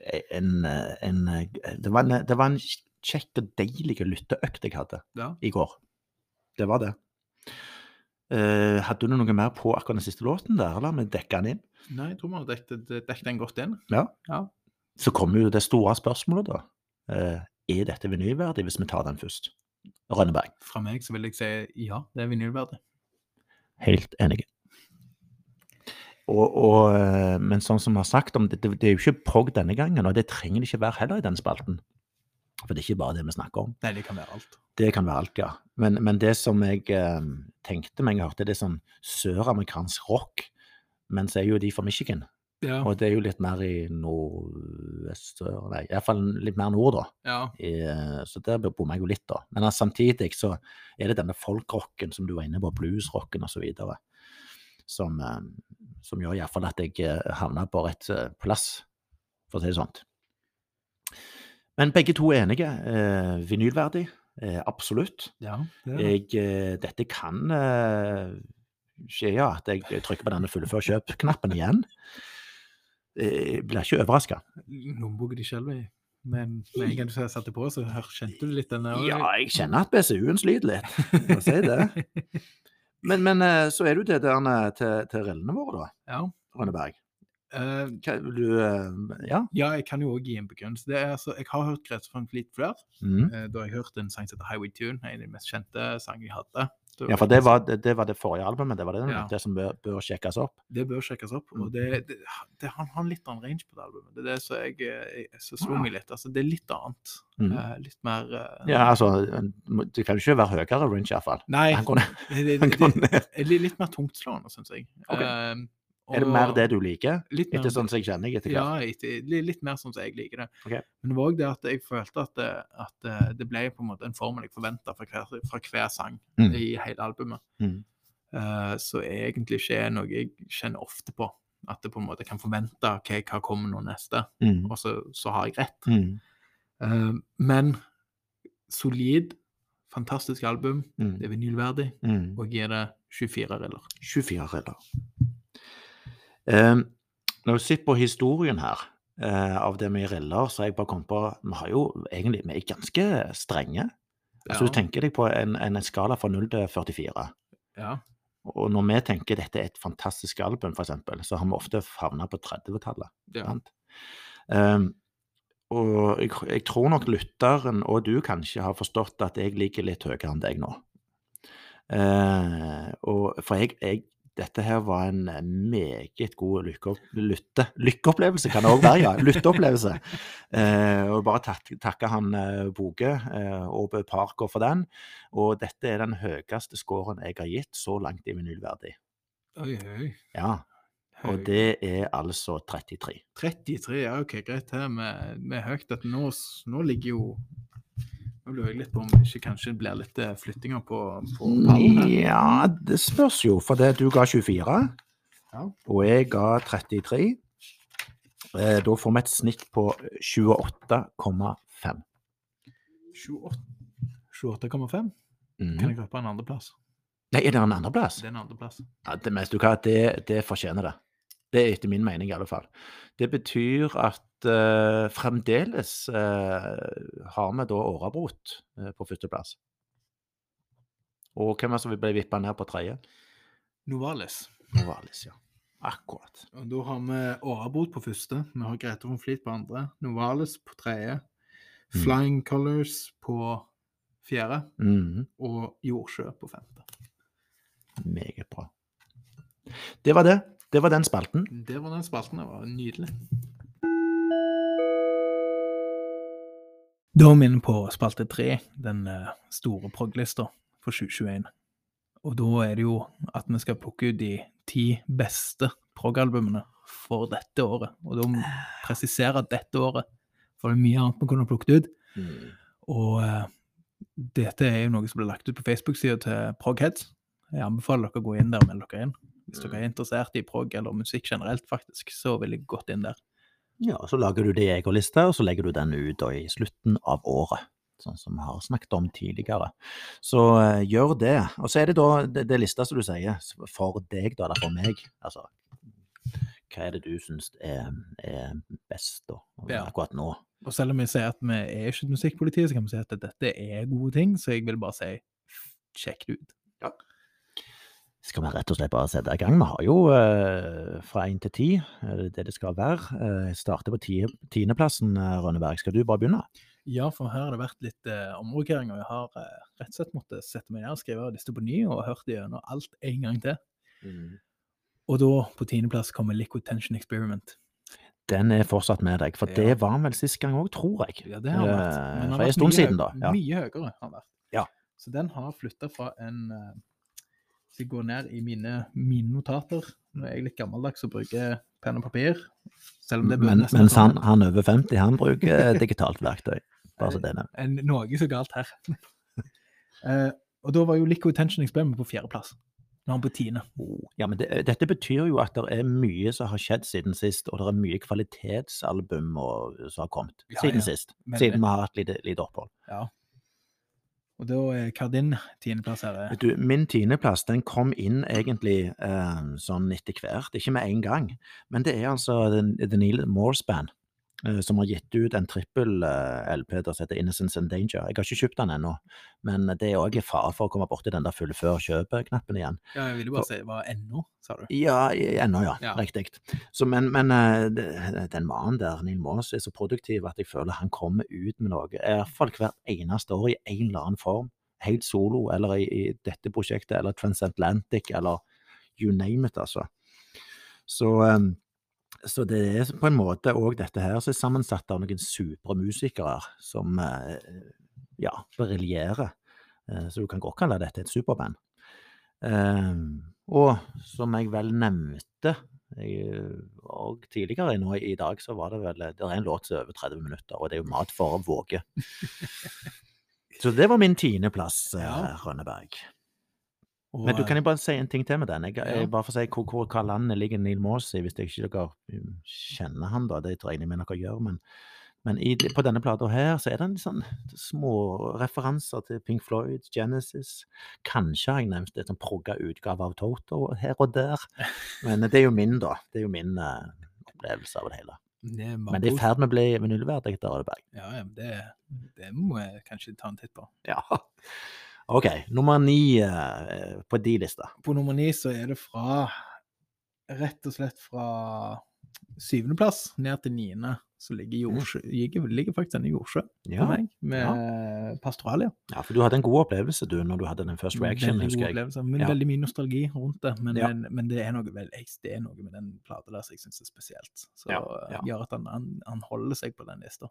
Speaker 1: eh, en, en, eh, det, var en, det var en kjekk og deilig lytteøkt jeg hadde
Speaker 2: Ja.
Speaker 1: i går. Det var det. Eh, hadde du noe mer på akkurat den siste låten der, eller? Vi dekka den inn.
Speaker 2: Nei, jeg tror vi har dekket dekket den godt inn.
Speaker 1: Så kommer jo det store spørsmålet, da. Eh, er dette vinylverdig, hvis vi tar den først? Rønneberg,
Speaker 2: Fra meg så vil jeg si ja, det er vinylverdig.
Speaker 1: helt enig. Og, og, eh, men sånn som vi har sagt, om det, det, det er jo ikke prog denne gangen, og det trenger det ikke være heller i den spalten. For det er ikke bare det vi snakker om.
Speaker 2: Nei, det kan være alt.
Speaker 1: Det kan være alt, ja. Men, men det som jeg eh, tenkte meg, jeg hørte, det er sånn søramerikansk rock. Men så er jo de fra Michigan,
Speaker 2: Ja.
Speaker 1: og det er jo litt mer i nordvest Nei, iallfall litt mer nord, da.
Speaker 2: ja.
Speaker 1: I, eh, så der bommer jeg jo litt, da. Men eh, samtidig så er det denne folkrocken som du var inne på, bluesrocken osv., som, eh, som gjør iallfall at jeg eh, havner på rett eh, plass, for å si det sånn. Men begge to er enige. Eh, vinylverdig. Eh, absolutt.
Speaker 2: ja det er det.
Speaker 1: Jeg, eh, dette kan eh, skje, ja, at jeg trykker på denne fullfør kjøp-knappen igjen. Eh, Jeg blir ikke overraska.
Speaker 2: lommeboka di selv i. Men med en gang du satte det på, så hør- kjente du litt den der
Speaker 1: Ja, jeg kjenner at BCU-en sliter litt, for å si det. Men, men eh, så er det jo det der eh, til, til rillene våre, da,
Speaker 2: Ja.
Speaker 1: Rønneberg.
Speaker 2: Eh,
Speaker 1: Hva, vil du, eh, ja.
Speaker 2: ja, jeg kan jo òg gi en begrunnelse. Det er, altså, jeg har hørt Grete van Fleet før.
Speaker 1: Mm.
Speaker 2: eh, da har jeg hørt en sang som heter Highway Tune, en av de mest kjente sangene jeg hadde. Da-
Speaker 1: ja, for det var det, det var det forrige albumet, det var det,
Speaker 2: Eh, altså Ja.
Speaker 1: det som bør, bør sjekkes opp.
Speaker 2: Det bør sjekkes opp.
Speaker 1: Mm.
Speaker 2: og det, det, det, Han har en litt annen range på det albumet. Det er det som jeg, eh, jeg som slo meg litt. altså Det er litt annet.
Speaker 1: Ah. Mm.
Speaker 2: Eh, litt mer eh,
Speaker 1: Ja, altså, det kan jo ikke være høyere range, iallfall.
Speaker 2: Nei,
Speaker 1: Han går ned.
Speaker 2: det, det,
Speaker 1: Han går
Speaker 2: det,
Speaker 1: ned.
Speaker 2: det er litt mer tungtslående, syns jeg.
Speaker 1: Ok.
Speaker 2: Eh,
Speaker 1: Er det
Speaker 2: og-
Speaker 1: mer det du liker?
Speaker 2: Litt mer
Speaker 1: Etter sånn som jeg kjenner jeg etter hvert.
Speaker 2: Ja, etter, li- litt mer sånn som jeg liker det.
Speaker 1: Ok.
Speaker 2: Men det var òg det at jeg følte at det, at eh, det ble på en måte en formel jeg forventa fra, hver- fra hver sang
Speaker 1: Mm.
Speaker 2: i hele albumet.
Speaker 1: Mm.
Speaker 2: Eh, så er egentlig ikke er noe jeg kjenner ofte på. At det på en måte kan forvente ok, hva kommer nå neste,
Speaker 1: Mm.
Speaker 2: og så, så har jeg rett.
Speaker 1: Mm.
Speaker 2: Eh, men solid, fantastisk album,
Speaker 1: Mm.
Speaker 2: det er vinylverdig,
Speaker 1: Mm.
Speaker 2: og jeg gir det 24 riller.
Speaker 1: 24 redder. Um, når du sitter på historien her eh, av det med riller, så har jeg bare kommet på Vi har jo egentlig vi er ganske strenge. Altså,
Speaker 2: Ja,
Speaker 1: Du tenker deg på en, en skala fra 0 til 44.
Speaker 2: ja.
Speaker 1: Og når vi tenker dette er et fantastisk album, f.eks., så har vi ofte havna på 30-tallet.
Speaker 2: ja.
Speaker 1: sant? Um, og jeg, jeg tror nok lytteren og du kanskje har forstått at jeg ligger litt høyere enn deg nå. Eh, og, for jeg, jeg, dette her var en meget god lykkeopp, lytte, lykkeopplevelse, kan det òg være. ja, Lytteopplevelse. Eh, og bare tak, takke han eh, Boge eh, og Bø Parker for den. Og dette er den høyeste scoren jeg har gitt så langt i vinylverdi.
Speaker 2: Oi, oi.
Speaker 1: Ja, og det er altså 33.
Speaker 2: 33, ja ok, greit. Her med, med høyt at nå, s- nå ligger jo Nå lurer jeg litt på om det ikke kanskje blir litt eh, flyttinger på, på pallen her.
Speaker 1: Ja, det spørs jo, for det, du ga 24,
Speaker 2: Ja.
Speaker 1: og jeg ga 33. Eh, Da får vi et snitt på 28,5.
Speaker 2: 28 28,5? Kan
Speaker 1: Mhm.
Speaker 2: jeg røpe en andreplass?
Speaker 1: Nei, er det en andreplass?
Speaker 2: Det er en andreplass.
Speaker 1: Ja, det, men vet du hva, det, det fortjener det. Det er etter min mening i alle fall. Det betyr at eh, fremdeles eh, har vi da Årabrot eh, på førsteplass. Og hvem er det som vil bli vippa ned på tredje?
Speaker 2: Novalis.
Speaker 1: Novalis, ja. Akkurat.
Speaker 2: Og da har vi Årabot på første. Vi har Grete von Flit på andre. Novalis på tredje.
Speaker 1: Mm.
Speaker 2: Flying Colors på fjerde.
Speaker 1: Mhm.
Speaker 2: Og Jordsjø på femte.
Speaker 1: Meget bra. Det var det. Det var den spalten.
Speaker 2: Det var den spalten. Det var nydelig. Da er vi inne på spalte tre, den eh, store prog-lista for 2021. Og da er det jo at vi skal plukke ut de ti beste prog-albumene for dette året. Og da må vi presisere at dette året, for det er mye annet vi kunne plukket ut.
Speaker 1: Mm.
Speaker 2: Og eh, dette er jo noe som ble lagt ut på Facebook-sida til Progheads. Jeg anbefaler dere å gå inn der og melde dere inn. Hvis dere er interessert i prog eller musikk generelt, faktisk, så ville jeg gått inn der.
Speaker 1: Ja, så lager du det i egen liste, og så legger du den ut da, i slutten av året. Sånn som vi har snakket om tidligere. Så eh, gjør det. Og så er det da det, det lista som du sier, s- for deg da, eller for meg. Altså, hva er det du syns er, er best da,
Speaker 2: Ja.
Speaker 1: akkurat nå?
Speaker 2: Og selv om jeg sier at vi er ikke et musikkpoliti, så kan vi si at dette er gode ting, så jeg vil bare si sjekk det ut.
Speaker 1: Skal vi rett og slett bare sette i gang? Vi har jo eh, fra én til ti eh, det det skal være. Eh, starter på ti- tiendeplassen, eh, Rønneberg. Skal du bare begynne?
Speaker 2: Ja, for her har det vært litt eh, omrokering, og jeg har eh, rett og slett måttet sette meg ned og skrive liste på ny, og hørt gjennom alt en gang til. Mm. Og da, på tiendeplass, kommer Liquid Tension Experiment.
Speaker 1: Den er fortsatt med deg, for
Speaker 2: Ja.
Speaker 1: det var den vel sist gang òg, tror jeg.
Speaker 2: Ja, det har den vært.
Speaker 1: Eh,
Speaker 2: Men den har
Speaker 1: for en
Speaker 2: vært
Speaker 1: stund
Speaker 2: mye
Speaker 1: siden,
Speaker 2: høy-
Speaker 1: da, ja.
Speaker 2: Mye høyere har den vært.
Speaker 1: Ja.
Speaker 2: Så den har flytta fra en eh, Hvis jeg går ned i mine, mine notater Nå er jeg litt gammeldags og bruker penn og papir. Selv om det burde
Speaker 1: Men,
Speaker 2: nesten sånn.
Speaker 1: mens
Speaker 2: være
Speaker 1: han, han over 50, han bruker digitalt verktøy. Bare så det er nevnt.
Speaker 2: en, noe så galt her. Eh, og da var jo Liquid Tension Experiment på fjerdeplass. Nå er han på tiende.
Speaker 1: Ja, men det, dette betyr jo at det er mye som har skjedd siden sist, og det er mye kvalitetsalbum og, som har kommet
Speaker 2: Ja,
Speaker 1: siden
Speaker 2: ja.
Speaker 1: sist.
Speaker 2: Men-
Speaker 1: siden vi har hatt lite, lite opphold.
Speaker 2: Og da er Cardin tiendeplass her. eh.
Speaker 1: Vet Du, min tiendeplass den kom inn egentlig eh, sånn etter hvert, ikke med en gang. Men det er altså den- The Neil Morse Band eh, som har gitt ut en trippel eh, LP der som heter Innocence and Danger. Jeg har ikke kjøpt den ennå, men det er òg fare for å komme borti den der full før kjøpet-knappen igjen.
Speaker 2: Ja, jeg ville bare si hva ennå, sa du.
Speaker 1: Ja, i- ennå, ja.
Speaker 2: Ja.
Speaker 1: Riktig. Så, men men eh, det- den mannen der, Neil Maas, er så produktiv at jeg føler han kommer ut med noe. I hvert fall hvert eneste år i en eller annen form. Helt solo, eller i, i dette prosjektet, eller Transatlantic, eller you name it, altså. Så, eh, så det er på en måte òg dette her som er sammensatt av noen supre musikere som eh, ja, briljerer. Eh, Så du kan godt kalle dette et superband. Eh, og som jeg vel nevnte jeg, eh, og tidligere nå i dag, så var det vel Det er en låt som er over 30 minutter, og det er jo mat for å våge. Så det var min tiendeplass, eh,
Speaker 2: Ja.
Speaker 1: Rønneberg.
Speaker 2: Og,
Speaker 1: Men du kan
Speaker 2: eh,
Speaker 1: jo bare si en ting til med den. Jeg,
Speaker 2: Ja.
Speaker 1: jeg bare for å si hvor, hvor hva landet ligger Neil Morse i, hvis det ikke dere um, kjenner han da. Det regner jeg med dere gjør. Men, men i, på denne plata her så er det en sånn små referanser til Pink Floyd, Genesis. Kanskje har jeg nevnt en sånn progga utgave av Toto her og der. Men det er jo min, da. Det er jo min eh, opplevelse av det hele.
Speaker 2: det er
Speaker 1: Men det er i
Speaker 2: Mabos.
Speaker 1: ferd med å bli nullverdig, da, Rødeberg.
Speaker 2: Ja, ja, men det, det må jeg kanskje ta en titt på.
Speaker 1: Ja. OK. Nummer ni eh, på de lista.
Speaker 2: På nummer ni så er det fra rett og slett fra syvendeplass ned til niende, så ligger, jordsjø, ligger, ligger faktisk denne jordsjø for meg, med Pastoralia.
Speaker 1: Ja, for du hadde en god opplevelse du, når du hadde den first reaction,
Speaker 2: Mm, veldig god
Speaker 1: husker jeg.
Speaker 2: opplevelse, men
Speaker 1: Ja.
Speaker 2: veldig mye nostalgi rundt det. Men,
Speaker 1: Ja.
Speaker 2: men, men det, er noe, vel- jeg- det er noe med den plata der som jeg syns er spesielt, som
Speaker 1: Ja, ja.
Speaker 2: gjør at han, han, han holder seg på den lista.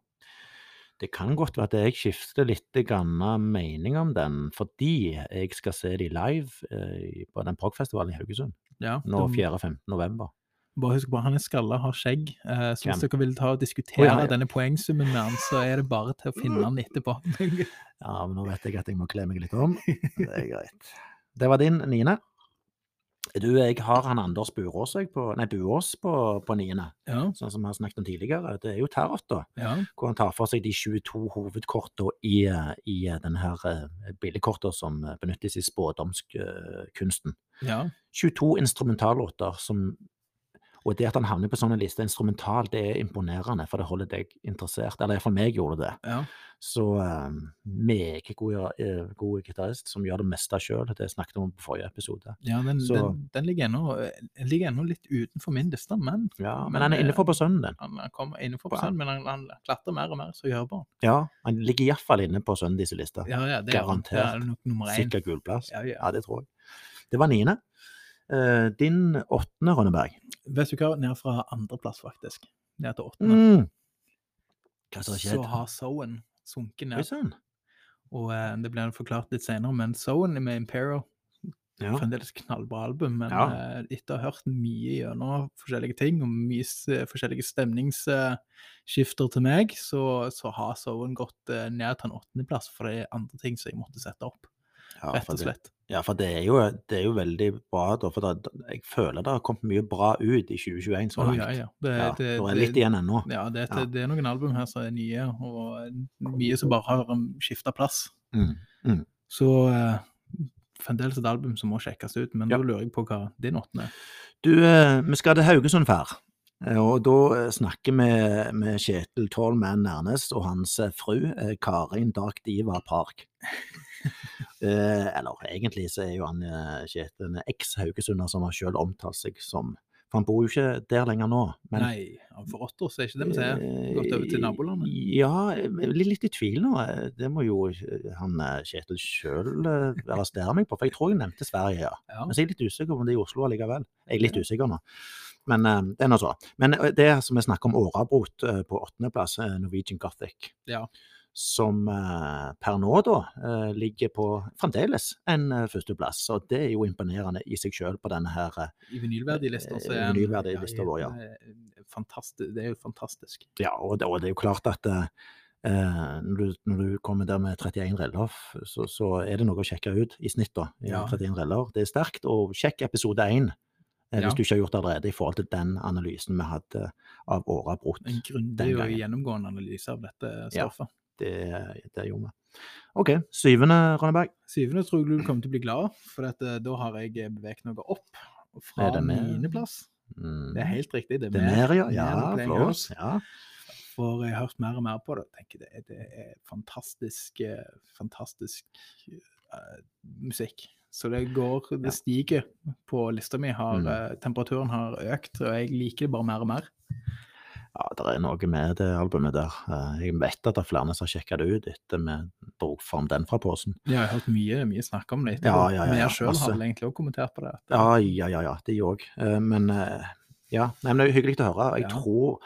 Speaker 1: Det kan godt være at jeg skifter litt grann mening om den, fordi jeg skal se de live eh, på den progfestivalen i Haugesund
Speaker 2: Ja,
Speaker 1: nå
Speaker 2: da-
Speaker 1: 4.-15. november.
Speaker 2: Bare husk på, han er skalla, har skjegg. Eh, så hvis
Speaker 1: Hvem?
Speaker 2: dere vil ta og diskutere
Speaker 1: Å, ja, ja.
Speaker 2: denne poengsummen med han, så er det bare til å finne han etterpå.
Speaker 1: Ja, men nå vet jeg at jeg må kle meg litt om. Det er greit. Det var din, Nine. Du, jeg har han Anders Burås jeg, på, nei, Buås på, på niende,
Speaker 2: ja,
Speaker 1: sånn som vi har snakket om tidligere. Det er jo Tarot, da.
Speaker 2: ja.
Speaker 1: hvor han tar for seg de 22 hovedkortene i, eh, i denne bildekortene som eh, benyttes i eh, spådomskunsten.
Speaker 2: ja.
Speaker 1: 22 instrumentallåter som Og det at han havner på sånne lister instrumental, det er imponerende, for det holder deg interessert. Eller for meg gjorde det det.
Speaker 2: ja.
Speaker 1: Så eh, meget god, eh, god gitarist som gjør det meste sjøl. Det snakket vi om på forrige episode.
Speaker 2: ja den,
Speaker 1: Så-
Speaker 2: den, den ligger ennå den ligger ennå litt utenfor min liste, men
Speaker 1: Ja,
Speaker 2: Men,
Speaker 1: men han
Speaker 2: eh,
Speaker 1: er innenfor på sønnen din.
Speaker 2: han han kommer innenfor
Speaker 1: Bra.
Speaker 2: på sønn, men han, han klatrer mer og mer, så gjør bare
Speaker 1: Ja, han ligger iallfall inne på sønnen disse lista.
Speaker 2: Ja, ja, det er, det er
Speaker 1: Garantert.
Speaker 2: nok nummer én.
Speaker 1: Sikker gul plass.
Speaker 2: Ja, ja.
Speaker 1: Ja, det tror jeg. Det var niende. Eh, din åttende, Rønneberg.
Speaker 2: Vet du hva, ned fra andreplass, faktisk. Ned til åttende.
Speaker 1: Mm. Hva som har
Speaker 2: så
Speaker 1: skjedd?
Speaker 2: har Sowen
Speaker 1: Oi
Speaker 2: sunket ned.
Speaker 1: sann.
Speaker 2: Og eh, det blir forklart litt senere, men Sowen med Impero
Speaker 1: Ja.
Speaker 2: fremdeles knallbra album, men
Speaker 1: Ja.
Speaker 2: eh, etter å ha hørt mye gjennom forskjellige ting og mye s- forskjellige stemningsskifter til meg, så, så har Sowen gått eh, ned til en åttendeplass, for det er andre ting som jeg måtte sette opp,
Speaker 1: Ja,
Speaker 2: rett
Speaker 1: for
Speaker 2: og
Speaker 1: det-
Speaker 2: slett.
Speaker 1: Ja, for det er jo, det er jo veldig bra, da, for da, jeg føler det har kommet mye bra ut i 2021 så
Speaker 2: Å,
Speaker 1: langt.
Speaker 2: ja, ja. Det,
Speaker 1: Ja,
Speaker 2: det,
Speaker 1: det er
Speaker 2: det,
Speaker 1: litt igjen ennå.
Speaker 2: ja, det, er-
Speaker 1: Ja.
Speaker 2: det er noen album her som er nye, og eh, mye som bare har skifta plass.
Speaker 1: Mm.
Speaker 2: Så eh, fremdeles et album som må sjekkes ut, men
Speaker 1: Ja.
Speaker 2: da lurer jeg på hva din åttende er.
Speaker 1: Du, eh, vi skal til Haugesund fær. Eh, Og da eh, snakker vi med Kjetil Tallman Nærnes og hans eh, fru eh, Karin Dark Diva Park. Eh, Eller egentlig så er jo han eh, Kjetil en eks-haugesunder som har selv omtalt seg som For han bor jo ikke der lenger nå. men- Eh,
Speaker 2: Nei, for åtte år så er ikke det vi ser. Gått over til nabolandet?
Speaker 1: Ja, jeg blir litt i tvil nå. Eh, Det må jo han eh, Kjetil sjøl arrestere meg på, for jeg tror jeg nevnte Sverige, ja.
Speaker 2: Ja.
Speaker 1: Men så er Altså, jeg litt usikker på om det er i Oslo allikevel. Jeg er litt usikker nå. Men eh, det er nå så. Men eh, det som vi snakker om Årabrot eh, på åttendeplass, eh, Norwegian Gothic,
Speaker 2: Ja.
Speaker 1: som eh, per nå da eh, ligger på fremdeles en eh, førsteplass. Og det er jo imponerende i seg sjøl på denne her eh,
Speaker 2: I vinylverdilista
Speaker 1: I
Speaker 2: så er mm, han-
Speaker 1: vinylverdilista vår, ja.
Speaker 2: eh, fantasti- det er jo fantastisk.
Speaker 1: Ja, og det, og det er jo klart at eh, eh, når, du, når du kommer der med 31 reller, så, så er det noe å sjekke ut i snitt. da, i
Speaker 2: Ja.
Speaker 1: 31 reller. Det er sterkt. Og sjekk episode 1 eh,
Speaker 2: Ja.
Speaker 1: hvis du ikke har gjort det allerede, i forhold til den analysen vi hadde av Åra Brot.
Speaker 2: En grundig
Speaker 1: Den
Speaker 2: og
Speaker 1: gangen.
Speaker 2: gjennomgående analyse av dette
Speaker 1: Ja.
Speaker 2: stoffet.
Speaker 1: Det, det gjorde vi. OK. Syvende, Rønneberg.
Speaker 2: Syvende tror jeg du kommer til å bli glad, for at, eh, da har jeg beveget noe opp
Speaker 1: Er
Speaker 2: fra
Speaker 1: det med?
Speaker 2: niendeplass.
Speaker 1: Mm.
Speaker 2: Det er helt riktig, det er
Speaker 1: Det er mer, ja.
Speaker 2: mer
Speaker 1: Ja,
Speaker 2: enn Playing
Speaker 1: flott.
Speaker 2: House.
Speaker 1: Ja.
Speaker 2: For jeg har hørt mer og mer på det. og tenker Det, er- det er fantastisk, eh, fantastisk eh, musikk. Så det går,
Speaker 1: Ja.
Speaker 2: det stiger på lista mi. Har,
Speaker 1: Mm.
Speaker 2: eh, Temperaturen har økt, og jeg liker det bare mer og mer.
Speaker 1: Ja, det er noe med det albumet der. Eh, Jeg vet at det er flere som har sjekka det ut etter vi dro fram den fra posen.
Speaker 2: Jeg har hørt mye, mye snakk om det etterpå.
Speaker 1: Ja, ja, ja,
Speaker 2: Men
Speaker 1: ja,
Speaker 2: jeg sjøl
Speaker 1: masse.
Speaker 2: har vel egentlig òg kommentert på det. at-
Speaker 1: Ja, ja, ja, ja de òg. Men eh, ja, nei, men det er jo hyggelig å høre. Jeg
Speaker 2: Ja.
Speaker 1: tror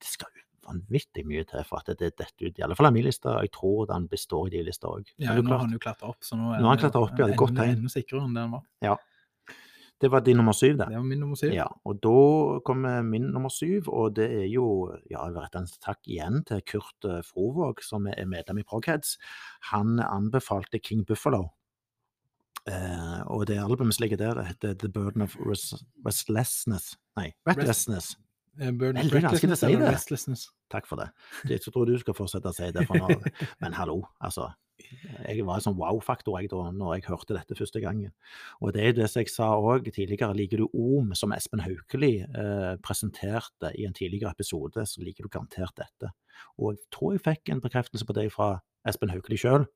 Speaker 1: det skal jo vanvittig mye til for at det detter ut. I alle fall av min liste. Jeg tror den består i de lista òg.
Speaker 2: Ja, nå har han jo klatra opp, så nå
Speaker 1: Nå har han
Speaker 2: det jo
Speaker 1: klatret opp, ja, det er
Speaker 2: enda-
Speaker 1: godt tegn.
Speaker 2: Enda sikrere enn det han var.
Speaker 1: Det var din nummer syv, det.
Speaker 2: Det var min nummer syv.
Speaker 1: Ja, og da kommer min nummer syv, og det er jo ja, jeg vil rette en takk igjen til Kurt eh, Frovåg, som er medlem i Progheads. Han anbefalte King Buffalo. Eh, og det albumet som ligger der, heter The Burden of Res Restlessness. Nei, Restlessness.
Speaker 2: Eh, Burden
Speaker 1: Veldig vanskelig å
Speaker 2: Recklessness
Speaker 1: si
Speaker 2: eller
Speaker 1: det.
Speaker 2: Restlessness.
Speaker 1: Takk for det. Jeg tror du skal fortsette å si det. For nå. Men hallo, altså. Jeg var en sånn wow-faktor jeg da når jeg hørte dette første gangen. Og det er det som jeg sa òg tidligere, liker du Om, som Espen Haukeli eh, presenterte i en tidligere episode, så liker du garantert dette. Og jeg tror jeg fikk en bekreftelse på det fra Espen Haukeli sjøl.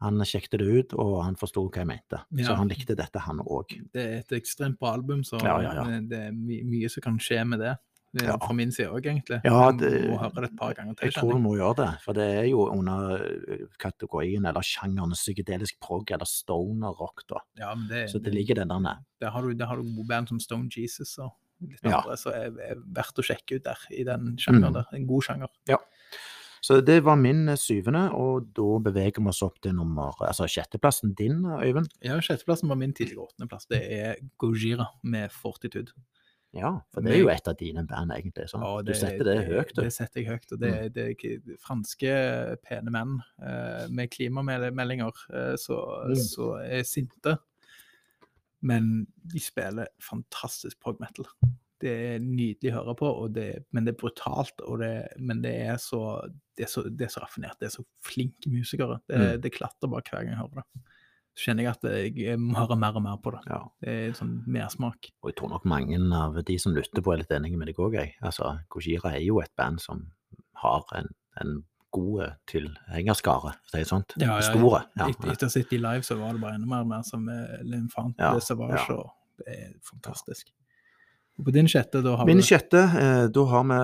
Speaker 1: Han sjekket det ut, og han forsto hva jeg mente.
Speaker 2: Ja.
Speaker 1: Så han likte dette, han òg.
Speaker 2: Det er et ekstremt bra album, så
Speaker 1: Ja, ja, ja.
Speaker 2: eh, det er my mye som kan skje med det. Eh,
Speaker 1: Ja.
Speaker 2: Fra min side òg, egentlig.
Speaker 1: Ja,
Speaker 2: Jeg
Speaker 1: det-
Speaker 2: Må høre det et par ganger til.
Speaker 1: Jeg tror
Speaker 2: kjenner
Speaker 1: du må gjøre det, for det er jo under eh, kategorien eller sjangeren psykedelisk prog eller stoner rock, da.
Speaker 2: jeg. Ja, men det,
Speaker 1: Så det ligger den der nede.
Speaker 2: der har du, der har du gode band som Stone Jesus og litt
Speaker 1: Ja.
Speaker 2: andre, så er, er verdt å sjekke ut der, i den sjangeren
Speaker 1: Mm.
Speaker 2: der. En god sjanger.
Speaker 1: Så det var min eh, syvende, og da beveger vi oss opp til nummer Altså sjetteplassen din, Øyvind.
Speaker 2: Ja, sjetteplassen var min tidligere åttendeplass. Det er Gojira med Fortitude.
Speaker 1: Ja, for det er jo et av dine band, egentlig. sant?
Speaker 2: Ja,
Speaker 1: Ah, du setter det høyt,
Speaker 2: Det
Speaker 1: du. Mm.
Speaker 2: setter jeg høyt. og Det, det er ikke- franske pene menn eh, med klimameldinger eh, så,
Speaker 1: Mm.
Speaker 2: så er sinte. Men de spiller fantastisk prog metal. Det er nydelig å høre på, og det, men det er brutalt. Og det, men det er, så, det, er så, det er så raffinert. Det er så flinke musikere. Det,
Speaker 1: Mm.
Speaker 2: det klatrer bare hver gang jeg hører det. Så kjenner jeg at jeg må høre mer og mer på det.
Speaker 1: Ja,
Speaker 2: Det er sånn mersmak.
Speaker 1: og jeg tror nok mange av de som lytter på, er litt enige med deg òg, jeg. Altså, Gojira er jo et band som har en, en god tilhengerskare, for å si det sånn. Store. Ja,
Speaker 2: Et, etter å ha sett de live, så var det bare enda mer, mer som eh, Lynn Fant,
Speaker 1: Ja,
Speaker 2: Savage,
Speaker 1: ja.
Speaker 2: og det er fantastisk. På din sjette, da har
Speaker 1: Min
Speaker 2: du
Speaker 1: sjette, eh, da har vi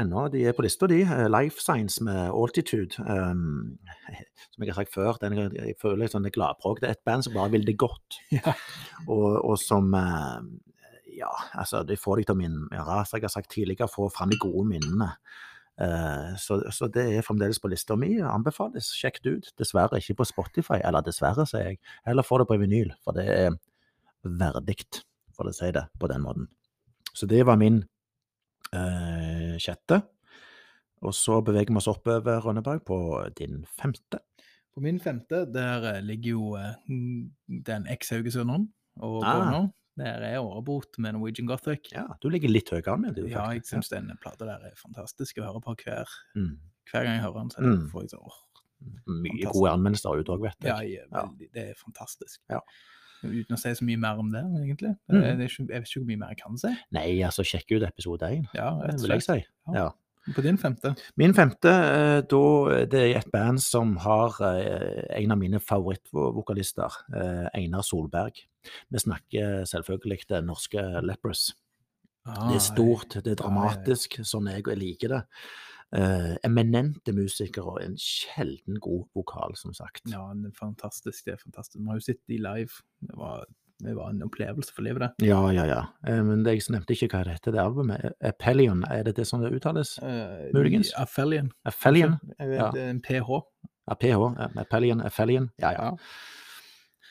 Speaker 1: ennå, de er på lista de, eh, Life Science med Altitude. Um, som jeg har sagt før, den, jeg føler litt sånn gladpråk. Det er et band som bare vil det godt.
Speaker 2: Ja.
Speaker 1: Og, og som eh, Ja, altså, det får deg til å minne, som jeg har sagt tidligere, få fram de gode minnene. Eh, Så, så det er fremdeles på lista mi. Anbefales. Sjekk det ut. Dessverre ikke på Spotify, eller dessverre, sier jeg. Heller få det på vinyl, for det er verdig, for å si det på den måten. Så det var min eh, sjette. Og så beveger vi oss oppover, Rønneberg, på din femte.
Speaker 2: På min femte, der eh, ligger jo eh, den eks-haugesunderen og
Speaker 1: Ah.
Speaker 2: Bonner. Der er Årebot med Norwegian Gothic.
Speaker 1: Ja, du ligger litt høyere an med det, du,
Speaker 2: Ja, jeg
Speaker 1: faktisk.
Speaker 2: syns den plata der er fantastisk å høre på hver,
Speaker 1: Mm.
Speaker 2: hver gang jeg hører den. Så
Speaker 1: Mm.
Speaker 2: får jeg så, åh,
Speaker 1: Mye
Speaker 2: Fantastisk.
Speaker 1: gode anmeldelser ute òg, vet
Speaker 2: ja,
Speaker 1: jeg.
Speaker 2: jeg er
Speaker 1: Ja.
Speaker 2: veldig, det er fantastisk.
Speaker 1: Ja.
Speaker 2: Uten å si så mye mer om det, egentlig. Eh,
Speaker 1: Mm.
Speaker 2: Det er ikke, jeg vet ikke hvor mye mer jeg kan si.
Speaker 1: Nei, altså, sjekk ut episode én,
Speaker 2: Ja, rett og
Speaker 1: vil jeg
Speaker 2: slett.
Speaker 1: si.
Speaker 2: Ja.
Speaker 1: Ja.
Speaker 2: På din femte.
Speaker 1: Min femte, eh, da det er et band som har eh, en av mine favorittvokalister, eh, Einar Solberg. Vi snakker selvfølgelig det norske Lepros. Det
Speaker 2: Ah,
Speaker 1: er stort, det er dramatisk, sånn jeg liker det. Eh, eminente musikere og en sjelden god vokal, som sagt.
Speaker 2: Ja, det er fantastisk. Det er fantastisk. Vi har jo sett de live. Det var, det var en opplevelse for livet, det.
Speaker 1: Ja, ja, ja. Eh, men det, jeg nevnte ikke hva det heter, det albumet. Appellion, er det det som det uttales?
Speaker 2: Eh,
Speaker 1: Muligens.
Speaker 2: Aphelion.
Speaker 1: Appellion?
Speaker 2: Jeg vet,
Speaker 1: Ja.
Speaker 2: det er En PH.
Speaker 1: APH? eh, Appellion, Appellion? Ja, ja.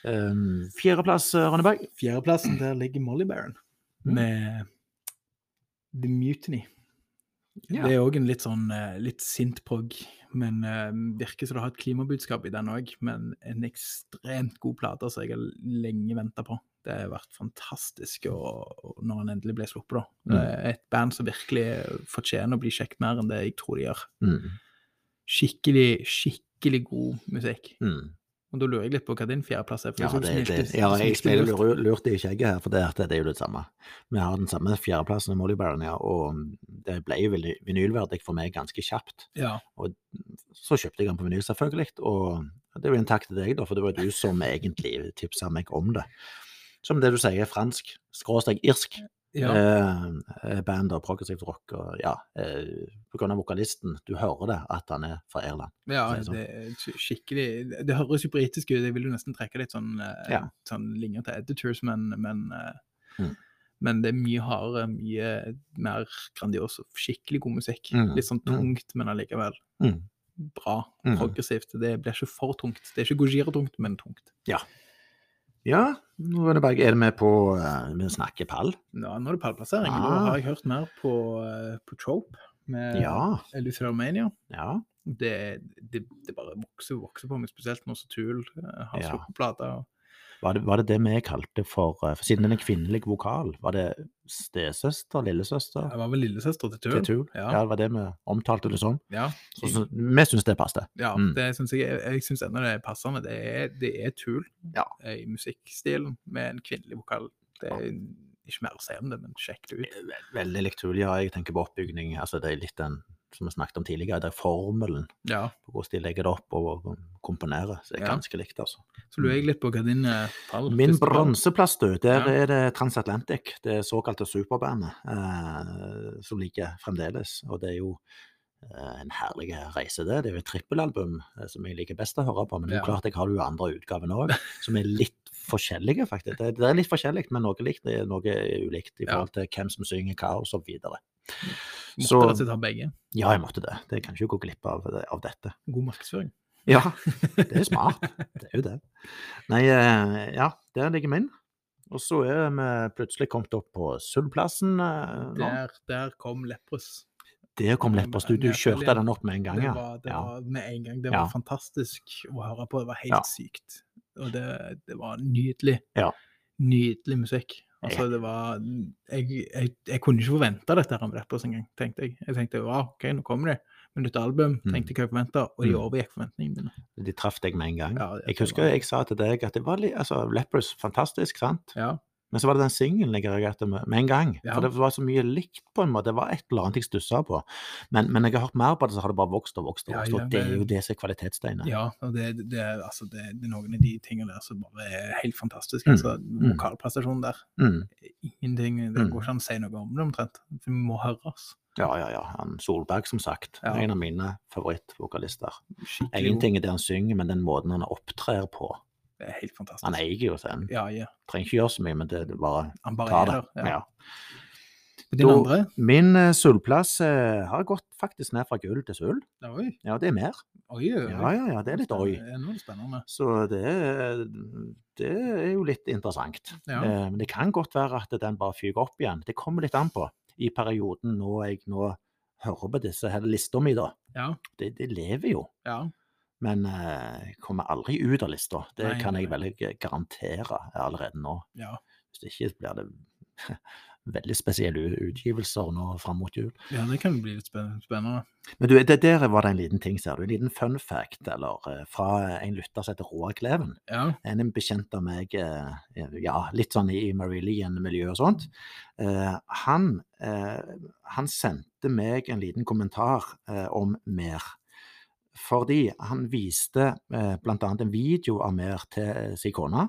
Speaker 1: Um, Fjerdeplass, eh, Rønneberg.
Speaker 2: Fjerdeplassen, der ligger Molly Baron
Speaker 1: Mm.
Speaker 2: med The Mutiny.
Speaker 1: Ja.
Speaker 2: Det er òg en litt sånn eh, litt sint prog, men eh, virker som det har et klimabudskap i den òg. Men en ekstremt god plate som jeg har lenge venta på. Det har vært fantastisk og, og når den endelig ble sluppet, da.
Speaker 1: Mm.
Speaker 2: Eh, Et band som virkelig fortjener å bli sjekket mer enn det jeg tror de gjør.
Speaker 1: Mm,
Speaker 2: Skikkelig, skikkelig god musikk.
Speaker 1: mm.
Speaker 2: Og da lurer jeg litt på hva din fjerdeplass er. for
Speaker 1: Ja,
Speaker 2: så
Speaker 1: det,
Speaker 2: snilt-
Speaker 1: det, ja,
Speaker 2: så
Speaker 1: jeg
Speaker 2: snilt
Speaker 1: ble
Speaker 2: lurt.
Speaker 1: lurt, lurt i skjegget her, for det, at det er jo det samme. Vi har den samme fjerdeplassen i Molly Baron, ja, og mm, det ble jo veldig vinylverdig for meg ganske kjapt.
Speaker 2: Ja,
Speaker 1: Så kjøpte jeg den på vinyl, selvfølgelig, og det er jo en takk til deg, da, for det var jo du som egentlig tipsa meg om det. Som det du sier, fransk, skråstrek irsk
Speaker 2: ja.
Speaker 1: eh, band og progressive rock, og ja, eh, på grunn av vokalisten, du hører det at han er fra Irland.
Speaker 2: Ja,
Speaker 1: for å si sånn.
Speaker 2: det er sk- skikkelig Det- Det høres jo britisk ut, jeg vil jo nesten trekke litt sånn, eh,
Speaker 1: Ja.
Speaker 2: sånn linjer til editors, men men, eh,
Speaker 1: Mm.
Speaker 2: men det er mye hardere, mye mer grandios og skikkelig god musikk.
Speaker 1: Mm,
Speaker 2: Litt sånn
Speaker 1: mm.
Speaker 2: tungt, men allikevel
Speaker 1: Mm.
Speaker 2: bra.
Speaker 1: Mm.
Speaker 2: Progressivt. Det blir ikke for tungt. Det er ikke Gojira-tungt, men tungt.
Speaker 1: Ja, nå er det bare, er det med på, eh, vi snakker pall.
Speaker 2: Nå, nå er det pallplassering. og Da
Speaker 1: Ah.
Speaker 2: har jeg hørt mer på, eh, på Trope med
Speaker 1: Ja,
Speaker 2: Luthormania.
Speaker 1: ja.
Speaker 2: Det, det, det bare vokser og vokser på meg, spesielt når Sotul eh, har
Speaker 1: Ja.
Speaker 2: sluppet plater.
Speaker 1: Var det, var det det vi kalte for, eh, for Siden den er kvinnelig vokal, var det stesøster, lillesøster
Speaker 2: Jeg var vel lillesøster til
Speaker 1: til
Speaker 2: Tull.
Speaker 1: Tul?
Speaker 2: ja.
Speaker 1: Ja. det var det vi omtalte det som.
Speaker 2: Ja,
Speaker 1: Så, så, vi syns det passet.
Speaker 2: ja
Speaker 1: Mm.
Speaker 2: det synes jeg, jeg syns ennå det er passende. Det er, det er Tull
Speaker 1: Ja.
Speaker 2: eh, i musikkstilen med en kvinnelig vokal. Det er ikke mer å si om det, men sjekk det ut.
Speaker 1: Ve- Veldig likt Tul, ja. Jeg tenker på oppbygning. altså Det er litt den som vi snakket om tidligere, det er formelen
Speaker 2: Ja,
Speaker 1: på hvordan de legger det opp og komponerer. Så det er
Speaker 2: Ja.
Speaker 1: ganske likt, altså.
Speaker 2: Så lurer jeg litt på hva din eh, pall
Speaker 1: Min
Speaker 2: første pall-
Speaker 1: bronseplass, du, der
Speaker 2: Ja.
Speaker 1: er det Transatlantic, det såkalte superbandet, eh, som ligger fremdeles. Og det er jo eh, en herlig reise, det. Det er jo et trippelalbum eh, som jeg liker best å høre på. Men det er
Speaker 2: Ja.
Speaker 1: jo klart jeg har jo andre utgaven òg, som er litt forskjellige, faktisk. Det, det er litt forskjellig, men noe likt. Det er noe er ulikt i
Speaker 2: Ja.
Speaker 1: forhold til hvem som synger hva, og så videre.
Speaker 2: Måtte
Speaker 1: Så
Speaker 2: rett og slett ha begge.
Speaker 1: ja, jeg måtte det. Det kan ikke gå glipp av, av dette.
Speaker 2: God markedsføring.
Speaker 1: Ja, det er smart. Det er jo det. Nei, eh, ja, der ligger min. Og så er vi plutselig kommet opp på Sundplassen. eh, nå.
Speaker 2: Der, der kom Lepros.
Speaker 1: Der kom Lepperød Du
Speaker 2: Med
Speaker 1: kjørte
Speaker 2: Appelien.
Speaker 1: den opp med en gang,
Speaker 2: Det,
Speaker 1: ja.
Speaker 2: var, det
Speaker 1: Ja.
Speaker 2: var med en gang. Det
Speaker 1: Ja.
Speaker 2: var fantastisk å høre på. Det var helt
Speaker 1: Ja.
Speaker 2: sykt. Og det, det var nydelig.
Speaker 1: Ja.
Speaker 2: Nydelig musikk. Altså, det var Jeg, jeg, jeg kunne ikke forvente dette her med Rappers engang, tenkte jeg. Jeg tenkte wow, OK, nå kommer det. Men nytt album,
Speaker 1: Mm.
Speaker 2: tenkte jeg hva jeg forventa, og de
Speaker 1: Mm.
Speaker 2: overgikk forventningene mine.
Speaker 1: De traff deg med en gang.
Speaker 2: Ja, det-
Speaker 1: Jeg husker jeg sa til deg at det var litt altså, Lepperød, fantastisk, sant?
Speaker 2: Ja.
Speaker 1: Men så var det den singelen jeg reagerte med med en gang.
Speaker 2: Ja.
Speaker 1: For det var så mye likt, på en måte. Det var et eller annet jeg stussa på. Men, men jeg har hørt mer på det, så har det bare vokst og vokst. og
Speaker 2: Ja,
Speaker 1: vokst,
Speaker 2: ja,
Speaker 1: og det er
Speaker 2: det-
Speaker 1: jo det som er kvalitetssteinen.
Speaker 2: Ja, og det, det, er, altså, det, det er noen av de tingene der som bare er helt fantastiske.
Speaker 1: Mm.
Speaker 2: Altså, vokalprestasjonen der,
Speaker 1: Mm.
Speaker 2: ingenting, det
Speaker 1: Mm.
Speaker 2: går ikke an å si noe om det omtrent. Vi må høres.
Speaker 1: ja, ja. ja. Han Solberg, som sagt.
Speaker 2: Ja.
Speaker 1: En av mine favorittvokalister.
Speaker 2: Skikkelig
Speaker 1: Én ting er det han synger, men den måten han opptrer på.
Speaker 2: Det er helt fantastisk.
Speaker 1: Han eier jo scenen.
Speaker 2: Ja, ja.
Speaker 1: Trenger ikke gjøre så mye, men det det bare
Speaker 2: Han bare
Speaker 1: tar
Speaker 2: er
Speaker 1: det.
Speaker 2: der. Ja.
Speaker 1: Ja.
Speaker 2: Din
Speaker 1: Da-
Speaker 2: andre?
Speaker 1: Min eh, sølvplass eh, har gått faktisk ned fra gull til sølv.
Speaker 2: Oi,
Speaker 1: Ja, det er mer.
Speaker 2: oi, oi.
Speaker 1: Ja, ja, ja, det er litt oi.
Speaker 2: Nå er det spennende.
Speaker 1: Så det, er- det er jo litt interessant.
Speaker 2: Ja.
Speaker 1: Eh, Men det kan godt være at den bare fyker opp igjen. Det kommer litt an på i perioden når jeg nå hører på disse her lista mi, da.
Speaker 2: Ja,
Speaker 1: Det, det lever jo.
Speaker 2: ja.
Speaker 1: Men eh, jeg kommer aldri ut av lista. Det
Speaker 2: Nei,
Speaker 1: kan
Speaker 2: nei,
Speaker 1: jeg
Speaker 2: nei.
Speaker 1: vel allerede allerede nå.
Speaker 2: Ja.
Speaker 1: Hvis ikke blir det veldig spesielle u- utgivelser nå fram mot jul.
Speaker 2: ja, det kan bli litt spen- spennende.
Speaker 1: Men du, det der var det en liten ting, ser du. En liten fun fact eller, eh, fra en lytter som heter Roar Kleven.
Speaker 2: Ja,
Speaker 1: En er bekjent av meg, eh, ja, litt sånn i Marillion-miljøet og sånt. Eh, han, eh, han sendte meg en liten kommentar eh, om mer. Fordi han viste eh, bl.a. en video av mer til eh, sin kone.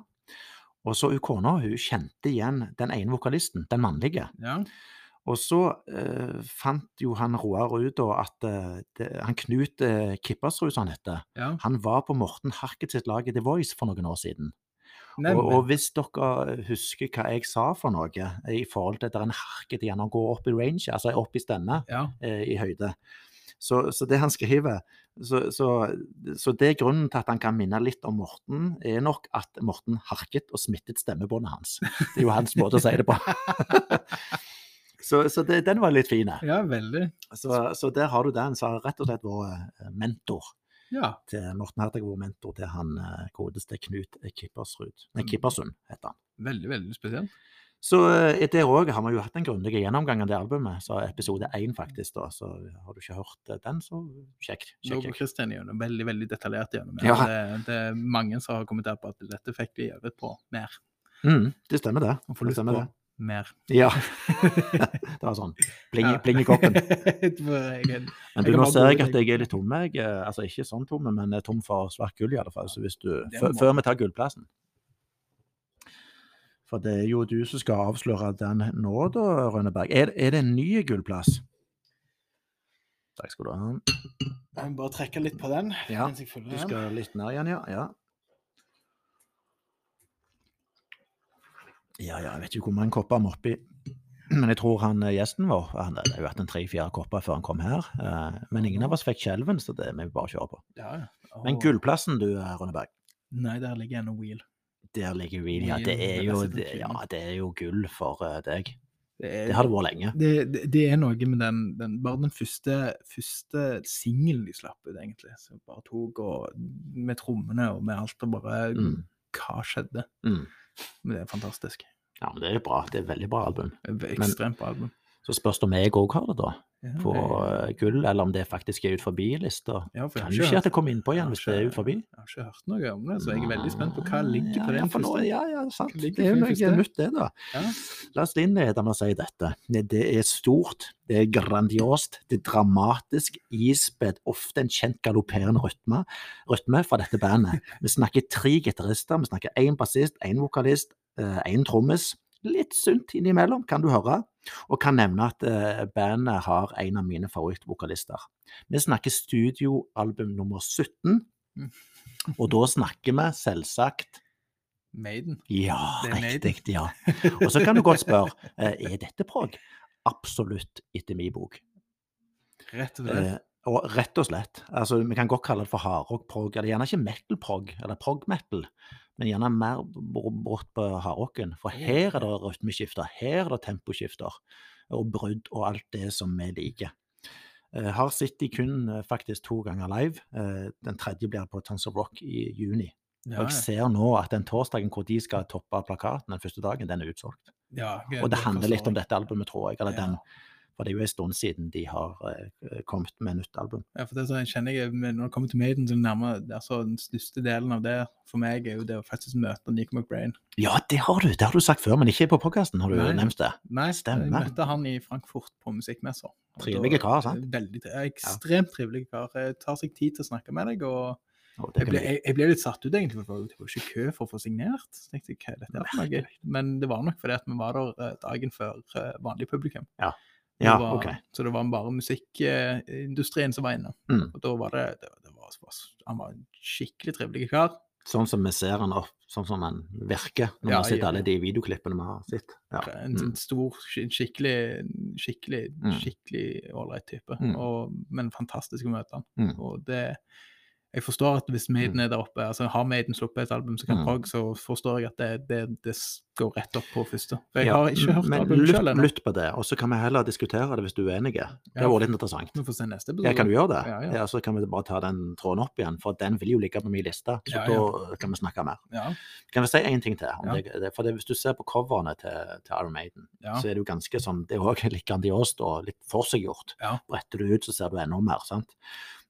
Speaker 1: Og så hun kona hun kjente igjen den ene vokalisten, den mannlige.
Speaker 2: ja.
Speaker 1: Og så eh, fant jo han Roar ut da at eh, det, han Knut eh, Kippersrud, som han heter,
Speaker 2: ja.
Speaker 1: han var på Morten Harket sitt lag i The Voice for noen år siden. Og,
Speaker 2: Nemlig.
Speaker 1: og hvis dere husker hva jeg sa for noe eh, i forhold til at det er en harket igjen, han går opp i range, altså opp i stemme,
Speaker 2: Ja,
Speaker 1: eh, i høyde. Så, så det han skriver så, så, så det er grunnen til at han kan minne litt om Morten, er nok at Morten harket og smittet stemmebåndet hans. Det er jo hans måte å si det på. så så det, den var litt fin.
Speaker 2: ja, veldig.
Speaker 1: Så, så der har du den. Så har rett og slett vært eh, mentor
Speaker 2: Ja,
Speaker 1: til Morten Herteg, vår mentor til han eh, godeste Knut Kippersrud. Nei, Kippersund heter han.
Speaker 2: veldig, veldig spesielt.
Speaker 1: Så eh, der òg har vi jo hatt en grundig gjennomgang av det albumet. Så episode én, faktisk, da. Så har du ikke hørt eh, den, så sjekk.
Speaker 2: Nå
Speaker 1: sjekk,
Speaker 2: går
Speaker 1: sjekk.
Speaker 2: Kristian gjennom, veldig, veldig detaljert gjennom. det.
Speaker 1: Ja.
Speaker 2: Det, det er mange som har kommentert på at dette fikk de øvd på mer.
Speaker 1: Mm, det stemmer, det.
Speaker 2: Og får
Speaker 1: det
Speaker 2: lyst
Speaker 1: stemmer
Speaker 2: på
Speaker 1: det.
Speaker 2: mer.
Speaker 1: Ja. det var sånn pling,
Speaker 2: Ja.
Speaker 1: pling i koppen.
Speaker 2: Jeg-
Speaker 1: Men
Speaker 2: Jeg
Speaker 1: du,
Speaker 2: kan
Speaker 1: nå
Speaker 2: bare
Speaker 1: ser jeg
Speaker 2: gå-
Speaker 1: at jeg er litt tom. Jeg, eh, altså ikke sånn tomme, men eh, tom for svart gull i alle fall. Så hvis du,
Speaker 2: Det
Speaker 1: før-
Speaker 2: må-
Speaker 1: før vi tar gullplassen. For det er jo du som skal avsløre den nå, da, Rønneberg. Er, er det en ny gullplass? Takk skal du ha.
Speaker 2: jeg må bare trekke litt på den.
Speaker 1: Ja,
Speaker 2: mens jeg følger
Speaker 1: du
Speaker 2: den.
Speaker 1: skal litt ned igjen, ja. Ja, ja, ja jeg vet ikke hvor mange kopper han var oppi. Men jeg tror han eh, gjesten vår Han hadde jo hatt en tre-fire kopper før han kom her. eh, Men ingen av oss fikk skjelven, så det må vi bare kjøre på.
Speaker 2: Ja, ja.
Speaker 1: Men
Speaker 2: Åh.
Speaker 1: gullplassen, du, Rønneberg,
Speaker 2: Nei, der ligger en wheel.
Speaker 1: der ligger Reedy. Ja,
Speaker 2: Wheel,
Speaker 1: det er Eh,
Speaker 2: det
Speaker 1: jo,
Speaker 2: beste
Speaker 1: det, ja,
Speaker 2: filmen.
Speaker 1: det er jo gull for eh, deg.
Speaker 2: Det
Speaker 1: Det har det vært lenge.
Speaker 2: det, det, det er noe med den, den Bare den første, første singelen de slapp ut, egentlig. Som bare tok og Med trommene og med alt og bare
Speaker 1: Mm.
Speaker 2: Hva skjedde?
Speaker 1: Mm.
Speaker 2: Men det er fantastisk.
Speaker 1: Ja, men det er jo bra. Det er et veldig bra album.
Speaker 2: Ekstremt bra album.
Speaker 1: Så spørs det om jeg òg har det, da.
Speaker 2: Ja,
Speaker 1: På
Speaker 2: jeg-
Speaker 1: eh, gull, eller om det faktisk er ut forbi lista.
Speaker 2: ja, for jeg har
Speaker 1: Kan jo ikke
Speaker 2: hørt-
Speaker 1: at det kommer innpå igjen
Speaker 2: jeg
Speaker 1: hvis
Speaker 2: har
Speaker 1: det er
Speaker 2: ikke-
Speaker 1: ut forbi.
Speaker 2: Jeg har ikke hørt noe om det, så jeg er veldig spent på hva ligger på
Speaker 1: Ah, Ja,
Speaker 2: den
Speaker 1: for nå-
Speaker 2: første.
Speaker 1: Ja, ja, sant.
Speaker 2: Hva ligger
Speaker 1: Det er
Speaker 2: på
Speaker 1: jo
Speaker 2: den
Speaker 1: noe
Speaker 2: første?
Speaker 1: nytt, det, da.
Speaker 2: Ja.
Speaker 1: La oss innlede med å si dette. Det er stort, det er grandiost, det er dramatisk, ispedd, ofte en kjent galopperende rytme, rytme fra dette bandet. Vi snakker tre gitarister, vi snakker én bassist, én vokalist, eh, én trommis. Litt sunt innimellom, kan du høre. Og kan nevne at eh, bandet har en av mine favorittvokalister. Vi snakker studioalbum nummer 17,
Speaker 2: Mm.
Speaker 1: og da snakker vi selvsagt
Speaker 2: Maiden.
Speaker 1: ja,
Speaker 2: Det er Maiden.
Speaker 1: riktig. ja. Og så kan du godt spørre eh, er dette prog. Absolutt etter min bok.
Speaker 2: Rett og slett.
Speaker 1: Eh, Og rett og slett. altså Vi kan godt kalle det for hardrock-prog, eller gjerne ikke metal-prog, eller prog-metal, men gjerne mer br- bort på hardrocken. For her er det rytmeskifter, her er det temposkifter, og brudd og alt det som vi liker. Eh, Har sett de kun eh, faktisk to ganger live. Eh, Den tredje blir på Tons of Rock i juni.
Speaker 2: Ja,
Speaker 1: Og jeg ser nå at den torsdagen hvor de skal toppe plakaten den første dagen, den er utsolgt.
Speaker 2: ja. Ja,
Speaker 1: Og det handler litt om
Speaker 2: forstår jeg.
Speaker 1: dette albumet, tror jeg. Eller
Speaker 2: Ja.
Speaker 1: den For det er jo en stund siden de har eh, kommet med nytt album.
Speaker 2: Ja, for det er sånn, jeg kjenner jeg, men Når det kommer til Maiden, så er det nærmere, det er altså, den største delen av det for meg er jo det å faktisk møte Nico McBrain.
Speaker 1: Ja, det har du! Det har du sagt før, men ikke på podkasten, har du
Speaker 2: Nei.
Speaker 1: nevnt det.
Speaker 2: Nei,
Speaker 1: Stemmer.
Speaker 2: Jeg møtte han i Frankfurt på musikkmesser. Og
Speaker 1: Trivelige
Speaker 2: da-
Speaker 1: kar, sant?
Speaker 2: Veldig, tre- ja, ekstremt trivelige kar. Jeg tar seg tid til å snakke med deg. og
Speaker 1: Og det
Speaker 2: Jeg
Speaker 1: kan
Speaker 2: ble,
Speaker 1: vi-
Speaker 2: jeg, jeg ble litt satt ut, egentlig, for det var jo det var jo ikke kø for å få signert. Så tenkte jeg, hva er dette her for noe? Men det var nok fordi at vi var der eh, dagen før eh, vanlig publikum. Det
Speaker 1: ja,
Speaker 2: var,
Speaker 1: ok.
Speaker 2: Så det var bare musikkindustrien som var inne.
Speaker 1: Mm.
Speaker 2: Og da var det, det, var- det var, det var, Han var en skikkelig trivelig kar.
Speaker 1: Sånn som vi ser han opp, sånn som han virker når vi
Speaker 2: Ja,
Speaker 1: har sett
Speaker 2: ja.
Speaker 1: alle de videoklippene vi har sett. Ja.
Speaker 2: En sånn stor, sk- en skikkelig skikkelig
Speaker 1: Mm.
Speaker 2: skikkelig ålreit type.
Speaker 1: Mm.
Speaker 2: Og, men fantastisk å møte han.
Speaker 1: Mm.
Speaker 2: Og det Jeg forstår at hvis Maiden er der oppe, altså har Maiden sluppet et album som kan
Speaker 1: Mm.
Speaker 2: prog, så forstår jeg at det, det, det s- går rett opp på første. For jeg
Speaker 1: Ja,
Speaker 2: har ikke hørt
Speaker 1: men
Speaker 2: albumet
Speaker 1: lytt-
Speaker 2: sjøl ennå.
Speaker 1: Lytt på det, og så kan vi heller diskutere det hvis du er enig. Det
Speaker 2: Ja.
Speaker 1: har vært litt interessant.
Speaker 2: Vi får se neste episode.
Speaker 1: Ja, kan du gjøre det?
Speaker 2: Ja,
Speaker 1: Ja,
Speaker 2: ja.
Speaker 1: Så kan vi bare ta den tråden opp igjen, for den vil jo ligge på min liste. Så
Speaker 2: Ja, ja.
Speaker 1: da kan vi snakke mer.
Speaker 2: Ja,
Speaker 1: Kan vi si én ting til? Om
Speaker 2: Ja.
Speaker 1: det, det- for det, hvis du ser på coverene til, til Iron Maiden,
Speaker 2: ja.
Speaker 1: så er det jo ganske sånn Det er òg litt grandios og litt forseggjort.
Speaker 2: Ja.
Speaker 1: Bretter du ut, så ser du enda mer, sant?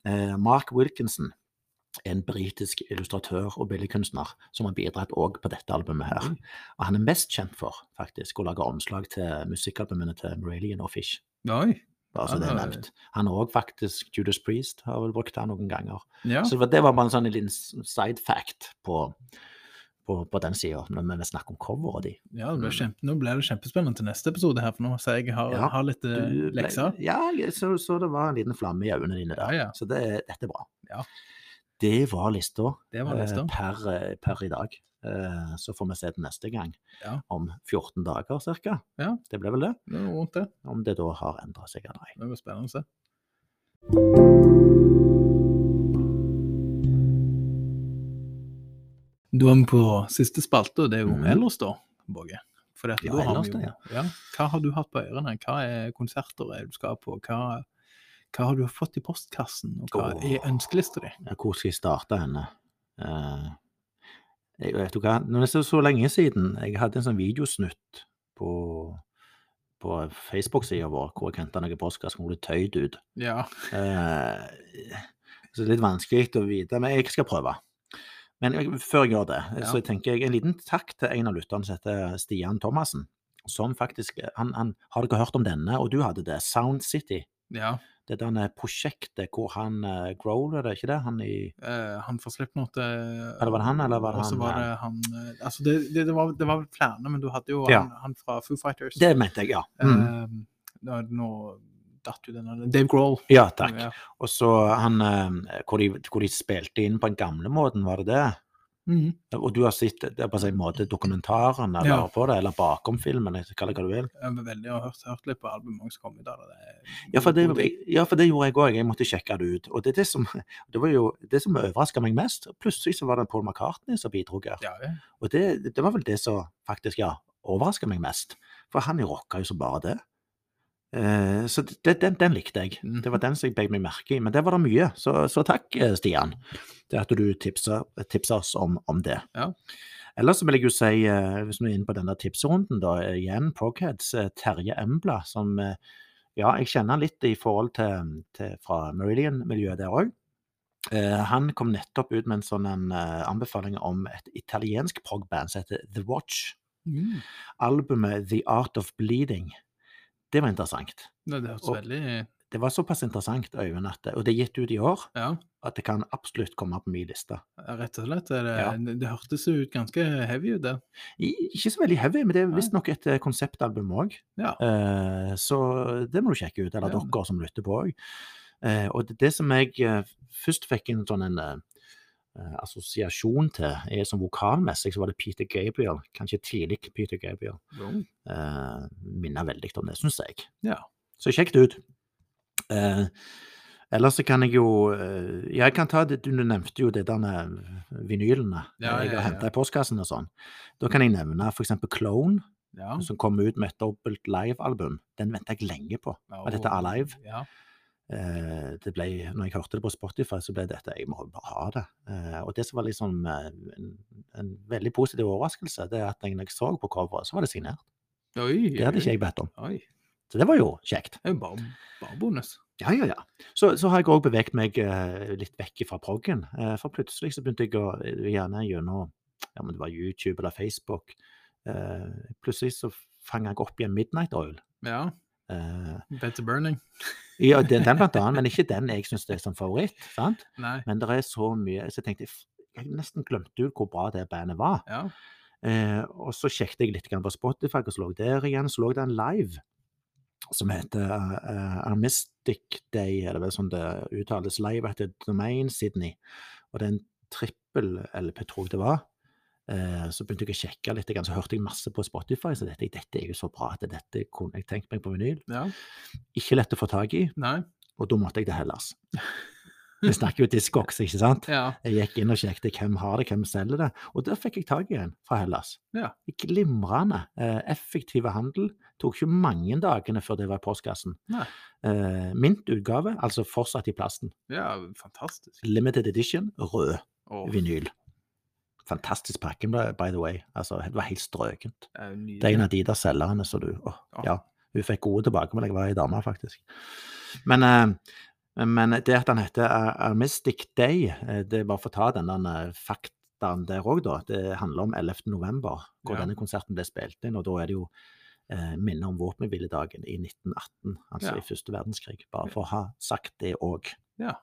Speaker 1: Eh, Mark Wilkinson er en britisk illustratør og billedkunstner som har bidratt òg på dette albumet her.
Speaker 2: Mm.
Speaker 1: Og han er mest kjent for faktisk å lage omslag til musikkalbumene til Marillion og Fish
Speaker 2: Oi.
Speaker 1: bare så det er
Speaker 2: Ah.
Speaker 1: nevnt. Han har òg faktisk Judas Priest, har vel brukt han noen ganger.
Speaker 2: Ja.
Speaker 1: Så det var- det var bare en sånn liten s- side fact på, på, på den sida, når vi snakker om coveret de.
Speaker 2: Ja, det ble kjempe, nå ble det kjempespennende til neste episode her, for nå så jeg har,
Speaker 1: Ja,
Speaker 2: har litt eh,
Speaker 1: Du ble-
Speaker 2: lekser.
Speaker 1: Ja, jeg- så, så det var en liten flamme i øynene dine der.
Speaker 2: Ja, ja.
Speaker 1: Så det, dette er bra.
Speaker 2: Ja.
Speaker 1: Det var lista
Speaker 2: Det var
Speaker 1: eh,
Speaker 2: neste.
Speaker 1: per, eh, per i dag. Eh, Så får vi se det neste gang,
Speaker 2: Ja.
Speaker 1: om 14 dager ca.
Speaker 2: Ja.
Speaker 1: Det blir vel det?
Speaker 2: Det var vondt, det.
Speaker 1: Om det da har endra seg eller ei.
Speaker 2: Det blir spennende å se. Da er vi på siste spalte, og det er jo
Speaker 1: Mhm.
Speaker 2: ellers, da, Båge. For dette,
Speaker 1: Ja,
Speaker 2: da har
Speaker 1: ellers
Speaker 2: vi jo,
Speaker 1: det,
Speaker 2: ja. Hva har du hatt på ørene? Hva er konserter er du skal på? Hva, hva har du fått i postkassen, og hva er
Speaker 1: Åh.
Speaker 2: ønskelista di?
Speaker 1: Ja, hvor skal jeg starte henne? Eh, jeg vet du hva, nå er det så, så lenge siden jeg hadde en sånn videosnutt på, på Facebook-sida vår hvor jeg henta noe postkasse som ble tøyd ut.
Speaker 2: Ja.
Speaker 1: Eh, så det er litt vanskelig å vite, men jeg skal prøve. Men jeg, før jeg gjør det,
Speaker 2: Ja.
Speaker 1: så tenker jeg en liten takk til en av lytterne som heter Stian Thomassen. Som faktisk han, han, Har dere hørt om denne, og du hadde det? Sound City.
Speaker 2: ja.
Speaker 1: Det derne prosjektet hvor han uh, Growler, er det ikke det? Han i
Speaker 2: Eh, han fra Slipknot Eller
Speaker 1: Eller var det han, eller var det
Speaker 2: Og så
Speaker 1: han-
Speaker 2: var det han eh, Altså, det, det, det, var, det var vel flere, men du hadde jo
Speaker 1: Ja.
Speaker 2: han, han fra Foo Fighters.
Speaker 1: Det mente jeg, ja. Mm.
Speaker 2: Eh, nå, nå datt jo den andre Dave Grohl.
Speaker 1: Ja, takk.
Speaker 2: Ja.
Speaker 1: Og så han eh, hvor de, hvor de spilte inn på den gamle måten, var det det?
Speaker 2: Mhm.
Speaker 1: Og du har sett det er på en måte dokumentaren eller
Speaker 2: Ja.
Speaker 1: på det, eller bakom filmen, eller kall det hva du vil.
Speaker 2: Jeg var veldig og hørt, hørt litt på albumet som kom i dag. og Det er-
Speaker 1: Ja, for det,
Speaker 2: god ting.
Speaker 1: ja, for det gjorde jeg òg, jeg måtte sjekke det ut. Og det er det som, det var jo det som overraska meg mest. Plutselig så var det Paul McCartney som bidro her.
Speaker 2: Ja, ja.
Speaker 1: Og det, det var vel det som faktisk ja, overraska meg mest. For han jo rocka jo som bare det. Eh, så det, den, den likte jeg. Det var den som jeg beit meg merke i. Men der var det mye, så, så takk, eh, Stian. Det at du tipsa, tipsa oss om, om det.
Speaker 2: Ja.
Speaker 1: Ellers så vil jeg jo si, eh, hvis vi er inne på denne tipserunden, da, eh, igjen Progheads eh, Terje Embla, som eh, ja, jeg kjenner han litt i forhold til, til fra Meridian-miljøet der òg. Eh, han kom nettopp ut med en sånn en, eh, anbefaling om et italiensk progband som heter The Watch.
Speaker 2: Mhm.
Speaker 1: Albumet The Art of Bleeding. Det var interessant.
Speaker 2: Det, det hørtes
Speaker 1: Og-
Speaker 2: veldig
Speaker 1: Det var såpass interessant, Øyvind, at det, og det er gitt ut i år,
Speaker 2: Ja,
Speaker 1: at det kan absolutt komme på min liste.
Speaker 2: rett og slett. er Det,
Speaker 1: Ja.
Speaker 2: det, det hørtes jo ut ganske heavy ut, det.
Speaker 1: I- Ikke så veldig heavy, men det er
Speaker 2: Nei.
Speaker 1: visstnok et eh, konseptalbum òg.
Speaker 2: Ja.
Speaker 1: Så det må du sjekke ut, eller
Speaker 2: Ja.
Speaker 1: dere som lytter på òg. Og det- det som jeg eh, først fikk en sånn en eh, eh, assosiasjon til, er som vokalmessig, så var det Peter Gabriel. Kanskje tidlig Peter Gabriel. Eh, Minner veldig om det, syns jeg.
Speaker 2: Ja.
Speaker 1: Så sjekk det ut. Eh, Ellers så kan jeg jo eh, ja, Jeg kan ta det du nevnte jo det der med vinylene eh,
Speaker 2: Ja,
Speaker 1: jeg
Speaker 2: ja,
Speaker 1: har
Speaker 2: ja.
Speaker 1: henta i postkassen og sånn. Da kan jeg nevne f.eks. Clone,
Speaker 2: Ja.
Speaker 1: som kom ut med et dobbelt livealbum. Den venta jeg lenge på.
Speaker 2: Ja,
Speaker 1: Og dette er live.
Speaker 2: Ja.
Speaker 1: Eh, det ble, når jeg hørte det på Spotify, så ble dette Jeg må bare ha det. Eh, og det som var liksom eh, en, en veldig positiv overraskelse, det er at når jeg så på coveret, så var det signert.
Speaker 2: Oi,
Speaker 1: Det hadde ikke jeg bedt om.
Speaker 2: Oi.
Speaker 1: Så det var jo kjekt.
Speaker 2: Det er jo bare, bare bonus.
Speaker 1: Ja, ja, ja. Så, så har jeg òg beveget meg eh, litt vekk fra proggen. eh, for plutselig så begynte jeg å eh, gjerne gjennom ja, men det var YouTube eller Facebook. eh, plutselig så fanga jeg opp igjen Midnight Oil.
Speaker 2: Ja.
Speaker 1: Eh,
Speaker 2: Better burning.
Speaker 1: ja, den, den blant annet, men ikke den jeg syns er som favoritt. sant?
Speaker 2: Nei.
Speaker 1: Men det er så mye Så jeg tenkte f- jeg nesten glemte ut hvor bra det bandet var.
Speaker 2: Ja.
Speaker 1: Eh, og så sjekket jeg litt grann på Spotify, og så lå jeg der igjen. Så lå det en live som heter uh, Armistic Day, eller hva sånn det uttales. Live etter Domain Sydney. Og det er en trippel-LP, tror jeg det var. Eh, så begynte jeg å sjekke litt, grann, så hørte jeg masse på Spotify. Så dette, dette er jo så bra at dette kunne jeg tenkt meg på vinyl.
Speaker 2: ja.
Speaker 1: Ikke lett å få tak i,
Speaker 2: Nei.
Speaker 1: og da måtte jeg til Hellas. Vi snakker jo Discogs, ikke sant?
Speaker 2: Ja.
Speaker 1: Jeg gikk inn og sjekket hvem har det, hvem selger det. Og der fikk jeg tak i en fra Hellas.
Speaker 2: Ja.
Speaker 1: Glimrende. Eh, effektiv handel. Tok ikke mange dagene før det var i postkassen.
Speaker 2: Nei.
Speaker 1: Eh, mint utgave, altså fortsatt i plasten.
Speaker 2: ja. Fantastisk.
Speaker 1: Limited edition, rød
Speaker 2: Åh,
Speaker 1: vinyl. Fantastisk pakke, by by the way. Altså, det var helt strøkent.
Speaker 2: det er jo
Speaker 1: Det er en
Speaker 2: nydelig.
Speaker 1: av de der selgerne, så du åh,
Speaker 2: Ja.
Speaker 1: Ja. Hun fikk gode tilbakemeldinger, var ei dame, faktisk. Men, eh, men det at han heter Ar- Armistic Day, eh, det er bare for å ta den der, eh, faktaen der òg, da. Det handler om 11. november, hvor
Speaker 2: Ja.
Speaker 1: denne konserten ble spilt inn. Og da er det jo eh, minne om våpenhviledagen i 1918, altså
Speaker 2: Ja.
Speaker 1: i første verdenskrig. Bare for å ha sagt det òg.
Speaker 2: Ja.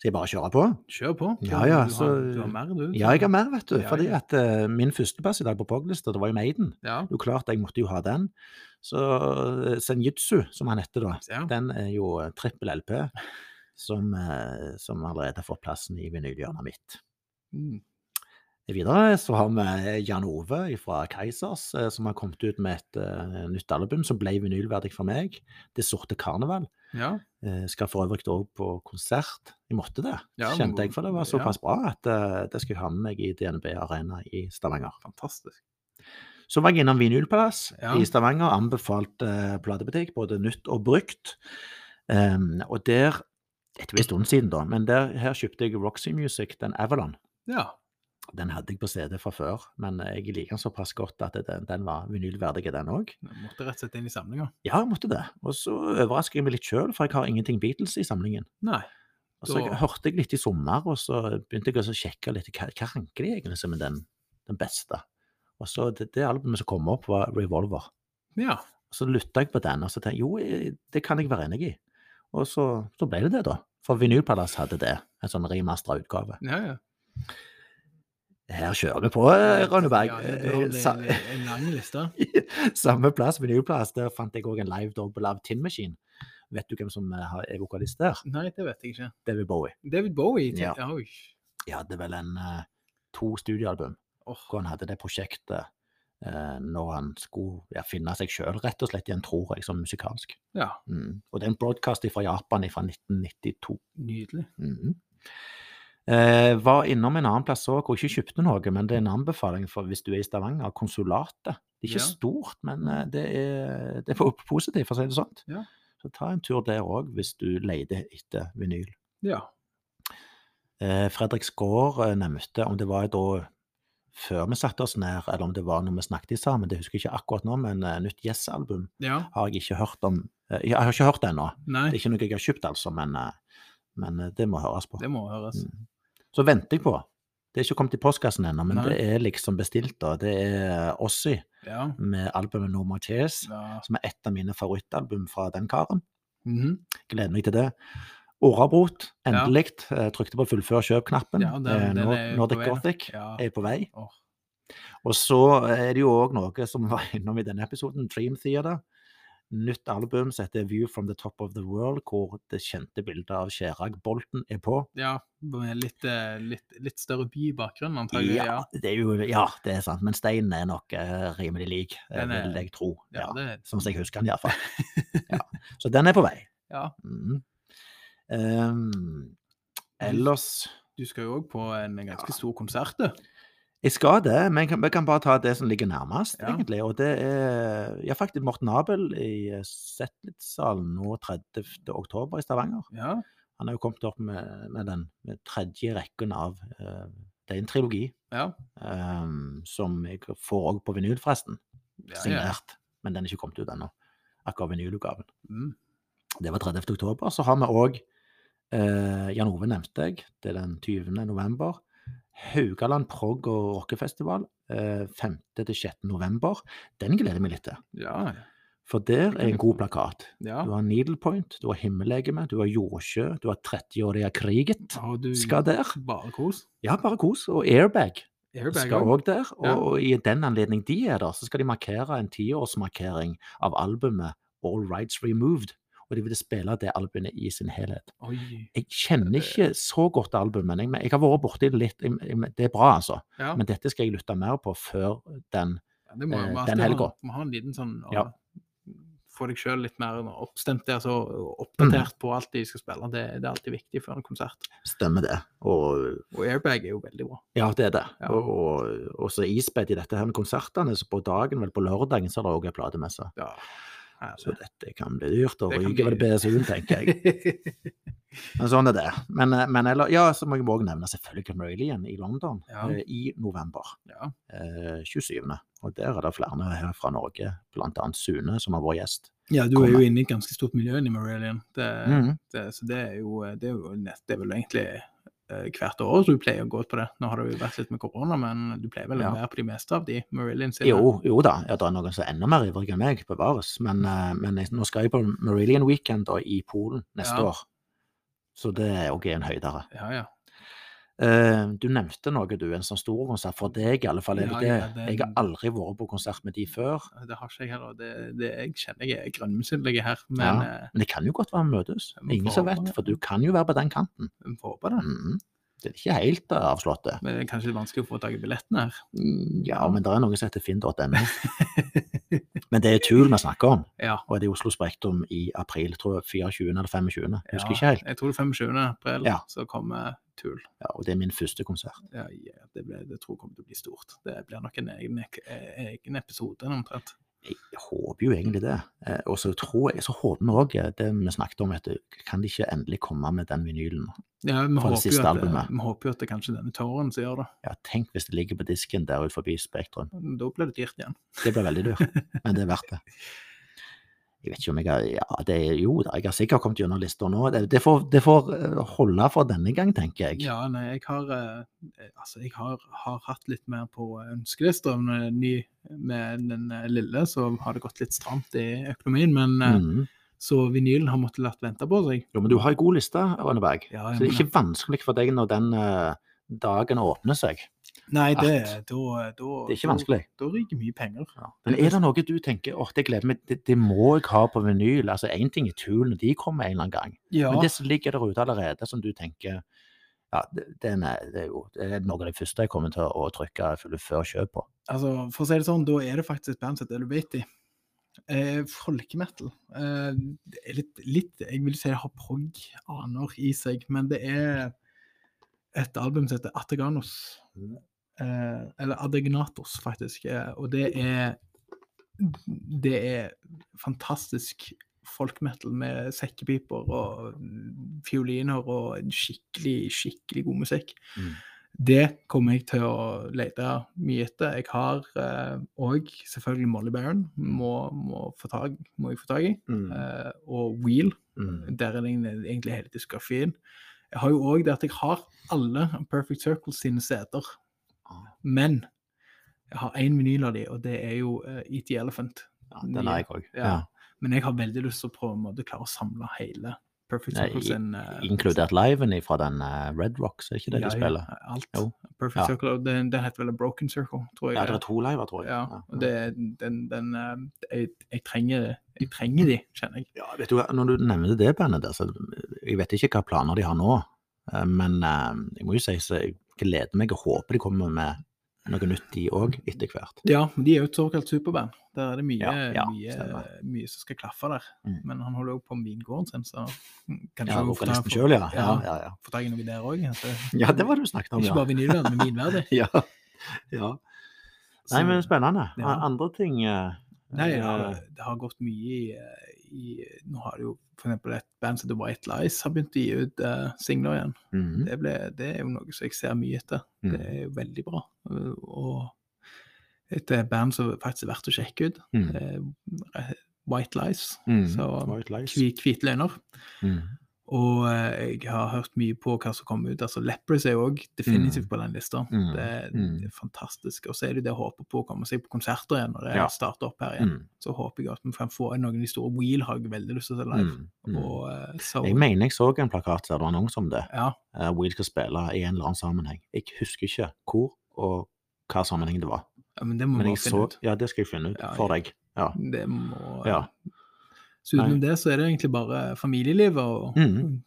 Speaker 1: Skal jeg bare kjøre på?
Speaker 2: Kjør på.
Speaker 1: Ja, ja,
Speaker 2: Du har,
Speaker 1: så-
Speaker 2: du har mer, du.
Speaker 1: Ja, jeg har mer, vet du.
Speaker 2: Ja,
Speaker 1: Fordi
Speaker 2: ja.
Speaker 1: at eh, min førsteplass i dag på Poglista, det var jo Maiden.
Speaker 2: Ja.
Speaker 1: Jo klart, jeg måtte jo ha den. Så eh, Senjutsu, som han heter da,
Speaker 2: Ja.
Speaker 1: den er jo eh, trippel LP, som, eh, som allerede har fått plassen i vinylhjørnet mitt.
Speaker 2: Mm.
Speaker 1: Videre så har vi eh, Jan Ove fra Keisers, eh, som har kommet ut med et eh, nytt album som ble vinylverdig for meg. Det sorte karneval.
Speaker 2: Ja.
Speaker 1: Eh, skal for øvrig òg på konsert. Jeg måtte det,
Speaker 2: Ja, men-
Speaker 1: kjente jeg, for det var
Speaker 2: ja.
Speaker 1: såpass bra at eh, det skal jeg ha med meg i DNB Arena i Stavanger.
Speaker 2: Fantastisk.
Speaker 1: Så var jeg innom Vinylpalass
Speaker 2: Ja.
Speaker 1: i Stavanger, anbefalt eh, platebutikk, både nytt og brukt. Em, og der Dette var en stund siden, da, men der, her kjøpte jeg Roxy Music, den Avalon.
Speaker 2: Ja.
Speaker 1: Den hadde jeg på CD fra før, men eh, jeg liker den såpass godt at den, den var vinylverdig, den òg.
Speaker 2: Jeg måtte rett og slett inn i samlinga.
Speaker 1: Ja, jeg måtte det. Og så overrasker jeg meg litt sjøl, for jeg har ingenting Beatles i samlingen.
Speaker 2: Nei.
Speaker 1: Og så
Speaker 2: Da-
Speaker 1: hørte jeg litt i sommer, og så begynte jeg også å sjekke litt hva, hva ranker de egentlig som er den, den beste. Og så det, det albumet som kom opp, var Revolver.
Speaker 2: Ja.
Speaker 1: Så lytta jeg på den, og så tenkte jeg jo, eh, det kan jeg være enig i. Og så, så ble det det, da. For Vinylpalass hadde det, en sånn remastera utgave.
Speaker 2: Ja, ja.
Speaker 1: Her kjører vi på, eh, Rønneberg.
Speaker 2: Ja, du har
Speaker 1: Eh,
Speaker 2: en,
Speaker 1: sa-
Speaker 2: en lang liste.
Speaker 1: Samme plass, Vinylplass, der fant jeg òg en live double av Tin Machine. Vet du hvem som eh, har- er vokalist der?
Speaker 2: Nei, det vet jeg ikke.
Speaker 1: David Bowie.
Speaker 2: David Bowie.
Speaker 1: Ja.
Speaker 2: Ja. Oi.
Speaker 1: De hadde vel en eh, to studioalbum
Speaker 2: Åh,
Speaker 1: hvor han hadde det prosjektet eh, når han skulle ja, finne seg sjøl, rett og slett igjen, tror jeg, som musikalsk.
Speaker 2: ja.
Speaker 1: Mm. Og det er en broadcast fra Japan fra 1992.
Speaker 2: Nydelig.
Speaker 1: Mhm. Eh, var innom en annen plass òg, og ikke kjøpte noe, men det er en anbefaling for hvis du er i Stavanger. Konsulatet. Det er ikke
Speaker 2: Ja.
Speaker 1: stort, men eh, det er, det er po- positivt, for å si det sånn.
Speaker 2: Ja.
Speaker 1: Så ta en tur der òg, hvis du leter etter vinyl.
Speaker 2: Ja.
Speaker 1: Eh, Fredrik Skaar eh, nevnte om det var da før vi satte oss ned, eller om det var når vi snakket sammen, det husker jeg ikke akkurat nå, men eh, nytt Yes-album
Speaker 2: Ja.
Speaker 1: har jeg ikke hørt om. Eh, jeg har ikke hørt det ennå. Det
Speaker 2: Nei,
Speaker 1: er ikke noe jeg har kjøpt, altså, men, eh, men eh, det må høres på.
Speaker 2: det må høres.
Speaker 1: Mm. Så venter jeg på. Det er ikke kommet i postkassen ennå, men
Speaker 2: Nei.
Speaker 1: det er liksom bestilt. da. Det er eh, Ossi
Speaker 2: Ja.
Speaker 1: med albumet No More Tears,
Speaker 2: ja.
Speaker 1: som er et av mine favorittalbum fra den karen.
Speaker 2: Mhm.
Speaker 1: Gleder meg til det. Orabrot,
Speaker 2: Ja.
Speaker 1: endelig. eh, Trykte på fullfør kjøp-knappen.
Speaker 2: Ja, den-
Speaker 1: Eh,
Speaker 2: den
Speaker 1: Nor-
Speaker 2: er på
Speaker 1: Nordic
Speaker 2: vei nå.
Speaker 1: Gothic
Speaker 2: Ja.
Speaker 1: er på vei.
Speaker 2: Åh.
Speaker 1: Og så er det jo òg noe som var innom i denne episoden, Dream Theater. Nytt album som heter View from the Top of the World, hvor det kjente bildet av Chirag Bolten er på.
Speaker 2: Ja. Med litt, eh, litt, litt større bybakgrunn, antagelig. Ja.
Speaker 1: Ja, det er jo, ja, det er sant. Men steinen er nok eh, rimelig lik, eh,
Speaker 2: Den er-
Speaker 1: vil jeg tro.
Speaker 2: Ja,
Speaker 1: Ja,
Speaker 2: det,
Speaker 1: Sånn som jeg husker den, iallfall. Ja. Så den er på vei.
Speaker 2: ja.
Speaker 1: Mhm. Ehm, ellers
Speaker 2: Du skal jo òg på en ganske stor konsert, du.
Speaker 1: Jeg skal det, men kan- vi kan bare ta det som ligger nærmest,
Speaker 2: Ja.
Speaker 1: egentlig. Og det er ja, faktisk Morten Abel i Zetlitz-salen nå 30. oktober i Stavanger.
Speaker 2: Ja.
Speaker 1: Han har jo kommet opp med, med den med tredje rekken av eh, Det er en trilogi
Speaker 2: Ja.
Speaker 1: ehm, som jeg får òg på vinyl, forresten.
Speaker 2: ja, ja.
Speaker 1: Signert. Men den er ikke kommet ut ennå. akkurat vinylutgaven.
Speaker 4: Mm.
Speaker 1: Det var 30. oktober. Så har vi òg eh, Jan Ove nevnte jeg. Det er den 20. november. Haugaland prog- og rockefestival eh, 5. til 6. november. Den gleder jeg meg litt til.
Speaker 2: Ja.
Speaker 1: For der er en god plakat.
Speaker 2: ja.
Speaker 1: Du har Needle Point, du har Himmellegeme, du har Jordsjø, du har 30-årige kriget.
Speaker 2: Og du
Speaker 1: Skal der.
Speaker 2: Bare kos.
Speaker 1: Ja, bare kos. Og Airbag
Speaker 2: Airbag
Speaker 1: skal
Speaker 2: også.
Speaker 1: òg der.
Speaker 2: Ja.
Speaker 1: Og, og i den anledning de er der, så skal de markere en tiårsmarkering av albumet All Rights Removed. Og de vil spille det albumet i sin helhet.
Speaker 2: Oi.
Speaker 1: Jeg kjenner ikke så godt albumet, men jeg, men jeg har vært borti det litt. Jeg- jeg- Det er bra, altså.
Speaker 2: Ja.
Speaker 1: Men dette skal jeg lytte mer på før den.
Speaker 2: Ja, Det må jo
Speaker 1: eh,
Speaker 2: være
Speaker 1: den
Speaker 2: at du
Speaker 1: helga.
Speaker 2: har- Må ha en liten sånn
Speaker 1: Ja.
Speaker 2: å Få deg sjøl litt mer oppstemt der, så oppdatert på alt de skal spille. Det, det er alltid viktig før en konsert.
Speaker 1: Stemmer det. Og
Speaker 2: Og airbag er jo veldig bra.
Speaker 1: Ja, det er det.
Speaker 2: Ja.
Speaker 1: Og, og, og så ispedd i dette her med konsertene, så på dagen, vel på lørdagen, så er det òg en platemesse.
Speaker 2: Ja. Her,
Speaker 1: Så dette kan bli dyrt, og
Speaker 2: Det kan
Speaker 1: ryker vel
Speaker 2: bli-
Speaker 1: BSU-en, tenker jeg. Men sånn er det. Men, eh, men eller, ja, så må jeg òg nevne selvfølgelig Cameralian i London
Speaker 2: Ja.
Speaker 1: eh, i november.
Speaker 2: Ja.
Speaker 1: Eh, 27. Og der er det flere her fra Norge, bl.a. Sune, som har vært gjest.
Speaker 2: ja, du er jo
Speaker 1: Kommer.
Speaker 2: inne i et ganske stort miljø inni Morelian. Det,
Speaker 1: Mhm.
Speaker 2: det, så det er jo, eh, det er jo nest, det er vel egentlig eh, hvert år du pleier å gå på det. Nå har det jo vært litt med korona, men du pleier vel å
Speaker 1: Ja.
Speaker 2: være på de meste av de Morelian sine?
Speaker 1: Jo, jo da, ja, det er noen som er enda mer ivrige enn meg, bevares. Men, eh, men jeg, nå skal jeg på Marillion Weekend da, i Polen neste
Speaker 2: Ja.
Speaker 1: år. Så det er òg en høydere.
Speaker 2: Ja, ja.
Speaker 1: Eh, du nevnte noe, du. En sånn stor konsert. For deg, i alle fall. Er det
Speaker 2: Ja, eh, ja,
Speaker 1: det?
Speaker 2: den-
Speaker 1: Jeg har aldri vært på konsert med de før.
Speaker 2: Det har ikke jeg heller. Det, det, jeg kjenner jeg er grønnmisunnelig her, men eh,
Speaker 1: Ja.
Speaker 2: ja.
Speaker 1: Men det kan jo godt være vi møtes.
Speaker 2: Ja, men
Speaker 1: Ingen som
Speaker 2: forhåpentlig.
Speaker 1: vet, for du kan jo være på den kanten.
Speaker 2: vi får håpe det.
Speaker 1: Mhm. Det er ikke helt eh, avslått, det.
Speaker 2: Men det er kanskje litt vanskelig å få tak i billettene her.
Speaker 1: Mm, Ja, men det er noe som heter finn.no. Men det er Tool vi snakker om,
Speaker 2: Ja.
Speaker 1: og det er Oslo Spektrum i april, tror jeg. 24. eller 25. Jeg husker
Speaker 2: ja.
Speaker 1: ikke helt.
Speaker 2: Jeg tror det er 25. april
Speaker 1: Ja.
Speaker 2: så kommer Tool.
Speaker 1: Ja, og det er min første konsert.
Speaker 2: Ja, ja, det, ble, det tror jeg kommer til å bli stort. Det blir nok en egen, e, egen episode omtrent.
Speaker 1: Jeg håper jo egentlig det. Eh, Og så tror jeg, så håper vi òg det vi snakket om, at det- kan de ikke endelig komme med den vinylen?
Speaker 2: Ja,
Speaker 1: Fra
Speaker 2: vi
Speaker 1: det
Speaker 2: håper, jo
Speaker 1: siste
Speaker 2: at, eh,
Speaker 1: albumet.
Speaker 2: vi håper jo at det kanskje er denne tåren som gjør det.
Speaker 1: Ja, tenk hvis det ligger på disken der ute forbi Spektrum.
Speaker 2: Da blir det dyrt igjen.
Speaker 1: Det blir veldig dyrt, men det er verdt det. Jeg vet ikke om jeg har ja, det er, Jo da, jeg har sikkert kommet gjennom lista nå. Det, det, får, det får eh, holde for denne gang, tenker jeg.
Speaker 2: Ja, nei, jeg har, eh, altså, jeg har, har hatt litt mer på ønskelista. men, eh, ny- Med den eh, lille så har det gått litt stramt i økonomien, men eh,
Speaker 1: Mhm.
Speaker 2: så vinylen har måttet latt vente på seg.
Speaker 1: Jo, men du har ei god liste, Rønneberg.
Speaker 2: Ja,
Speaker 1: Så
Speaker 2: eh, jeg
Speaker 1: det er
Speaker 2: mener-
Speaker 1: ikke vanskelig for deg når den eh, dagen åpner seg.
Speaker 2: Nei, det,
Speaker 1: Art.
Speaker 2: da, eh, da,
Speaker 1: Det er ikke vanskelig.
Speaker 2: Da, da ryker mye penger.
Speaker 1: Men er det noe du tenker åh, det gleder meg, det, det må jeg ha på vinyl? Altså, Én ting er Tool når de kommer en eller annen gang,
Speaker 2: Ja,
Speaker 1: men det som ligger der ute allerede, som du tenker ja, det, det, er, det er jo det er noe av det første jeg kommer til å trykke fulle før kjøp på.
Speaker 2: altså, for å si det sånn, da er det faktisk et band som heter Elevaty. Eh, folkemetal. Eh, det er litt, litt, jeg vil si det har prog-aner i seg, men det er et album som heter Ateganos. Eh, eller Adegnatos, faktisk. Eh, og det er Det er fantastisk folkmetal med sekkepiper og fioliner og skikkelig, skikkelig god musikk.
Speaker 1: Mm.
Speaker 2: Det kommer jeg til å lete mye etter. Jeg har òg selvfølgelig Molly Baron, må, må, få tag, må jeg få tak i. Eh, og Wheel,
Speaker 1: Mm.
Speaker 2: der er det egentlig- egentlig hele diskografien. Jeg har jo òg det at jeg har alle Perfect Circle sine seter,
Speaker 1: Ah.
Speaker 2: men jeg har én vinyl av de, og det er jo eh, Eat the Elephant.
Speaker 1: Ja, den
Speaker 2: Nye.
Speaker 1: har jeg òg.
Speaker 2: Ja. Men jeg har veldig lyst til å på en måte klare å samle hele Perfect
Speaker 1: Nei,
Speaker 2: Circle sin eh,
Speaker 1: Inkludert liven fra den eh, Red Rocks, er ikke det
Speaker 2: ja,
Speaker 1: de
Speaker 2: ja,
Speaker 1: spiller?
Speaker 2: Alt.
Speaker 1: Jo.
Speaker 2: Perfect
Speaker 1: Ja.
Speaker 2: Circle. og Den, den heter vel A Broken Circle, tror jeg.
Speaker 1: Ja, det er to liver, tror jeg.
Speaker 2: Ja, og det, den, den eh, jeg, jeg, trenger, jeg trenger de, kjenner jeg.
Speaker 1: Ja, vet du, hva, når du nevner det bandet der, så eh, jeg vet ikke hva planer de har nå. eh, Men eh, jeg må jo si så jeg gleder meg og håper de kommer med noe nytt de òg, etter hvert.
Speaker 2: Ja, men de er jo et såkalt superband. Der er det mye,
Speaker 1: Ja, ja,
Speaker 2: mye,
Speaker 1: stemmer.
Speaker 2: mye som skal klaffe der.
Speaker 1: Mm.
Speaker 2: Men han holder jo på med vingården sin, så kanskje
Speaker 1: Ja,
Speaker 2: hun får tak-
Speaker 1: Vokalisten sjøl, ja. Ja,
Speaker 2: Ja.
Speaker 1: ja, ja.
Speaker 2: får tak i noe der òg.
Speaker 1: ja, det var det du snakket om,
Speaker 2: Ikke
Speaker 1: ja.
Speaker 2: bare vinylband, men vinverdig.
Speaker 1: ja. ja. Nei,
Speaker 2: Så-
Speaker 1: men spennende.
Speaker 2: Ja.
Speaker 1: Andre ting eh,
Speaker 2: Nei, det
Speaker 1: eh,
Speaker 2: har, det har gått mye i, eh, i Nå har det jo f.eks. et band som The White Lies har begynt å gi ut eh, singler igjen.
Speaker 1: mhm,
Speaker 2: Det, ble, det er jo noe som jeg ser mye etter. Det
Speaker 1: mhm,
Speaker 2: er jo veldig bra. Og et eh, band som faktisk er verdt å sjekke ut.
Speaker 1: mhm.
Speaker 2: Eh, White Lies.
Speaker 1: Mm.
Speaker 2: Så
Speaker 1: White Lies.
Speaker 2: hvi- hvite løgner.
Speaker 1: Mm.
Speaker 2: Og eh, jeg har hørt mye på hva som kommer ut. Altså Lepros er jo òg definitivt på den lista.
Speaker 1: Mm.
Speaker 2: Det, er-
Speaker 1: Mm.
Speaker 2: det er fantastisk. Og så er det jo det å håpe på å komme seg på konserter igjen når det
Speaker 1: Ja.
Speaker 2: starter opp her igjen.
Speaker 1: Mm.
Speaker 2: Så håper jeg at vi kan få inn noen av de store Wheel har jeg veldig lyst til å se live.
Speaker 1: Mm. Mm.
Speaker 2: Og eh, så
Speaker 1: Jeg mener jeg så en plakat der det var annonse om det.
Speaker 2: Ja.
Speaker 1: eh, Wheel skal spille i en eller annen sammenheng. Jeg husker ikke hvor og hva sammenheng det var.
Speaker 2: ja, men det må
Speaker 1: Men
Speaker 2: vi
Speaker 1: jeg
Speaker 2: bare finne
Speaker 1: så
Speaker 2: ut.
Speaker 1: Ja, det skal jeg finne ut
Speaker 2: Ja,
Speaker 1: for deg. Ja.
Speaker 2: Det må eh,
Speaker 1: Ja.
Speaker 2: Så utenom det så er det egentlig bare familielivet og
Speaker 1: Mm.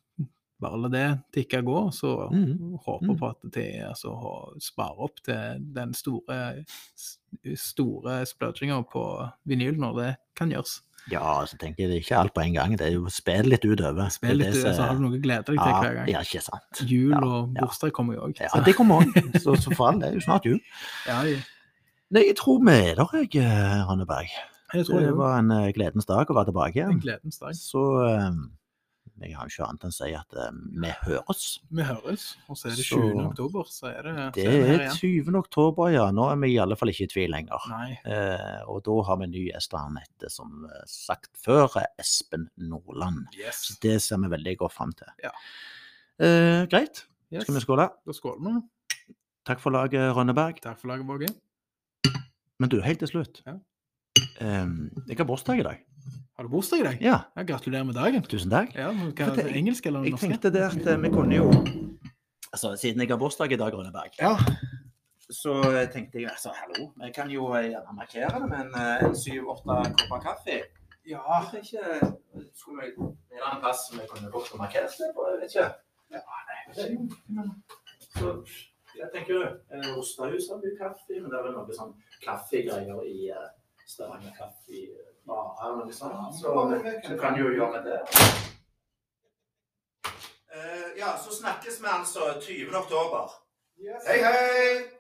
Speaker 2: bare la det tikke og gå. Så
Speaker 1: Mm.
Speaker 2: håper
Speaker 1: Mm.
Speaker 2: på at de altså, har- sparer opp til den store, s- store splurginga på vinyl når det kan gjøres.
Speaker 1: ja, så tenker jeg det er ikke alt på en gang. Det er jo spill litt utover.
Speaker 2: Spill litt, eh,
Speaker 1: Det er det
Speaker 2: så
Speaker 1: som-
Speaker 2: har du noe å glede deg til
Speaker 1: ja,
Speaker 2: hver gang.
Speaker 1: Ja, ikke sant.
Speaker 2: Jul
Speaker 1: Ja,
Speaker 2: og
Speaker 1: ja.
Speaker 2: bursdag kommer jo òg.
Speaker 1: Ja, det kommer òg. Så, så for all det er jo snart jul.
Speaker 2: Ja, jeg,
Speaker 1: Nei, jeg tror vi er der, jeg, eh, Rønneberg.
Speaker 2: jeg
Speaker 1: Det
Speaker 2: tror det var
Speaker 1: var en eh, gledens dag å være tilbake
Speaker 2: en
Speaker 1: igjen.
Speaker 2: gledens dag.
Speaker 1: Så eh, jeg har jo ikke annet enn å si at eh, vi høres.
Speaker 2: Vi høres, og så er det
Speaker 1: Så-
Speaker 2: 20. oktober, så er det,
Speaker 1: Det
Speaker 2: så er vi eh, her
Speaker 1: er
Speaker 2: igjen.
Speaker 1: 20. oktober, ja. Nå er vi i alle fall ikke i tvil lenger.
Speaker 2: Nei.
Speaker 1: Eh, og da har vi en ny gjest, og han heter som eh, sagt før, eh, Espen Nordland. Så
Speaker 2: Yes.
Speaker 1: det ser vi veldig godt fram til.
Speaker 2: Ja.
Speaker 1: Eh, greit,
Speaker 2: yes.
Speaker 1: skal vi skåle?
Speaker 2: Da skåler vi.
Speaker 1: Takk for laget, Rønneberg.
Speaker 2: Takk for laget, Våge.
Speaker 1: Men du, helt til slutt.
Speaker 2: Ja.
Speaker 1: Eh, jeg har bursdag i dag.
Speaker 2: Har du bursdag i dag?
Speaker 1: Ja,
Speaker 2: Ja, gratulerer med dagen.
Speaker 1: tusen takk.
Speaker 2: Ja, men hva,
Speaker 1: For det-
Speaker 2: engelsk eller
Speaker 1: Jeg
Speaker 2: norsk?
Speaker 1: tenkte det at eh, vi kunne jo Altså, siden jeg har bursdag i dag, Rønneberg,
Speaker 2: Ja.
Speaker 1: så eh, tenkte jeg altså, hallo, vi kan jo eh, gjerne markere det med en, eh, en syv-åtte kopper kaffe.
Speaker 2: ja.
Speaker 1: Jeg vet ikke, skulle vi en annen plass som jeg kunne brukt å markere sted på, jeg vet ikke. Ja, nei, så jeg tenker, eh, Ostahus har mye kaffe, men det er vel noe sånn kaffegreier i eh, Stavanger kaffe i eh, Vara eller noe sånt, så så kan jo gjøre det. Eh, Ja, så snakkes vi altså 20. oktober. Hei, hei!